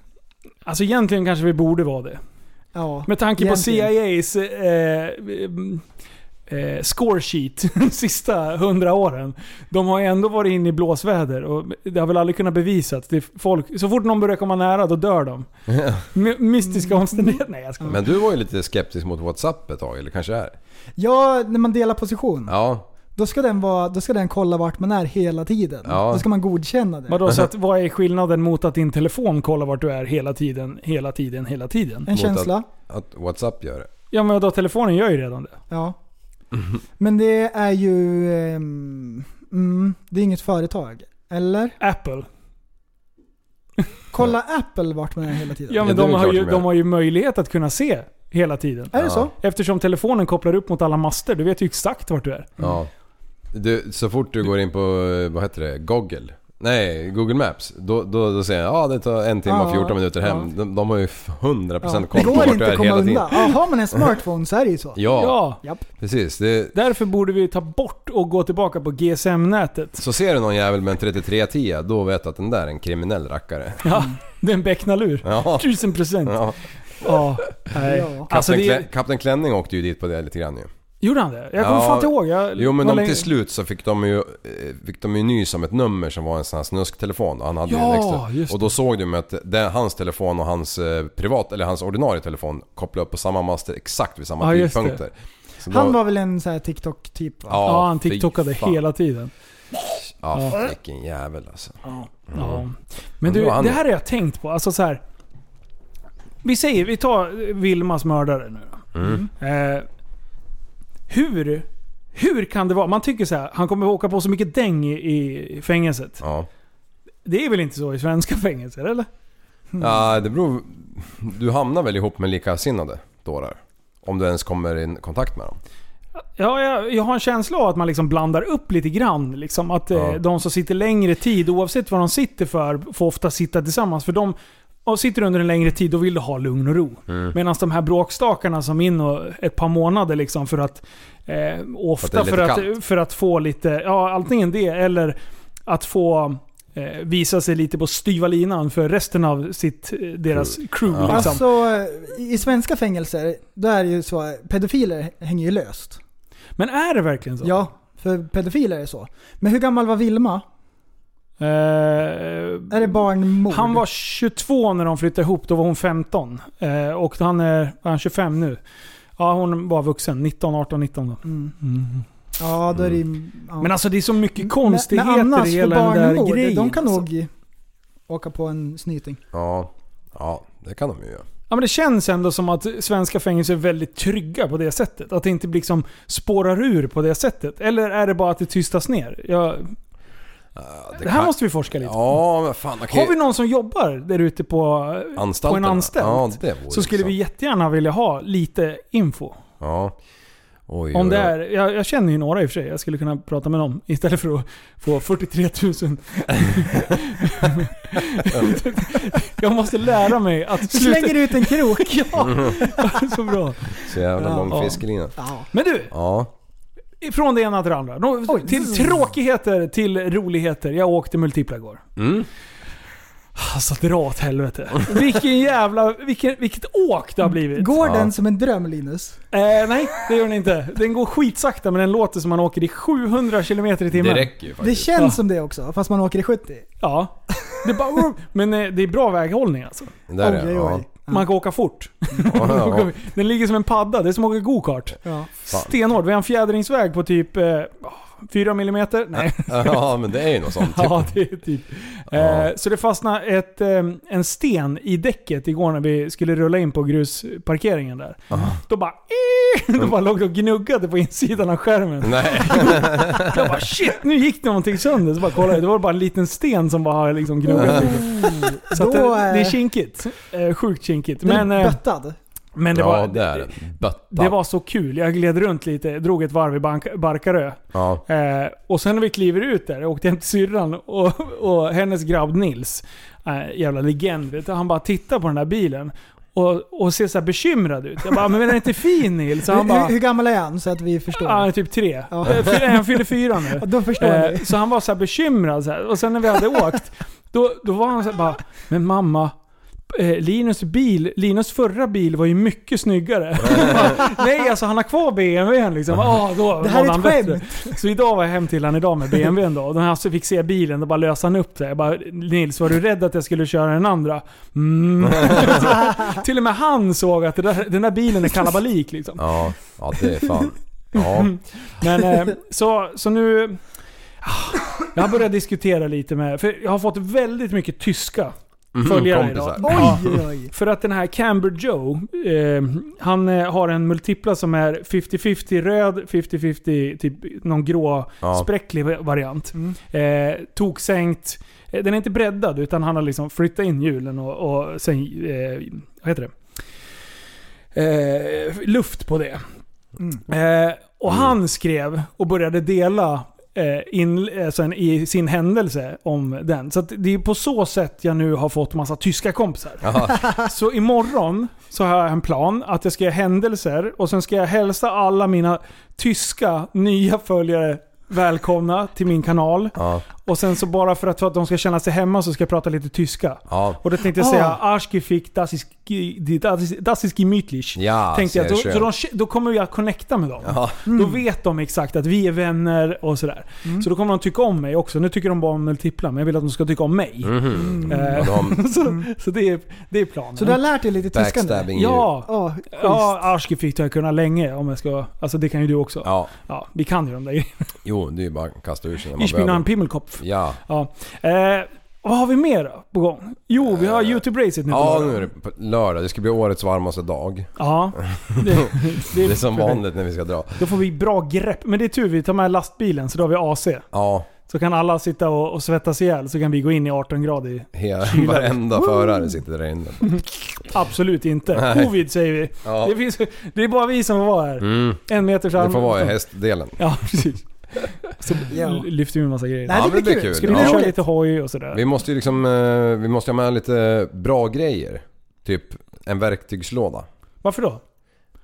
Alltså egentligen kanske vi borde vara det. Ja, Med tanke på egentligen. CIAs eh, em, eh, score sheet de sista hundra åren. De har ju ändå varit inne i blåsväder och det har väl aldrig kunnat bevisas. Det är folk, så fort någon börjar komma nära, då dör de. My- mystiska omständigheter. Nej jag skojar. Men du var ju lite skeptisk mot WhatsApp ett tag, eller kanske är? Ja, när man delar position. Ja. Då ska, den vara, då ska den kolla vart man är hela tiden. Ja. Då ska man godkänna det. Vadå, så att, vad är skillnaden mot att din telefon kollar vart du är hela tiden, hela tiden, hela tiden? En känsla. Att, att WhatsApp gör det. Ja men då telefonen gör ju redan det. Ja. Men det är ju... ehm, mm, det är inget företag. Eller? Apple. Kolla Apple vart man är hela tiden. Ja men de, har ju, de har ju möjlighet att kunna se hela tiden. Är det så? Eftersom telefonen kopplar upp mot alla master. Du vet ju exakt vart du är. Ja. Du, så fort du går in på, eh, vad heter det, Google? Nej, Google Maps. Då, då, då säger jag ja det tar en timme och Ja, 14 minuter hem. ja. De, de har ju 100% Ja. koll Det på går vart du inte är att komma hela tiden. undan. Ja, har man en smartphone så är det ju så. Ja. Ja. Precis. Det, Därför borde vi ta bort och gå tillbaka på GSM-nätet. så ser du någon jävel med en 3310 då vet du att den där är en kriminell rackare. Ja, det är en becknarlur. Mm. Ja. Tusen procent. Ja. Ja. Nej. Kapten, Alltså det Klä, är, Kapten Klänning åkte ju dit på det lite grann ju. gjorde han det? Jag kommer fan inte ihåg. Jag, jo men var de, länge- till slut så fick de ju, eh, fick de ju nys om ett nummer som var en sån här snusktelefon. Och han hade Ja, ju en just extra. Och då såg de ju att det, hans telefon och hans eh, privat, eller hans ordinarie telefon kopplade upp på samma master exakt vid samma Ja, just det. tidpunkter. Så Han då- var väl en så här TikTok-typ va? Ja, Ja, han fy tiktokade fan. hela tiden. Ja, Ja. vilken jävel alltså. Ja. Men du, det här har jag tänkt på. Alltså så här. Vi säger, vi tar Vilmas mördare nu då. Mm. Eh, hur, hur kan det vara? Man tycker så här, han kommer åka på så mycket däng i, i fängelset. Ja. Det är väl inte så i svenska fängelser, eller? Mm. ja, det beror... Du hamnar väl ihop med likasinnade dårar? Om du ens kommer i kontakt med dem. Ja, jag, jag har en känsla av att man liksom blandar upp lite grann. Liksom, att eh, Ja. de som sitter längre tid, oavsett vad de sitter för, får ofta sitta tillsammans. För de och sitter under en längre tid, då vill du ha lugn och ro. Mm. Medan de här bråkstakarna som är in och ett par månader liksom för att... Eh, ofta lite för att, för, kallt. att, få lite... Ja, antingen det eller att få eh, visa sig lite på styva linan för resten av sitt, eh, deras crew. Liksom. Alltså, i svenska fängelser, då är det ju så pedofiler hänger ju löst. Men är det verkligen så? Ja, för pedofiler är det så. Men hur gammal var Vilma? är Eh, det barnmord? Han var 22 när de flyttade ihop, då var hon 15. Eh, och han är, är han 25 nu. Ja, hon var vuxen. 19, 18, 19 då. Mm. Mm. Ja, då är det ju- ja. Men alltså det är så mycket konstigheter men annars, i för hela den barnmord, där grejen. De kan alltså. nog åka på en snyting. Ja. ja, det kan de ju göra. Ja, men det känns ändå som att svenska fängelser är väldigt trygga på det sättet. Att det inte liksom spårar ur på det sättet. Eller är det bara att det tystas ner? Jag... det, här kan- måste vi forska lite Ja, men fan. okej. Har vi någon som jobbar där ute på, på en Anstalterna? anstalt Ja, det vore så skulle vi jättegärna vilja ha lite info. Ja. Oj, Om oj, det oj. är, jag, jag känner ju några i och för sig. Jag skulle kunna prata med dem istället för att få 43 000. jag måste lära mig att sluta... Slänger ut en krok. ja, så bra. Så jävla Ja. lång fiskelina. Ja. Men du, Ja. från det ena till det andra. Nå- Till tråkigheter till roligheter. Jag åkte multipla igår. Mm. Alltså dra åt helvete. Vilken jävla... Vilken, vilket åk det har blivit. Går den som en dröm Linus? Eh, nej, det gör den inte. Den går skitsakta men den låter som man åker i 700 km i timmen. Det räcker ju Det faktiskt. känns Ja. som det också, fast man åker i 70. Ja. Det är bara, men eh, det är bra väghållning alltså. Den där är- Oj, oj, oj. ja. Man kan åka fort. Ja, ja. Den ligger som en padda, det är som att åka gokart. Ja. Stenhård. Vi har en fjädringsväg på typ eh, 4 mm. Nej. Ja, men det är ju något sånt. Typ. Ja, det är typ. Eh, så det fastnade ett, eh, en sten i däcket igår när vi skulle rulla in på grusparkeringen där. Då bara... eh, Då bara låg det och gnuggade på insidan av skärmen. Nej. Jag bara shit, nu gick någonting sönder. Så bara kollade jag, det var bara en liten sten som bara liksom gnuggat lite. Så att det, Mm. Då, eh, det är kinkigt. Eh, Sjukt kinkigt. Den Men, är eh, böttad. men det, ja, var, det är den. Bötta. det var så kul. Jag gled runt lite, drog ett varv i Bank- Barkarö. Ja. Eh, och sen när vi kliver ut där, jag åkte hem till syrran och, och hennes grabb Nils, eh, jävla legend, vet du, han bara tittar på den här bilen och, och ser så här bekymrad ut. Jag bara, "Ah, men är den inte fin Nils? Så Hur, han bara, hur, hur gammal är han så att vi förstår? Ja, han är typ tre. Ja. Eh, fyra- Han fyller fyra nu. Ja, då förstår Eh, ni. Så han var så här bekymrad. Så här. Och sen när vi hade åkt, då, då var han så här bara Men mamma, eh, Linus bil, Linus förra bil var ju mycket snyggare. Bara, Nej alltså han har kvar BMWn liksom. Ah, då Det här är var ett han bättre. Så idag var jag hem till han idag med BMWn då. Och när han så fick se bilen, då bara lösa han upp det. Jag bara Nils, var du rädd att jag skulle köra den andra? Mm. till och med han såg att det där, den där bilen är kalabalik liksom. Ja, ja det är fan. Ja. Men eh, så, så nu... Ah, Jag har börjat diskutera lite med... För jag har fått väldigt mycket tyska Mhm, följare kompisar. idag. Oj, oj. För att den här Camber Joe, eh, han eh, har en multipla som är 50-50 röd, 50-50 typ någon grå Ja. spräcklig variant. Eh, toksänkt. Eh, Den är inte breddad utan han har liksom flyttat in hjulen och, och sen... Eh, vad heter det? Eh, luft på det. Eh, och han skrev och började dela eh, in, alltså en, i sin händelse om den. Så att det är på så sätt jag nu har fått massa tyska kompisar. Så imorgon så har jag en plan att jag ska göra händelser och sen ska jag hälsa alla mina tyska nya följare välkomna till min kanal. Ja. Och sen så bara för att, för att de ska känna sig hemma så ska jag prata lite tyska. Ja. Och då tänkte jag Ah. säga Arschgefick, das ist, ge- das ist, das ist gemütlich. Ja, tänkte jag. sehr Då, schön. så de, då kommer jag connecta med dem. Ja. Mm. Då vet de exakt att vi är vänner och sådär. Så då kommer de tycka om mig också. Nu tycker de bara om multipla, men jag vill att de ska tycka om mig. Mhm. Eh, Ja, Mm. de- så så det, är, det är planen. Så du har lärt dig lite tyska nu? Backstabbing Ja. Ja, Ja, Arschgefick har jag kunnat länge om jag ska... Alltså det kan ju du också. Ja. vi kan ju de där grejerna. Jo, det är ju bara att kasta ur sig när man Ich bin ein behöver. Pimmelkopf. Ja. Ja. Eh, vad har vi mer då på gång? Jo, vi har YouTube-racet nu på Eh, Ja, lördag. nu är det på lördag. Det ska bli årets varmaste dag. Ja. Det, Det är som vanligt när vi ska dra. Då får vi bra grepp. Men det är tur vi tar med lastbilen så då har vi AC. Ja, Så kan alla sitta och, och svettas ihjäl så kan vi gå in i 18 grader. hela, Kyla. varenda Woo! förare sitter där inne. Absolut inte. Nej. Covid säger vi. Ja. Det, finns, det är bara vi som får vara här. Mm. En meter fram. Det får vara i hästdelen. Ja, precis. Så Ja. lyfter vi en massa grejer. Nej, det Ja, men blir det blir kul. kul. Ska vi Ja. köra lite hoj och sådär? Vi måste ju liksom, eh, vi måste ha med lite bra grejer. Typ en verktygslåda. Varför då?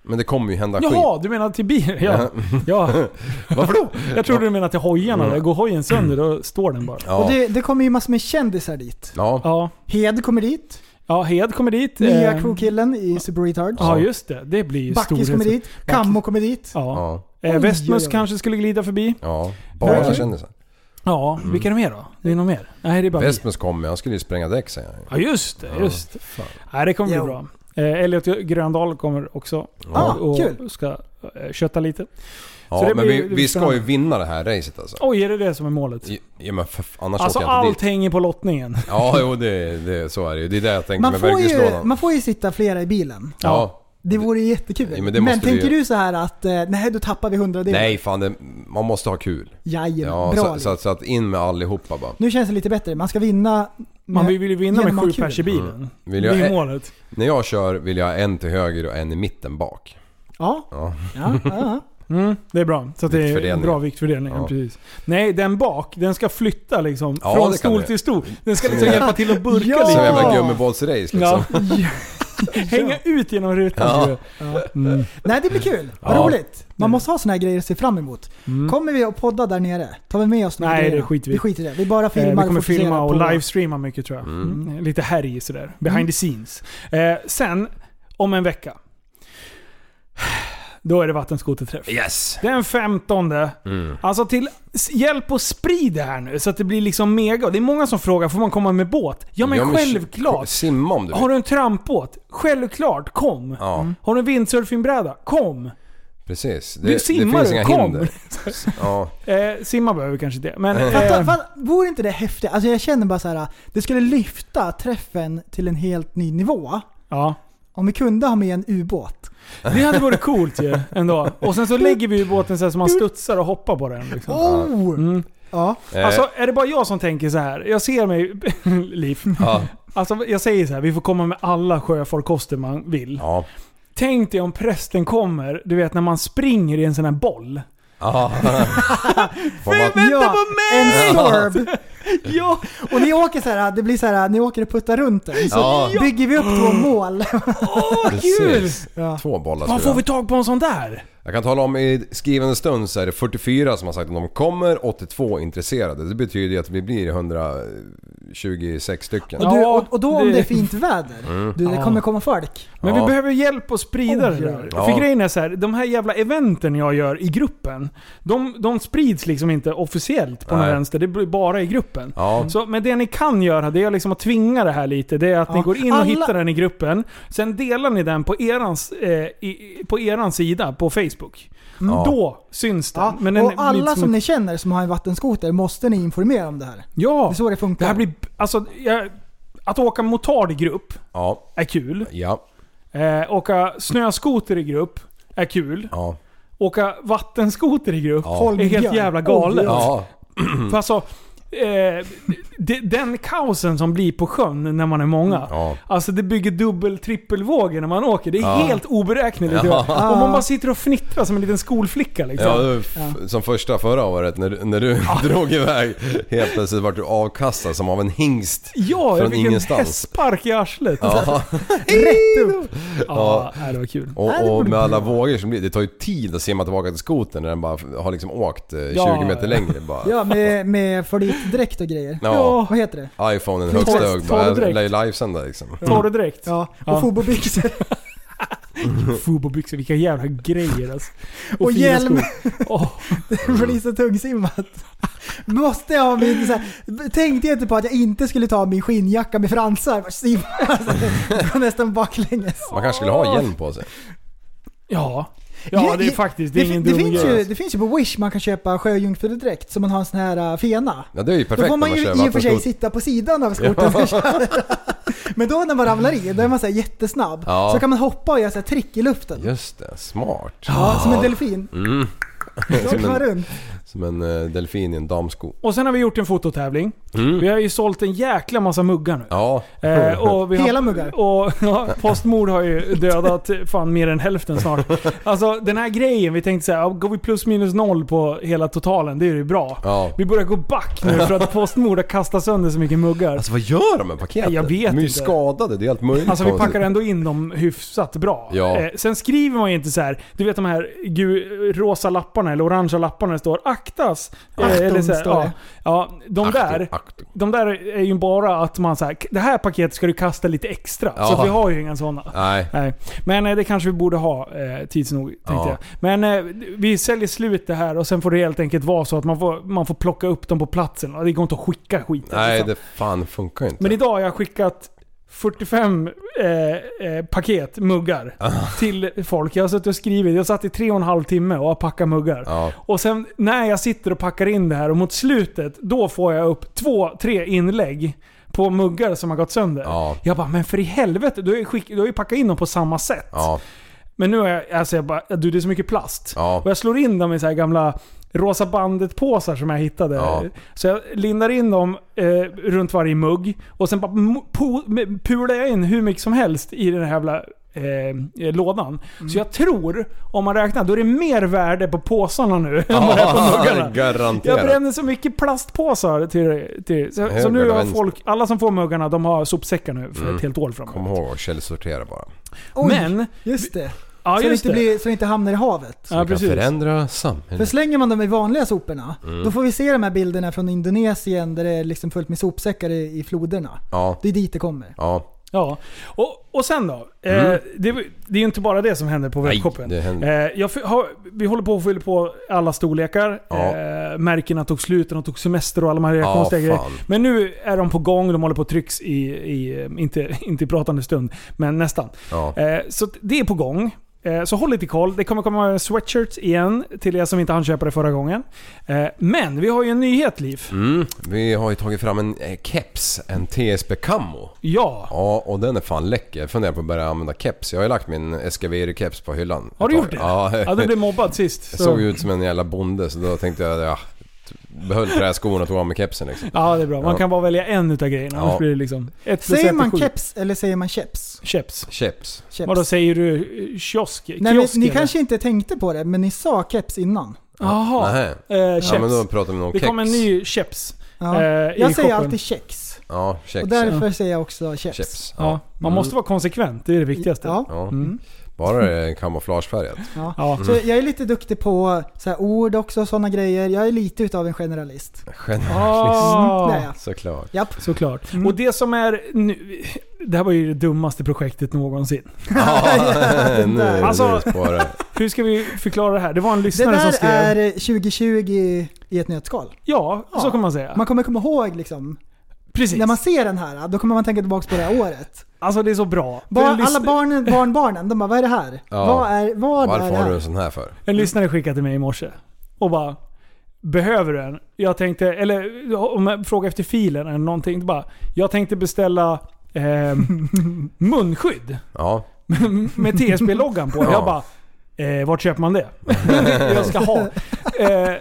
Men det kommer ju hända skit. Jaha, du menar till bilen? Ja. ja. Varför då? Jag trodde du menade till hojarna. Där Går hojen sönder då står den bara. Mm. Ja. Och det, det kommer ju massor med kändisar dit. Ja. Ja. Hed kommer dit. Ja, Hed kommer dit. Nya Eh, krokillen i Super Retard. Ja, just det. Det blir ju Backis storhets- kommer dit. Kammo kommer dit. Ja. Ja. Eh, Oj, Westmus oj, oj. kanske skulle glida förbi. Ja, bara Nej. kändisar. Ja, Mm. vilka är det mer då? Det är någon mer? Nej, det är bara vi. Vestmus kommer, han skulle ju spränga däck säger han ju. Ja, just det. Just det. Nej, det kommer bli Jo. bra. Eh, Elliot Gröndal kommer också Ah, och kul. ska eh, kötta lite. Ja, men vi, vi ska ju spännande. vinna det här racet alltså. Oj, är det det som är målet? Ja, Ja, men för, f- annars Alltså åker jag allt inte dit. hänger på lottningen. Ja, jo det, det, så är det ju. Det är det jag tänker Man med får, ju, verktygslådan. man får ju sitta flera i bilen. Ja. Det vore ju jättekul. Ja, men men det måste vi tänker ju- du så här att eh, nej, då tappar vi hundradelen? Nej fan, det, man måste ha kul. Jajamän, Ja, bra liksom. så, Liv. så, att- så att in med allihopa bara. Nu känns det lite bättre. Man ska vinna... Man vill ju vinna med genom att ha sju kul. pers i bilen. Mm. Vill Det är en- målet. När jag kör vill jag ha en till höger och en i mitten bak. Ja. Ja. Ja, ja. Mm, det är bra. Så att det är en Viktfördelning. bra viktfördelning. Ja. Ja. Precis. Nej, den bak, den ska flytta liksom Ja, från det kan stol det. till stol. Den ska Som liksom en- hjälpa till att burka Som en jävla lite. gummibålsrace liksom. Ja. Hänga ut genom rutan. Ja. tror jag. Mm. Nej, det blir kul. Vad Ja. Mm. roligt. Man måste ha såna här grejer att se fram emot. Kommer vi att podda där nere? Tar vi med oss några Nej, grejer? det skiter vi i. Vi skiter i det. Vi bara filmar Eh, vi kommer och fokuserar filma och på... livestreama mycket tror jag. Mm. Mm, Lite härj sådär. Behind Mm. the scenes. Eh, sen, om en vecka. Då är det vattenskoterträff. Yes! Den 15. Alltså till s- hjälp och sprid det här nu så att det blir liksom mega. Det är många som frågar, får man komma med båt? Ja men Ja, men självklart! Simma om du vill. Har du en trampbåt? Självklart, kom! Ja. Har du en vindsurfingbräda? Kom! Eh, Precis. Du simmar du, kom. Ja. Eh, simma behöver vi kanske det. Men, Fatta, eh, fatta, vore inte det häftigt? Alltså jag känner bara så här. det skulle lyfta träffen till en helt ny nivå. Ja. Om vi kunde ha med en ubåt. det hade varit coolt ju ändå. Och sen så lägger vi ju båten så här så man studsar och hoppar på den. Liksom. Oh! Ja. Eh. Alltså är det bara jag som tänker så här? Jag ser mig, Liv. Ja. Alltså jag säger så här, vi får komma med alla sjöfarkoster man vill. Tänk dig om prästen kommer, du vet när man springer i en sån här boll. Ja. ja, En sorb! ja! Och ni åker så här, det blir så här, ni åker och puttar runt den. Så Ja. bygger vi upp två mål. Precis. Två Var bollar tror får jag. vi tag på en sån där? Jag kan tala om i skrivande stund så är det 44 som har sagt att de kommer, 82 intresserade. Det betyder ju att vi blir 126 stycken. Och, du, och, och då om det- det är fint väder. Mm. Du, det Ja. kommer komma folk. Men Ja. vi behöver hjälp att sprida Oj, det där. ja. För grejen är så här, de här jävla eventen jag gör i gruppen, de, de sprids liksom inte officiellt på något Nej. vänster. Det blir bara i gruppen. Ja. Så, men det ni kan göra, det är liksom att tvinga det här lite. Det är att Ja. ni går in och Alla- hittar den i gruppen. Sen delar ni den på erans, eh, i, på eran sida på Facebook. Mm. Ja. Då syns den. Ja, Men den och blir inte alla som som ett- ni känner som har en vattenskoter måste ni informera om det här. Ja! Det är så det funkar. Det här blir... Alltså, jag, att åka motard i grupp Ja. är kul. Ja. Eh, åka snöskoter i grupp är kul. Ja. Åka vattenskoter i grupp Ja. är helt jävla galet. Ja. För alltså, eh, det, den kaosen som blir på sjön när man är många. Ja. Alltså det bygger dubbel trippelvågor när man åker. Det är Ja. helt oberäkneligt. Ja. Och Ah. man bara sitter och fnittrar som en liten skolflicka liksom. Ja, det var f- som första förra året när, du- när du drog iväg. Helt plötsligt vart du avkastad som av en hingst. Ja, jag från fick ingenstans. en hästspark i arslet. Ja. Rätt upp! Ja, nej, det var kul. Nej, det Och, och borde bli med alla vågor som blir, det tar ju tid att simma tillbaka till skotern när den bara har liksom åkt eh, 20 Ja. meter längre. Bara, Ja, med, med flytdräkt och grejer. Ja. Ja. Vad heter det? Iphonen Torr- högst hög bara, torrdräkt. lär ju livesända liksom. Torrdräkt. Ja, och Ja. fobobyxor. Fubobyxor, vilka jävla grejer alltså. Och fina hjälm. skor. Åh. Det blir så tungsimmat. Måste jag ha min... Så här, tänkte jag inte på att jag inte skulle ta min skinnjacka med fransar. Vad sim- Alltså, det går nästan baklänges. Man kanske skulle ha hjälm på sig. Ja. Ja, det är faktiskt det är ingen det, dum finns grej. ju, det finns ju på Wish man kan köpa sjöjungfrudräkt som man har en sån här äh, fena. Ja det är ju Då perfekt när får man ju kör i och för sig vattenskoter. sitta på sidan av skotern. och köra. Men då när man ramlar i, då är man så här jättesnabb. Ja. Så kan man hoppa och göra så här trick i luften. Just det, smart. Ja, som en delfin. Mm. Då åker som, man en, runt. som en eh, delfin i en damsko. Och sen har vi gjort en fototävling. Mm. Vi har ju sålt en jäkla massa muggar nu. Ja. Eh, och vi har, Hela muggar. Och, ja, Postmord har ju dödat fan mer än hälften snart. Alltså den här grejen, vi tänkte såhär, går vi plus minus noll på hela totalen, det är ju bra. Ja. Vi börjar gå back nu för att Postmord har kastat sönder så mycket muggar. Alltså vad gör de med paketet? Jag vet de är ju inte. skadade, det är allt möjligt Alltså vi konstigt. packar ändå in dem hyfsat bra. Ja. Eh, sen skriver man ju inte så här. du vet de här gu- rosa lapparna eller orangea lapparna det står aktas. Eh, Achtung, eller så här, står ja, det. ja, de Achtung, där, de där är ju bara att man säger det här paketet ska du kasta lite extra. Ja. Så att vi har ju inga sådana. Nej. Nej. Men eh, det kanske vi borde ha eh, tids nog, tänkte Ja. jag. Men eh, vi säljer slut det här och sen får det helt enkelt vara så att man får, man får plocka upp dem på platsen. Och det går inte att skicka skiten. Nej liksom. det fan funkar ju inte. Men idag har jag skickat 45 eh, eh, paket muggar till folk. Jag har suttit och skrivit. Jag satt i tre och en halv timme och har packat muggar. Ja. Och sen när jag sitter och packar in det här och mot slutet, då får jag upp två, tre inlägg på muggar som har gått sönder. Jag bara, men för i helvete, du har ju, skick, du har ju packat in dem på samma sätt. Men nu har jag, alltså jag bara, du det är så mycket plast. Och jag slår in dem i så här gamla Rosa bandet-påsar som jag hittade. Ja. Så jag lindar in dem eh, runt varje mugg och sen bara mo- po- med- pular jag in hur mycket som helst i den här jävla eh, eh, lådan. Mm. Så jag tror, om man räknar, då är det mer värde på påsarna nu än vad det är på muggarna. Garanterat. Jag bränner så mycket plastpåsar till... till så, Höger så nu eller har vänster? folk, alla som får muggarna, de har sopsäckar nu för Mm. ett helt år framåt. Kom ihåg att källsortera bara. Oj, Men- Just det. Ja, så, det just inte det. Blir, så det inte hamnar i havet. Så vi kan förändra samhället. För slänger man dem i vanliga soporna, Mm. då får vi se de här bilderna från Indonesien där det är liksom fullt med sopsäckar i, i floderna. Ja. Det är dit det kommer. Ja. Ja, och, och sen då? Eh, Mm. det, det är ju inte bara det som händer på Nej, webbshoppen. det händer. Eh, jag fy- har, vi håller på att fylla på alla storlekar. Ja. Eh, märkena tog slut, de tog semester och alla de här Ja, konstiga grejer. fan. Men nu är de på gång, de håller på att trycks i, i eh, inte, inte i pratande stund, men nästan. Ja. Eh, så att det är på gång. Eh, Så håll lite koll. Det kommer komma sweatshirts igen till er som inte hann köpa det förra gången. Eh, Men vi har ju en nyhet Liv. Mm. Vi har ju tagit fram en eh, keps, en TSB Camo. Ja. Ja, och den är fan läcker. Jag funderar på att börja använda keps. Jag har ju lagt min SKVR-keps på hyllan. Har du ett gjort det? tag. Ja. Ja, du blev mobbad sist. Jag så- såg ju ut som en jävla bonde så då tänkte jag, ja, behöll träskorna och tog av mig kepsen liksom. Ja, det är bra. Man Ja. kan bara välja en utav grejerna. Ja. Annars blir det liksom... Ett plus Säger ett är man sju. keps eller säger man keps? Keps. Keps. Keps. Vadå, säger du eh, kiosk? Nej, men, Kiosk, ni eller? kanske inte tänkte på det, men ni sa keps innan. Jaha. Nähä. Eh, Ja, keps. men då pratar vi nog om Det kommer en kex. ny keps. Ja. eh, i jag säger shoppen. alltid kex. Ja, kex. Och därför ja. säger jag också keps. Keps. Ja. Man Mm. måste vara konsekvent, det är det viktigaste. Ja. Ja. Mm. Bara det är kamouflagefärgat. Ja. Ja. Så Mm. jag är lite duktig på så här, ord också och sådana grejer. Jag är lite utav en generalist. Generalist. Mm, det är jag. Såklart. Japp. Ah, Såklart. Och det som är nu... Det här var ju det dummaste projektet någonsin. Ja, nu, alltså, nu spårar det. hur ska vi förklara det här? Det var en Det lyssnare som där skrev... är 2020 i ett nötskal. Ja, så kan man säga. Man kommer komma ihåg liksom. Precis. När man ser den här, då kommer man tänka tillbaka på det här året. Alltså det är så bra. För Bar, en lys- alla barnen, barnbarnen, de bara vad är det här? Ja. Vad är, vad är Varför det har här? du en sån här för? En lyssnare skickade till mig i morse och bara Behöver du en? Jag tänkte, eller om jag frågade efter filen eller någonting. då Bara, jag tänkte beställa eh, munskydd Ja. med TSB-loggan på. Ja. Jag bara, eh, vart köper man det? jag ska ha. Eh,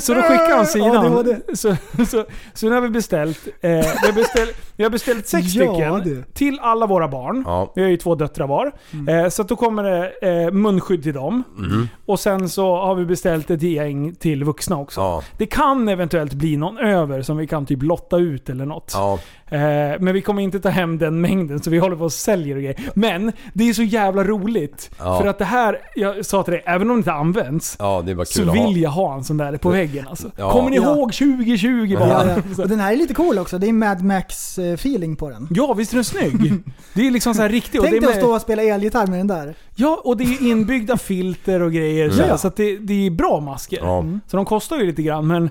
så då skickade han sidan. ADHD. Så, så, så nu har vi beställt, eh, vi, har beställt vi har beställt sex Ja, stycken det. till alla våra barn. Ja. Vi har ju två döttrar var. Mm. Eh, så att då kommer det eh, munskydd till dem. Mm. Och sen så har vi beställt ett gäng till vuxna också. Det kan eventuellt bli någon över som vi kan typ lotta ut eller något. Eh, men vi kommer inte ta hem den mängden så vi håller på och säljer och grejer. Men det är så jävla roligt. Ja. För att det här, jag sa till dig, även om det inte används. Ja, det är bara kul Så att ha. vill jag ha en sån där på väggen alltså. Ja. Kommer ni Ja. ihåg 2020 bara? Ja, ja. Och den här är lite cool också. Det är Mad Max-feeling på den. Ja, visst är den snygg? Det är liksom så här riktigt. Tänk det dig är att stå och spela elgitarr med den där. Ja, och det är ju inbyggda filter och grejer. Så, Ja. så att det, det är bra masker. Ja. Så de kostar ju lite grann, men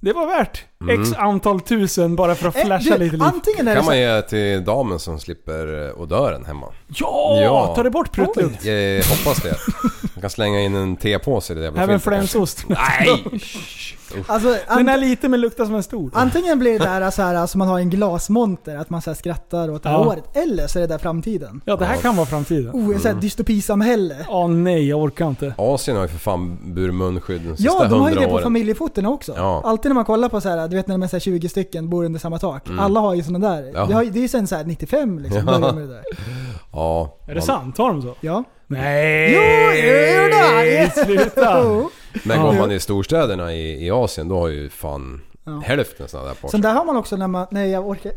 det var värt Mm. x antal tusen bara för att Eh, flasha du, lite liv. antingen är det kan så, man ge till damen som slipper eh, odören hemma. Ja! Ta det bort pruttlukt. Oj, Jag hoppas det. Man kan slänga in en tepåse i det jävla Även filtret kanske. flänsost. Nej! alltså, Den är ant- lite men luktar som en stor. antingen blir det där så här, alltså man har en glasmonter, att man så här skrattar åt det här Ja. året. Eller så är det där framtiden. Ja, det här kan vara framtiden. Oh, ett Mm. så här dystopisamhälle. Åh nej, jag orkar inte. Asien har ju för fan burit munskydd de sista Ja, de har ju det hundra på åren. familjefotorna också. Ja. Alltid när man kollar på så här, du vet när de är så här 20 stycken bor under samma tak. Mm. Alla har ju sådana där. Ja. Det, har, ju- det är ju sen så här 95 liksom. Ja. börjar Med det där. Ja. Är det sant? Har de så? Ja. Nej! Jo, jo, nej. Sluta! Jo. Men Ja. går man i storstäderna i, i Asien då har ju fan Ja. hälften sådana där Sen parser. där har man också när man... Nej jag orkar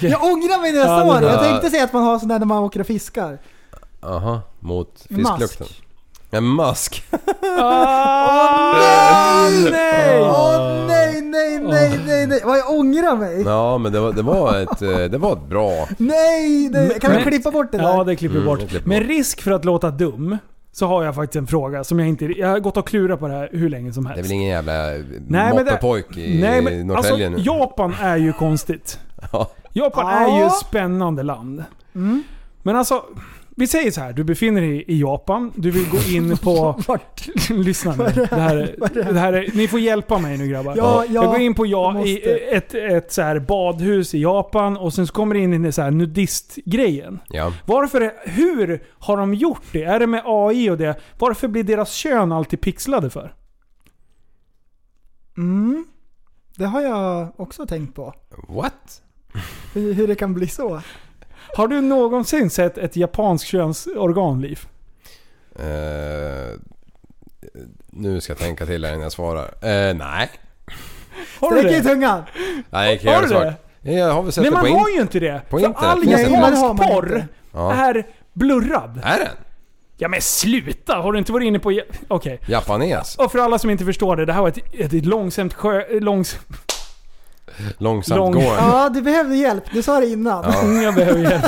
Jag ångrar mig när jag Ja, sa det- det. Jag Ja. tänkte säga att man har sån där när man åker och fiskar. Aha, mot Mask. fisklukten. En mask. Åh Ah, nej! Åh nej, nej, nej, nej, nej. Vad jag ångrar mig. Ja men det var, det var, ett, eh, det var ett bra... Nej, nej. Kan vi Men- klippa bort det där? Ja, det klipper vi Mm, bort. det klipper vi Men risk för att låta dum Så har jag faktiskt en fråga som jag inte... Jag har gått och klurat på det här hur länge som helst. Det är väl ingen jävla Nej, men det- moppepojk i Nej, men alltså, Norrtälje nu? Japan är ju konstigt. Ja. Japan Ja. Mm. är ju ett spännande land. Men alltså, vi säger så här. Du befinner dig i Japan. Du vill gå in på... Lyssna nu. Det här, är- det här är, ni får hjälpa mig nu grabbar. Ja, ja, jag går in på ja, jag i måste. ett, ett så här badhus i Japan och sen så kommer det in i så här nudistgrejen. Ja. Varför, hur har de gjort det? Är det med AI och det? Varför blir deras kön alltid pixlade för? Mm. Det har jag också tänkt på. What? Hur, hur det kan bli så. Har du någonsin sett ett japanskt könsorgan, Liv? Eh, nu ska jag tänka till här innan jag svarar. Eh, nej. Har du Sträck i det? tungan! Nej, kan Har jag du svara. Jag har väl sett Nej, det man på har in- ju Äh. inte det. på För internet. all Nej, det har man japansk inte. porr Ja. är blurrad. Är den? Ja men sluta! Har du inte varit inne på... ja- Okej. Japanes? Och för alla som inte förstår det, det här var ett, ett, ett långsamt sjö... Långs... Långsamt Lång- gående? Ja, du behövde hjälp. Du sa det innan. Mm, Jag behöver hjälp.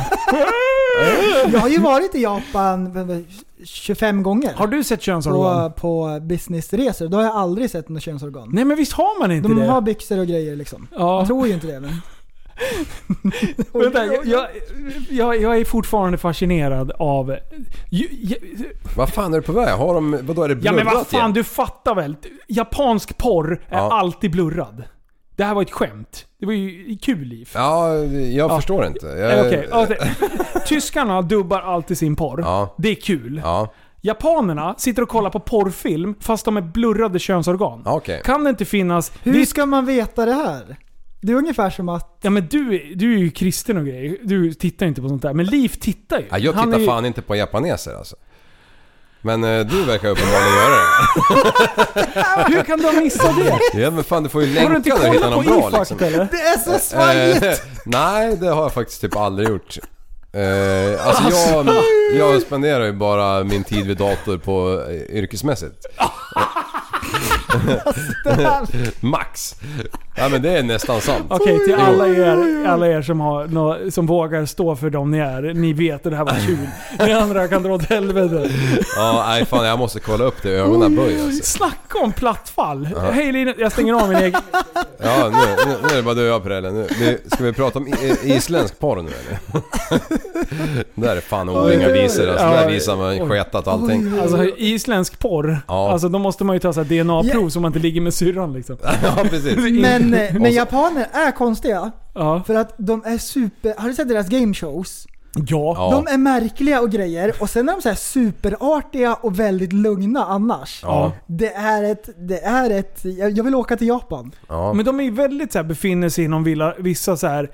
Jag har ju varit i Japan vad var det, 25 gånger. Har du sett könsorgan? på, på businessresor. Då har jag aldrig sett något könsorgan. Nej men visst har man inte De det? har byxor och grejer liksom. Ja. Jag tror ju inte det men. Vänta, jag, jag, jag, jag är fortfarande fascinerad av... Ju- ju- Vad fan är du på väg? Har de... Vadå, är det Ja blurrat men vad fan, igen? du fattar väl? Japansk porr är Ja. alltid blurrad. Det här var ett skämt. Det var ju kul liv. Ja, jag förstår inte. Jag... Eh, okej, okej. Tyskarna dubbar alltid sin porr. Ja. Det är kul. Ja, Japanerna sitter och kollar på porrfilm fast de är blurrade könsorgan. ja, okej. Kan det inte finnas... Hur det- ska man veta det här? Det är ungefär som att... Ja men du, du är ju kristen och grejer. Du tittar inte på sånt där. Men Liv tittar ju. Ja, jag Han tittar är ju, fan inte på japaneser alltså. Men eh, du verkar uppenbarligen göra det. Hur kan du ha missat det? Ja men fan du får ju Har du länka inte när du hittar kollat någon på bra e liksom. eller? Det är så Eh, svajigt! nej, det har jag faktiskt typ aldrig gjort. Eh, alltså jag, jag spenderar ju bara min tid vid dator på eh, yrkesmässigt. Max. Ja men det är nästan sant. Okej, till Jo. alla er, alla er som, har, nå- som vågar stå för dem ni är. Ni vet att det här var kul. Ni andra kan dra åt helvete. Ja, nej fan jag måste kolla upp det. Ögonen böjer alltså. Snacka om plattfall. Hej Linus, jag stänger av min egen... Ja nu, nu, nu är det bara du och jag Prellen. Nu, nu, ska vi prata om i- isländsk porr nu eller? Där är fan oringa visor alltså. Där visar man sketat allting. Alltså isländsk porr. Ja. Alltså då måste man ju ta så här DNA-prov så man inte ligger med syrran liksom. Ja precis. Men, eh, men Och så- japaner är konstiga. Ja. För att de är super... Har du sett deras game shows? Ja. Ja. De är märkliga och grejer och sen är de så här superartiga och väldigt lugna annars. Ja. Det är ett... Det är ett... Jag jag vill åka till Japan. Ja. Men de är ju väldigt så här, befinner sig inom villa, vissa så här.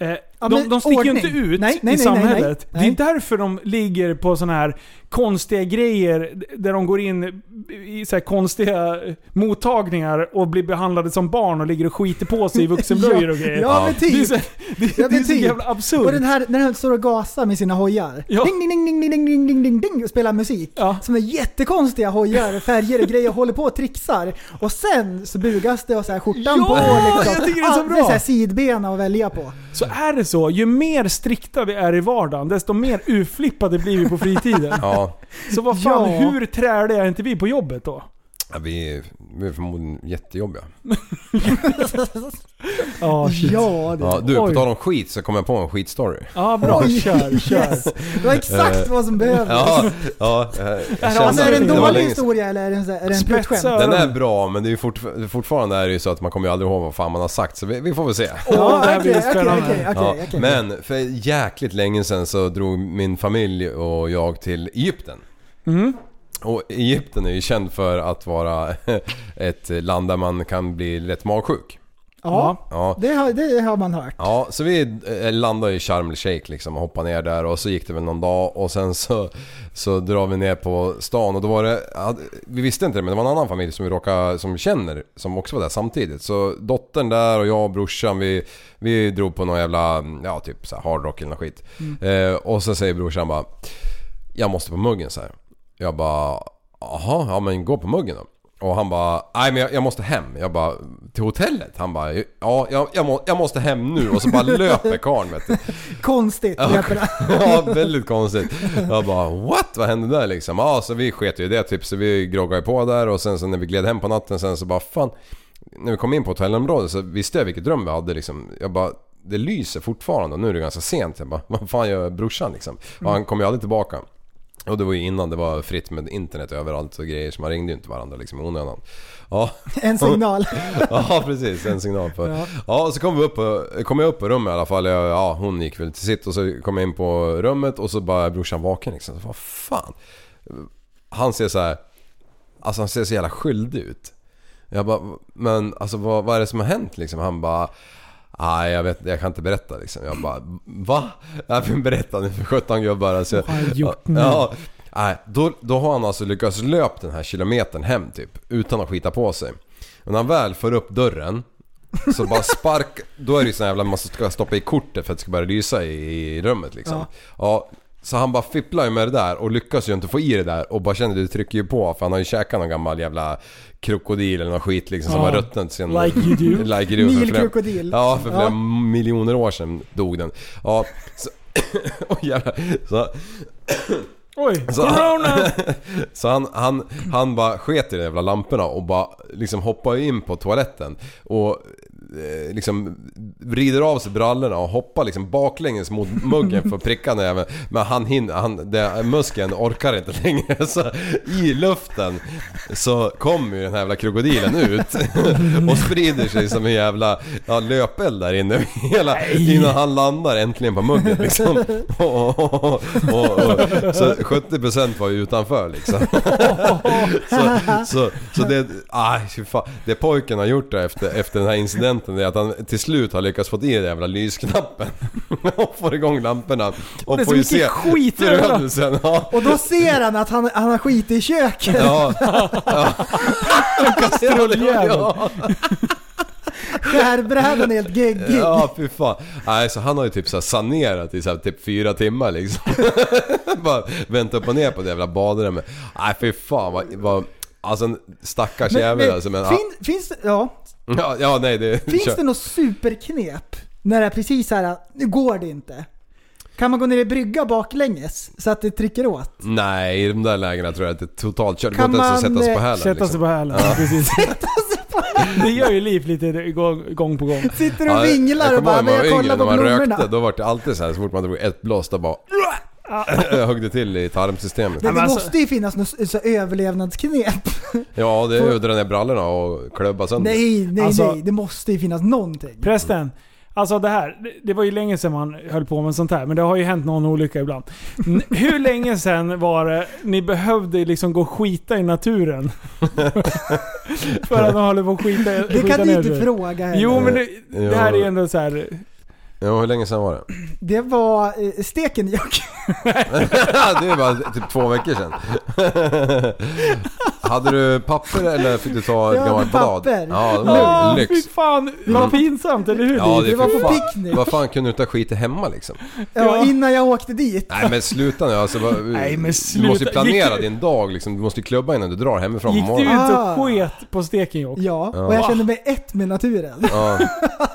Eh, de, men de sticker ju ordning. inte ut Nej, nej, nej, i nej, samhället. nej. Nej. Det är därför de ligger på såna här konstiga grejer där de går in i så här konstiga mottagningar och blir behandlade som barn och ligger och skiter på sig i vuxenblöjor och grejer. Ja, men Det är typ. så, det, Ja, det är men så typ. jävla Och absurt. den här, när den står och gasar med sina hojar. Ja. Ding, ding, ding, ding, ding, ding, ding, ding, ding, och spelar musik. Ja. Som är jättekonstiga hojar, färger och grejer, och håller på och trixar. Och sen så bugas det och så här skjortan Ja, på. Liksom. jag tycker det är så Allt bra. så här sidbena att välja på. Så är det så. Ju mer strikta vi är i vardagen, desto mer urflippade blir vi på fritiden. Ja. Så vad fan, Ja. hur träliga är inte vi på jobbet då? Ja, vi, är, vi är förmodligen jättejobbiga. Ja, shit. Ja, det. Ja, du, på Oj. tal om skit så kom jag på en skitstory. Ja, bra. Kör, kör. Yes. Det var exakt vad som behövdes. Ja, ja. jag kände Alltså, att är det en var dålig länge sedan. historia eller är det en, så här- är det en Spetsa prutskämt? Den öronen. är bra men det är ju fortfar- fortfarande är det ju så att man kommer ju aldrig ihåg vad fan man har sagt så vi, vi får väl se. Åh, det Ja, här blir okej, okej, spännande. okej, Ja, okej, okej. Men för jäkligt länge sedan så drog min familj och jag till Egypten. Och Egypten är ju känd för att vara ett land där man kan bli lätt magsjuk. Ja, Ja, det har, det har man hört. Ja, så vi eh, landade i Sharm el Sheikh liksom och hoppade ner där och så gick det väl någon dag och sen så, så drar vi ner på stan och då var det, hade- vi visste inte det men det var en annan familj som vi råkade, som känner som också var där samtidigt. Så dottern där och jag och brorsan vi, vi drog på någon jävla, ja typ så här hard rock eller något skit. Eh, och så säger brorsan bara jag måste på muggen så här. Jag bara, jaha, ja men gå på muggen då. Och han bara, nej men jag, jag måste hem. Jag bara, till hotellet? Han bara, ja jag, jag, må, jag måste hem nu. Och så bara löper karln vet du. Konstigt. Ja, löper det. ja, väldigt konstigt. Jag bara what? Vad hände där liksom? Ja, så vi sket ju i det typ så vi groggade på där och sen så när vi gled hem på natten sen så bara fan. När vi kom in på hotellområdet så visste jag vilket rum vi hade liksom. Jag bara det lyser fortfarande och nu är det ganska sent. Jag bara vad fan gör brorsan liksom? Och han kom ju aldrig tillbaka. Och det var ju innan det var fritt med internet överallt och grejer så man ringde ju inte varandra liksom i onödan. Ja. En signal. ja precis, en signal. På. Ja. Ja. och så kom, vi upp på, kom jag upp på rummet i alla fall. Jag, ja, hon gick väl till sitt och så kom jag in på rummet och så bara är brorsan vaken liksom. Så, vad fan? Han ser så här. Alltså han ser så jävla skyldig ut. Jag bara, men alltså vad, vad är det som har hänt liksom? Han bara, nej jag vet jag kan inte berätta liksom. Jag bara, va? Nej men berätta nu för sjutton gubbar. Alltså, vad har jag gjort nu? Ja, nej, då, då har han alltså lyckats löpt den här kilometern hem typ, utan att skita på sig. Men när han väl får upp dörren så bara spark, då är det ju sån jävla man ska stoppa i kortet för att det ska börja lysa i, i rummet liksom. Ja. Ja. så han bara fipplar ju med det där och lyckas ju inte få i det där och bara känner det trycker ju på för han har ju käkat någon gammal jävla krokodil eller någon skit liksom som Ja. har ruttnat sen... Like you do. Like you do. för flera- Nilkrokodil. Ja, för flera Ja. miljoner år sedan dog den. Ja, så... Oj jävlar. Så... Oj, Så corona! han, så han, han, han bara sket i de jävla lamporna och bara liksom hoppar in på toaletten och eh, liksom vrider av sig brallorna och hoppar liksom baklänges mot muggen för att pricka den jäveln. Men han hinner, han, det, muskeln orkar inte längre så i luften så kommer ju den här jävla krokodilen ut och sprider sig som en jävla ja, löpeld där inne hela, innan han landar äntligen på muggen liksom. Och, och, och, och, och, så 70% var ju utanför liksom. Så, så, så det, aj, fy fan. det pojken har gjort där efter, efter den här incidenten är att han till slut har lyckats få i den jävla lysknappen. Och får igång lamporna. Och det är får så ju mycket se skit i den. förödelsen. Ja. Och då ser han att han, han har skit i köket. Ja. ja. Strulljävel. Skärbrädan är helt geggig. Ja, fy fan. Nej, så han har ju typ så här sanerat i så här typ fyra timmar liksom. Bara vänt upp och ner på det jävla badrummet. Nej, fy fan vad... vad alltså en stackars jävel alltså. Men, fin, finns, ja, ja, ja, nej det... finns kör. det något superknep när det är precis så här, nu går det inte? Kan man gå ner i brygga baklänges så att det trycker åt? Nej, i de där lägena tror jag att det är totalt kört. Det går Kan inte ens att man, sätta sig på eh, hälen. sätta liksom. sig på hälen, precis. Det gör ju liv lite gång, gång på gång. Sitter Ja, och jag vinglar kommer och bara ihåg när men man var yngre, när jag kollar på man blommorna. rökte, då var det alltid så här så fort man drog ett blås då bara... högg det till i tarmsystemet. Men det alltså- måste ju finnas något så- så överlevnadsknep. Ja, det är ju att dra ner brallorna och klubba sönder. Nej, nej, Alltså- nej. Det måste ju finnas någonting. Prästen. Alltså det här, det- det var ju länge sedan man höll på med sånt här, men det har ju hänt någon olycka ibland. N- Hur länge sedan var det ni behövde liksom gå och skita i naturen? För att de håller på att skita Det skita kan du ner inte sig. fråga heller. Jo men det, det här Jo. är ändå så här. Ja, hur länge sedan var det? Det var eh, Stekenjokk. det var typ två veckor sedan. Hade du papper eller fick du ta ett Jag gammalt hade blad? papper. Ja, det Ah, var lyx. fy fan vad pinsamt, eller hur? Ja, Liv? är för fan- Vad fan kunde du inte ha skit i hemma liksom? Ja, innan jag åkte dit. Nej men sluta nu alltså, vad- Nej, men Du sluta. måste ju planera Gick- din dag liksom. Du måste ju klubba innan du drar hemifrån Gick på du morgonen. ut Ah. och sket på Stekenjokk? Ja, Ja. och jag kände mig ett med naturen. Ja. Så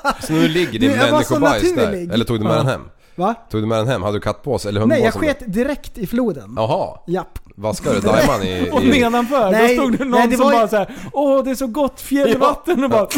Alltså, nu ligger din Du, jag var så människobajs där. naturlig. Eller tog du med Ja. den hem? Va? Tog du med den hem? Hade du kattpåse eller Nej, hundpåse? jag sket direkt i floden. Jaha. Japp. Vaskade du dimman i... Och i... nedanför, Nej, då stod det någon nej, det som var ju- bara såhär Åh, det är så gott fjällvatten och bara...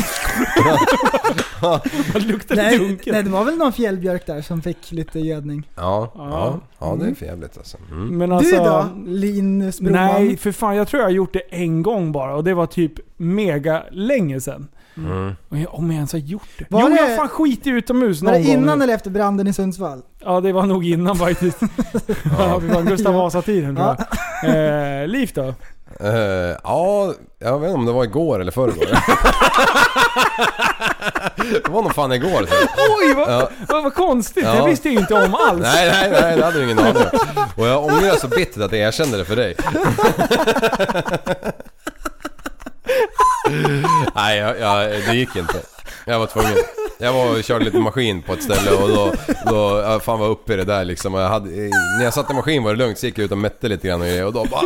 det luktar lite Nej, unket. nej, det var väl någon fjällbjörk där som fick lite gödning. Ja, ja, ja, det är för jävligt alltså. Mm. Men alltså, du då? Linus Broman? Nej, för fan. Jag tror jag har gjort det en gång bara och det var typ mega länge sedan. Mm. Och jag, om jag ens har gjort det. Var jo, det- jag har fan skit utomhus Var någon det innan gång. eller efter branden i Sundsvall? Ja, det var nog innan faktiskt. ja. det var Gustav Vasa-tiden tror jag. Eh, Liv då? Eh, ja, jag vet inte om det var igår eller förrgår. det var nog fan igår. tror jag. Oj, vad, Ja. vad, vad konstigt. Ja. Det visste jag ju inte om alls. Nej, nej, nej, det hade du ingen aning om. Och jag ångrar så bittert att jag erkände det för dig. nej, jag, jag, det gick inte. Jag var tvungen. Jag var och körde lite maskin på ett ställe och då, då jag fan var uppe i det där liksom. Och Jag hade, eh, när jag satt i maskin var det lugnt, så gick jag ut och mätte lite grann och, grejer. och då bara...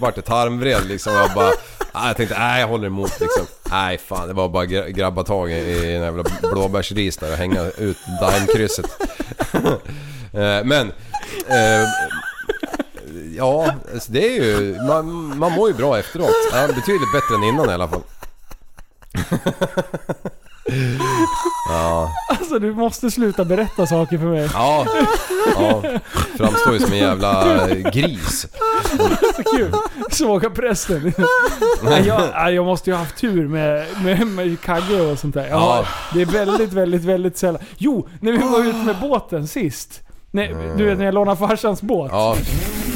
Vart det tarmvred liksom och jag bara... Nej, jag tänkte, nej jag håller emot liksom. Nej fan, det var bara gra- grabba tag i, i den jävla blåbärsris där och hänga ut daimkrysset. Eh, Men... eh, Ja, alltså det är ju... Man, man mår ju bra efteråt. Ja, betydligt bättre än innan i alla fall. Ja, Alltså du måste sluta berätta saker för mig. ja, ja. Framstår ju som en jävla gris. Så kul. Såga prästen. Nej, jag, nej, jag måste ju ha haft tur med, med, med Kagge och sånt där. Jag har, Ja. Det är väldigt, väldigt, väldigt sällan. Jo, när vi var ute med båten sist. Nej, du vet när jag lånade farsans båt. Ja.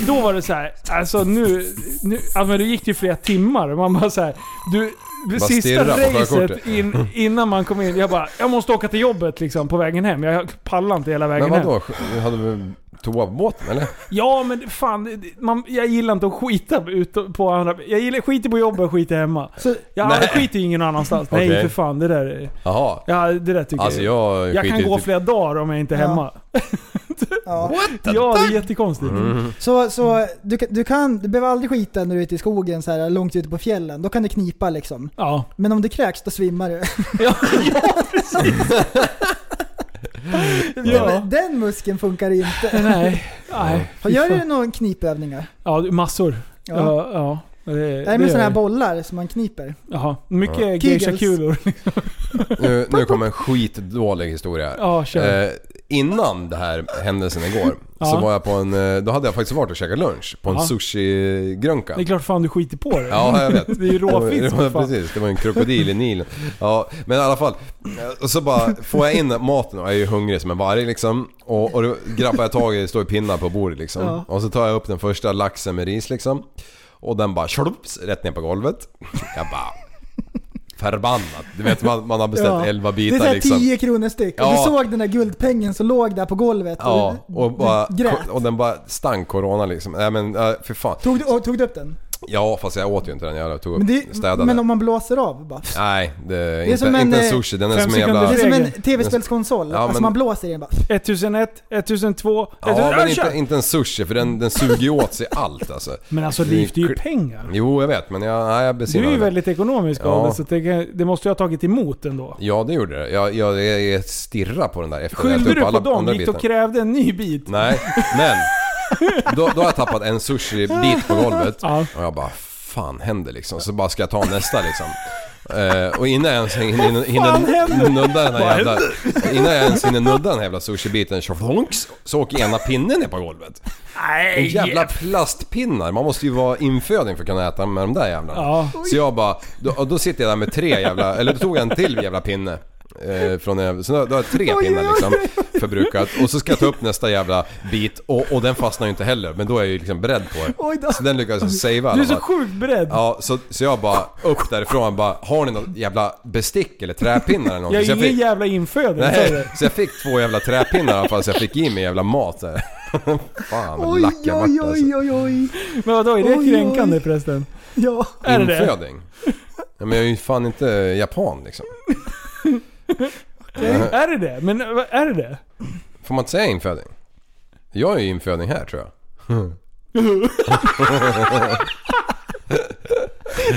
Då var det så här, alltså nu... nu alltså, men det gick ju flera timmar. Man bara så här, du, Bara sista stirra på racet förkortet. in, innan man kom in. Jag bara, jag måste åka till jobbet liksom på vägen hem. Jag pallar inte hela vägen Men hem. vadå? Hade vi toa på båten eller? Ja men fan, det- man, jag gillar inte att skita ut på andra. Jag gillar skiter på jobbet och skiter hemma. jag Nej. skiter ju ingen annanstans. Nej Okej. för fan, det där är- Jaha. Ja, det där tycker Alltså, jag. jag Jag kan skiter gå i- flera dagar om jag inte är hemma. ja, det är jättekonstigt. Mm. Så, så du, kan- du, kan, du behöver aldrig skita när du är ute i skogen så här, långt ute på fjällen. Då kan det knipa liksom. Ja. Men om det kräks då svimmar du. Ja. Den, den muskeln funkar inte. Nej. Nej. Har- Gör du några knipövningar? Ja, massor. Ja. Ja. ja, ja. Det, det Nej med gör sådana här jag. bollar som man kniper. Jaha. Mycket Kegels. geishakulor. Nu, nu kommer en skitdålig historia. Ja, kör. Eh, innan det här händelsen igår så Ja. var jag på en... eh, Då hade jag faktiskt varit och käkat lunch på en Ja. sushi-grönka. Det är klart fan du skiter på det. Ja, jag vet. Det är ju Det råfisk var, för det var, fan. precis, det var en krokodil i Nilen. Ja, men i alla fall. eh, Och så bara får jag in maten och jag är ju hungrig som en varg liksom. Och, och då grappar jag tag i, det står ju pinnar på bordet liksom. Ja. Och så tar jag upp den första laxen med ris liksom. Och den bara tjolups, rätt ner på golvet. Jag bara... Förbannat. Du vet man, man har beställt 11 bitar Det är såhär liksom. 10 kronor styck. Och du Ja. såg den där guldpengen som låg där på golvet. Ja, och, och, bara, du grät. och den bara stank corona liksom. Nej men äh, för fan. Tog, du, och, tog du upp den? Ja fast jag åt ju inte den, jag tog Men, upp, det, städade. men om man blåser av bara. Nej, det är, är inte, som en, inte en eh, sushi. Den är fem som en jävla... Det är som en Regel. tv-spelskonsol. Ja, alltså men- man blåser i den bara. 1001, 1002, 1000... Ja, men Alltså, kör! inte, inte en sushi för den, den suger ju åt sig allt alltså. Men alltså liv, det är ju pengar. Jo, jag vet men jag, nej, jag Du är besinnar ju mig. väldigt ekonomisk av Ja. dig, så det, kan- det måste jag ha tagit emot ändå. Ja, det gjorde det. Jag, jag, jag stirrar på den där efter jag Skyllde ätit du upp på alla dem? andra Gick du bitar. och krävde en ny bit? Nej, men. Då, då har jag tappat en sushi-bit på golvet. Och jag bara, fan händer liksom? Så bara ska jag ta nästa liksom. Eh, och innan jag ens hinner, hinner, Vad fan händer? hinner nudda den här Vad jävla... Innan jag ens hinner nudda den här jävla sushi-biten, tjoflonks, så åker ena pinnen ner på golvet. En jävla plastpinnar. Man måste ju vara inföding för att kunna äta med de där jävlarna. Ja. Så jag bara... Då, och då sitter jag där med tre jävla... Eller då tog jag en till jävla pinne. Eh, från en, jävla- så då, då har jag tre pinnar liksom förbrukat. Och så ska jag ta upp nästa jävla bit och, och den fastnar ju inte heller. Men då är jag ju liksom beredd på det. Oj då. Så den lyckades jag savea i Du är alla så fall. sjukt beredd. alltså. Ja, så, så jag bara upp därifrån bara, har ni något jävla bestick eller träpinnar eller jag någonting? är Så ingen jag fick, jävla inföding, sa du nej, det? så jag fick två jävla träpinnar i alla fall så jag fick i mig jävla mat där. Fan vad Oj, lack jag oj, vart alltså. oj, oj, oj. Men vadå, är Oj, det oj. kränkande förresten? Ja. Är det det? Inföding? Ja, men jag är ju fan inte japan liksom. Är det det? Men vad- är det det? Får man inte säga inföding? Jag är ju inföding här tror jag.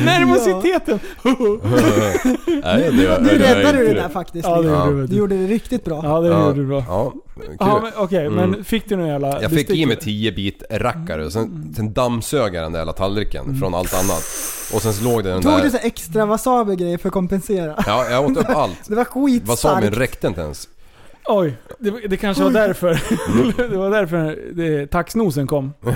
Nervositeten! Nej, Nu, jag- nu jag är räddade du inte det där faktiskt. Ja, det Liv. gjorde du. vet Du du. gjorde det riktigt bra. Ja, det Ja, gjorde du bra. Ja, Ja, kul. Mm. men Okej, men fick du någon jävla Jag fick i mig bestick? 10 bit rackare och sen, sen dammsög jag den där jävla tallriken från allt annat. Och sen så låg det den Tog du där... så här extra wasabi-grejer för att kompensera? Ja, jag åt upp allt. Det var Wasabin skitstarkt. räckte inte ens. Oj, det, det kanske var därför. Mm. det var därför det, taxnosen kom. Ja,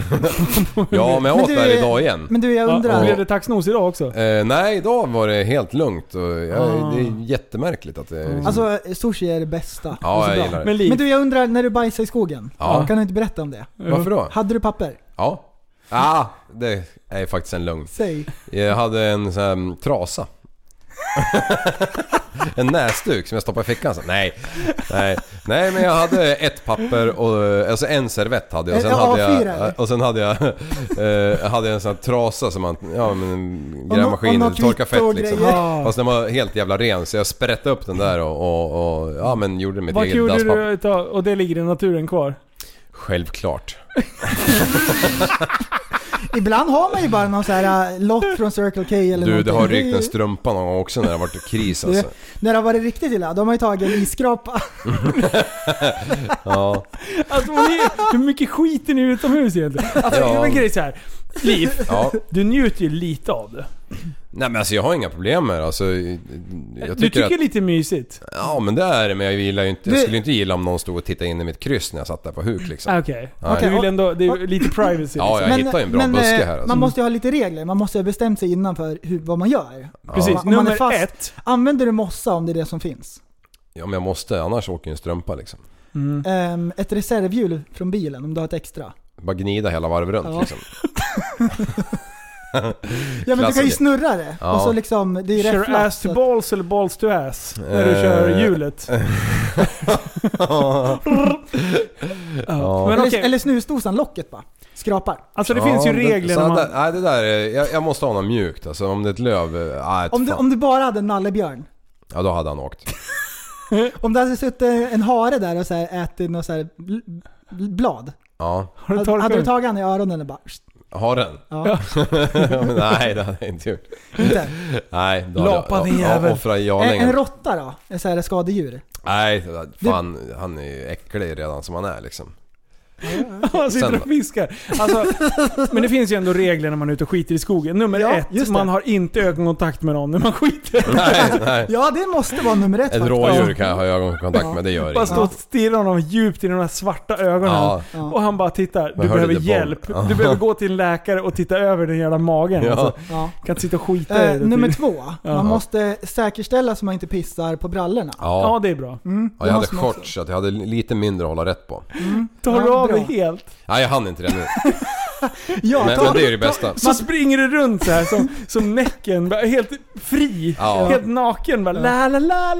men jag Men åt du- där idag igen. Men du, jag Ja, undrar. blev det taxnos idag också? Eh, nej, idag var det helt lugnt och jag, Ah. det är jättemärkligt att det... är Liksom, Alltså sushi är det bästa. Det är så ja, jag bra. gillar det. Men Liv, Men du, jag undrar när du bajsade i skogen. Ja. Kan du inte berätta om det? Varför då? Hade du papper? Ja. Ah, det är faktiskt en lögn. Säg. Jag hade en sån här mm, trasa. en näsduk som jag stoppade i fickan sen. Nej. Nej. Nej men jag hade ett papper och eh, alltså en servett hade jag. Och sen En hade A4 eller? jag, och sen hade jag, eh, hade jag en sån här trasa som man ja, men, Och nå- och grävmaskinen något torkar kvitto och fett liksom. grejer. Fast den var helt jävla ren så jag sprättade upp den där och, och, och ja, men gjorde mitt vad eget gjorde dasspapper. du utav, och det ligger i naturen kvar? Självklart. Ibland har man ju bara någon så här äh, lott från Circle K eller Du, det någonting. har rykt en strumpa någon gång också när det har varit kris Du, alltså. När det har varit riktigt illa, då har man ju tagit en isskrapa. Ja. Alltså man är, hur mycket skiter ni utomhus egentligen? Alltså Ja. ja. en grej så här. Liv, Ja. du njuter ju lite av det. Nej men alltså jag har inga problem med det alltså, jag du tycker att- det är lite mysigt? Ja men det är det, men jag gillar ju inte... Jag Du- skulle inte gilla om någon stod och tittade in i mitt kryss när jag satt där på huk liksom. Ah, Okej. Nej. Du vill ändå, det är ju lite privacy. Ja, jag hittar ju en bra men, buske eh, här alltså. Man måste ju ha lite regler. Man måste ju ha bestämt sig innan för hur, vad man gör. Precis, Om man- om man är nummer fast- ett. Använder du mossa om det är det som finns? Ja men jag måste, annars åker ju en strumpa liksom. Ehm, ett reservhjul från bilen om du har ett extra. Bara gnida hela varvet runt Ja. liksom. Ja men du kan ju Klassiker. snurra det. Ja. Och så liksom, det är ju rätt Kör flatt, ass så to att- balls eller balls to ass? När du kör Eh. hjulet. ja. Ja. Men eller, okej. eller snusdosan, locket bara. Skrapar. Alltså Ja, det- så Där, nej det där, är- jag, jag måste ha något mjukt alltså. Om det är ett löv, eh, nej Om du, fan. om du bara hade en nallebjörn. Ja då hade han åkt. Om det hade suttit en hare där och så här ätit något så här bl- bl- blad. Ja. Hade, hade du tagit han i öronen och bara... "Psst." Har den? Ja. Men nej det hade jag inte gjort. Inte? Nej, då Lapan hade din jag jävel. ja, offrat En, en jarlingen. råtta då? En så här skadedjur? Nej, fan han är ju äcklig redan som han är liksom. Han Sen sitter då? och fiskar. Alltså, men det finns ju ändå regler när man är ute och skiter i skogen. Nummer ett, man har inte ögonkontakt med någon när man skiter. Nej, nej. Ja, det måste vara nummer ett Ett faktiskt. rådjur kan jag ha ögonkontakt med, det gör Bara inget. stå och stirra honom djupt i de här svarta ögonen. Ja. Och han bara tittar. Du hörde behöver det, Bob? hjälp. Ja. Du behöver gå till en läkare och titta över den jävla magen. Ja. Alltså, Ja. Kan inte sitta och skita i Eh, det. nummer typ. två, Ja. man måste säkerställa så man inte pissar på brallorna. Ja. Ja, det är bra. Mm, Ja, det jag hade måste man shorts så att jag hade lite mindre att hålla rätt på. Tar du Ja, av bra. dig helt? Nej jag hann inte det nu. Ja, men, ta- men det är ju det bästa. Så springer du runt så här som, som Näcken. bara Helt fri. Ja. Helt naken. Bara, la, la, la,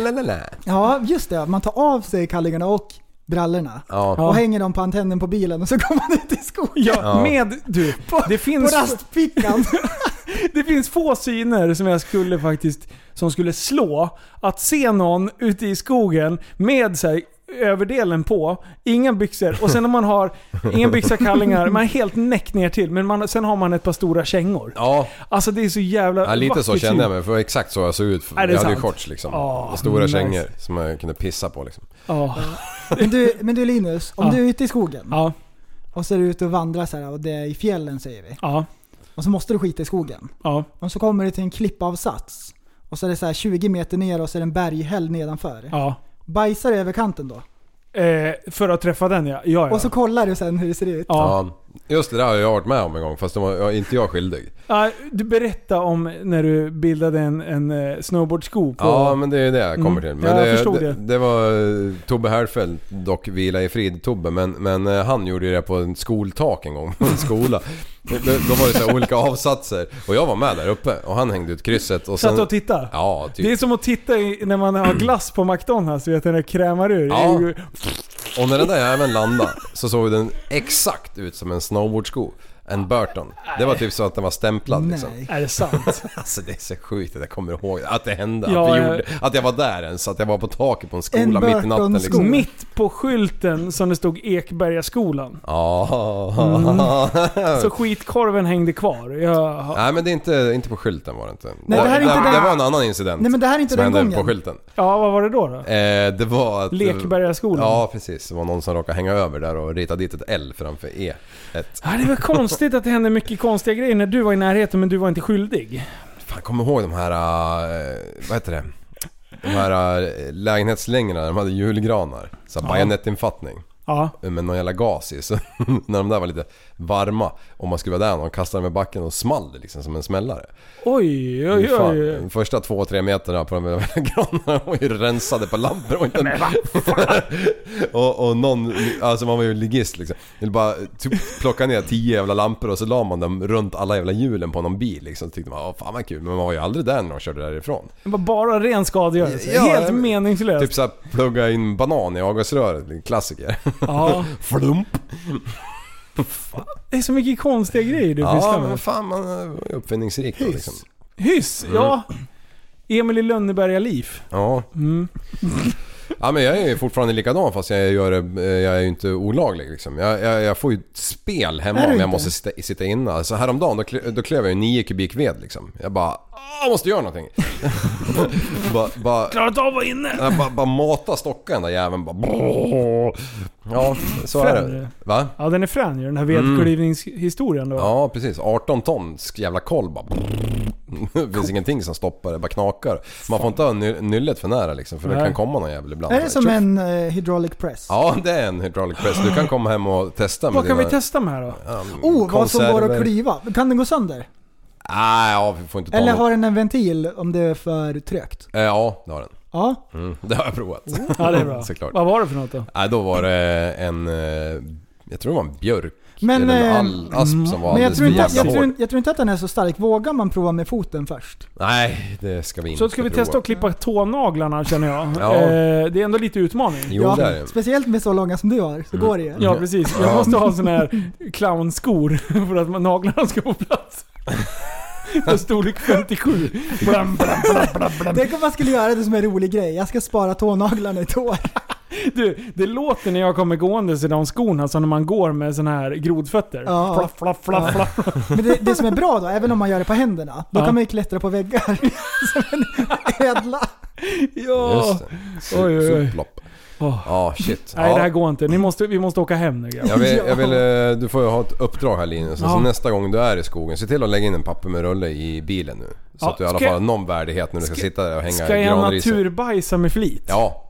la, la. Ja, just det. Man tar av sig kallingarna och brallorna. Ja. Och hänger dem på antennen på bilen och så går man ut i skogen. Ja, med du. det finns... på rastfickan. det finns få syner som jag skulle faktiskt... Som skulle slå. Att se någon ute i skogen med så här, överdelen på, inga byxor och sen om man har inga byxor, kallingar, man är helt näck ner till men man, sen har man ett par stora kängor. Ja. Alltså det är så jävla Ja, lite så vackert kände jag syn. mig, för det var exakt så jag såg ut. Är det jag hade sant? ju shorts liksom. Åh, Stora nice. kängor som jag kunde pissa på liksom. Ja. Men, du, men du Linus, om Ja. du är ute i skogen Ja. och så är du ute och vandrar så här, och det är i fjällen säger vi. Ja. Och så måste du skita i skogen. Ja. Och så kommer du till en klippavsats. Och så är det så här 20 meter ner och så är det en berghäll nedanför. Ja. Bajsar du över kanten då? Eh, för att träffa den ja. ja, ja. Och så kollar du sen hur det ser ut. Ja. Just det där har jag varit med om en gång, fast det var jag, inte jag skyldig. Ja, Ah, du berättade om när du bildade en, en eh, snowboardsko på... Ja men det är det jag kommer till. Mm. Men ja, det, jag förstod det, det. det var eh, Tobbe Härfeld, dock vila i frid Tobbe, men, men eh, han gjorde ju det på en skoltak en gång, på en skola. Då då var det så här olika avsatser och jag var med där uppe och han hängde ut krysset och sen... Satt och tittade? Ja, typ. Det är som att titta i, när man har glass på McDonalds, du vet den där krämar ur. Ja. Och när den där jäveln landade så såg den exakt ut som en snowboardsko. En Burton. Det var typ så att den var stämplad liksom. Är det sant? Alltså det är så sjukt att jag kommer ihåg att det hände. Ja, att, vi jag- gjorde, att jag var där ens. Att jag var på taket på en skola mitt i natten liksom. Mitt på skylten som det stod Ekbergaskolan. Ja. Mm. Så skitkorven hängde kvar. Jag har- Nej men det är inte, inte på skylten var det inte. Nej, det här är inte det, den- var en annan incident. Nej, men det här är inte som den hände gången. på skylten. Ja, vad var det då? då? Eh, det var att... Lekbergaskolan. Ja precis. Det var någon som råkade hänga över där och rita dit ett L framför E. Ett. Ja, det var konstigt att det hände mycket konstiga grejer när du var i närheten men du var inte skyldig. Fan, kom ihåg de här... eh, vad heter det? De här eh, lägenhetslängorna, de hade julgranar. Så här Ja. bajonettinfattning. Ja. Med någon jävla gas i. Så när de där var lite varma och man skulle vara där och de kastade dem i backen och small det liksom som en smällare. Oj, oj, Fy fan, oj. oj. De första två, tre meterna på de där granarna var ju rensade på lampor och inte... och, och någon, alltså man var ju ligist liksom. Vill bara typ plocka ner tio jävla lampor och så la man dem runt alla jävla hjulen på någon bil liksom. Tyckte man, åh fan vad kul. Men man var ju aldrig där när de körde därifrån. Det var bara ren skadegörelse. Ja, Helt men- meningslöst. Typ såhär plugga in banan i avgasröret, en klassiker. Ja. Flump. Det är så mycket konstiga grejer du Ja, pysslar med. men fan man var ju uppfinningsrik då Hyss. liksom. Hyss, Mm. ja. Emil i Lönneberga Liv. Ja. Mm. Ja, men jag är ju fortfarande likadan fast jag, gör, det- eh, jag är ju inte olaglig liksom. jag, jag, jag får ju ett spel hemma Är du om jag inte? måste sitta, sitta inne. Så häromdagen då, klö- då klöv jag ju 9 kubik ved liksom. Jag bara, "Ah, jag måste göra någonting. bara, bara, Klarat av att vara inne. jag bara, bara mata stocken den där jäveln bara. Ja, så är Frän ju. det. Va? Ja, den är frän ju. Den här Mm. vedklyvningshistorien då. Ja, precis. 18 ton sk- jävla koll bara. Det finns ingenting som stoppar det, bara knakar. Man får inte ha ny- nyllet för nära liksom för det Nej. kan komma någon jävel ibland. Är det som en eh, hydraulic press? Ja, det är en hydraulic press. Du kan komma hem och testa med Vad kan dina- vi testa med då? Um, Oh, vad som går att konserver. klyva. Kan den gå sönder? Nej, ja, vi får inte ta Eller något. har den en ventil om det är för trögt? Eh, Ja, det har den. Ja. Mm, det har jag provat. Ja, det är bra. Såklart. Vad var det för något då? Nej, då var det en... eh, Jag tror det var en björk Men, eller en eh, all, asp som var Men jag alldeles tror, inte, för jag, jävla tror, hård. inte- jag tror inte att den är så stark. Vågar man prova med foten först? Nej, det ska vi inte Så ska vi prova. testa att klippa tånaglarna känner jag. Ja. Eh, det är ändå lite utmaning. Jo, Ja, det är det. Mm. Speciellt med så långa som du har, så går det ju. Ja precis. Jag Ja. måste ha såna här clownskor för att naglarna ska få plats. För storlek 57. Blam, blam, blam, blam, blam. Tänk om man skulle göra det som en rolig grej. Jag ska spara tånaglarna i ett år. Du, det låter när jag kommer gående i de skorna som när man går med såna här grodfötter. Ja. Flaff, flaff, flaff, Ja. flaff. Men det, det som är bra då, även om man gör det på händerna, då Ja. kan man ju klättra på väggar som en ödla. Ja. Oj, oj, oj. Suplopp. Åh. Ja, shit. Nej ja. det här går inte. Ni måste, vi måste åka hem nu grabbar. Jag vill, jag vill, eh, du får ju ha ett uppdrag här Linus. Alltså Ja. nästa gång du är i skogen, se till att lägga in en papper med rulle i bilen nu. Så Ja, att du i alla ska fall har jag- någon värdighet när du ska, sitta där och hänga Ska i jag granrisen. naturbajsa med flit? Ja.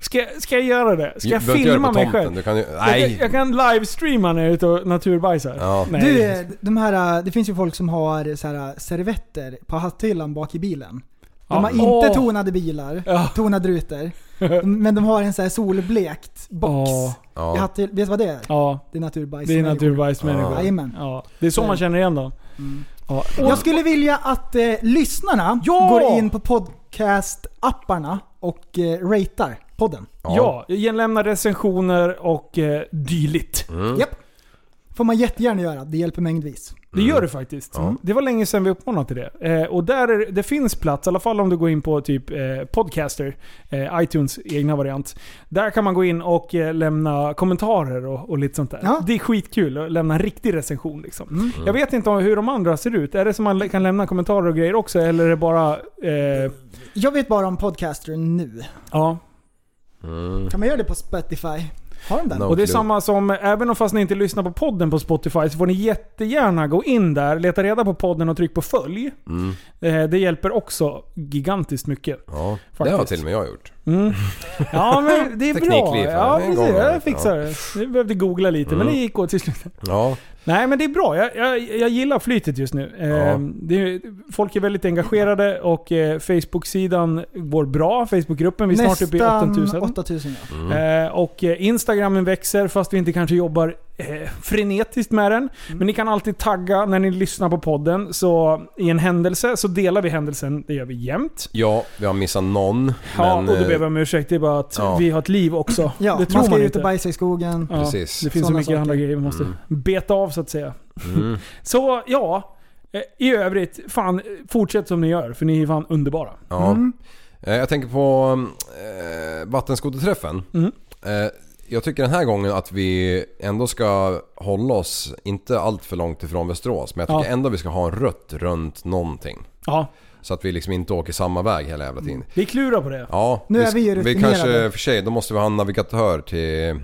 Ska, ska jag göra det? Ska Du jag behöver inte göra filma det på mig tomten, själv? du kan ju- Jag- nej. Jag, kan livestreama när jag är ute och naturbajsar. Ja. Nej. Du, eh, de här, eh, det finns ju folk som har så här eh, servetter på hatthyllan bak i bilen. De Ja. har inte Åh. tonade bilar, tonade rutor. Men de har en så här solblekt box. Ja. I hatthyll- vet du vad det är? Ja. Det är naturbajs. Det är naturbajsmänniskor. Jajamän. Ja. Det är så man känner igen dem. Ja. Jag skulle vilja att eh, lyssnarna går in på podcast-apparna och eh, ratear podden. Ja, igenlämna recensioner och eh, dylikt. Japp. får man jättegärna göra. Det hjälper mängdvis. Det gör det faktiskt. Ja. Det var länge sedan vi uppmanade till det. Eh, och där är, det finns plats, i alla fall om du går in på typ eh, Podcaster, eh, iTunes egna variant. Där kan man gå in och eh, lämna kommentarer och, och lite sånt där. Det är skitkul att lämna en riktig recension. Liksom. Jag vet inte om hur de andra ser ut. Är det som man lä- kan lämna kommentarer och grejer också, eller är det bara... Eh, Jag vet bara om Podcaster nu. ja. Kan man göra det på Spotify? Har de den? och det är samma som, även om fast ni inte lyssnar på podden på Spotify så får ni jättegärna gå in där, leta reda på podden och tryck på följ. Mm. Eh, Det hjälper också gigantiskt mycket. Ja, det har Faktiskt. till och med jag gjort. Mm. Ja men det är bra. Teknikliv, Ja, en precis, gång. jag fixar Ja. det. Jag behövde googla lite men Mm. det gick åt till slut. Ja. Nej men det är bra. Jag, jag, jag gillar flytet just nu. Eh, Ja. det är, folk är väldigt engagerade och eh, Facebook-sidan går bra. Facebookgruppen, vi är snart uppe i 8000. 8000 ja. Mm. Eh, och eh, Instagramen växer fast vi inte kanske jobbar eh, frenetiskt med den. Mm. Men ni kan alltid tagga när ni lyssnar på podden. Så i en händelse så delar vi händelsen, det gör vi jämt. Ja, vi har missat någon. Ja, men, och då eh, ber jag om ursäkt. Det är bara att ja. vi har ett liv också. Ja, det man tror ska man ut inte. och bajsa i skogen. Ja, Precis. Det finns så Sådana mycket saker. andra grejer vi måste Mm. beta av så att säga. Mm. Så ja, eh, i övrigt, fan eh, fortsätt som ni gör för ni är fan underbara. Ja. Mm. Eh, Jag tänker på eh, vattenskoterträffen. Mm. Eh, jag tycker den här gången att vi ändå ska hålla oss, inte allt för långt ifrån Västerås, men jag tycker Ja. ändå vi ska ha en rutt runt någonting. Ja. Så att vi liksom inte åker samma väg hela jävla tiden. Vi klurar på det. Ja, Nu är vi ju Vi rutinerade. kanske, för sig, då måste vi ha en navigatör till,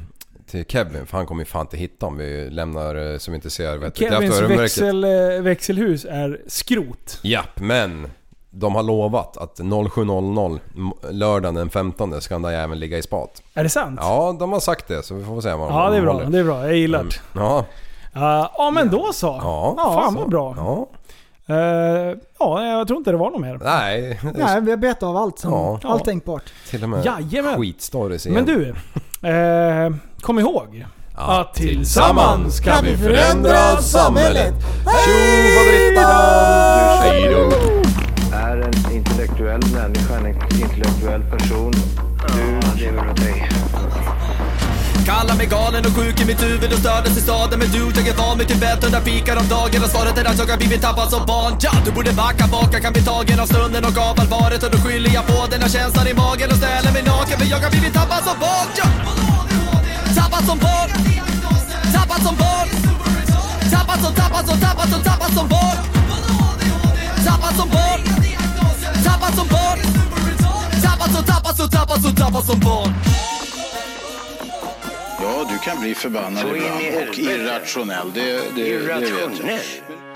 till Kevin för han kommer ju fan inte hitta om vi lämnar eh, som inte ser vettigt Kevins efter öronmärket. växel, eh, växelhus är skrot. Japp, men de har lovat att 07.00 m- lördagen den 15 ska den där jäveln ligga i spat. Är det sant? Ja, de har sagt det så vi får väl se vad de Ja, det är bra. håller. Det är bra. Jag gillar Mm, det. Ja. Ja, ja, men då så. Ja, Fan så. vad bra. Ja. Eh, ja, jag tror inte det var något mer. Nej. Nej, vi har bett av allt, som, Ja. allt tänkbart. Till och med Jajamän. skitstories Men igen. du, eh, kom ihåg Ja, att tillsammans kan vi förändra samhället. Tjo faderittan! Hej då! Är en intellektuell människa en intellektuell person. Du lever av dig. Kallar mig galen och sjuk i mitt huvud och stördes i staden Men du, jag är van vid Tibet under fikar om dagen och svaret är att jag har blivit tappad som barn ja, Du borde backa bak, jag kan bli tagen av stunden och av allvaret och då skyller jag på den här känslan i magen och ställer mig naken för jag har blivit tappad som barn ja. Tappad som barn Tappad som barn Tappad som, tappad som, tappad som, tappad som barn Tappad som barn Tappad som barn Tappad som, tappad som, tappad som, tappad som barn Ja, du kan bli förbannad Så in i ibland och helvete. irrationell. Det, det, det vet jag. Irrationell?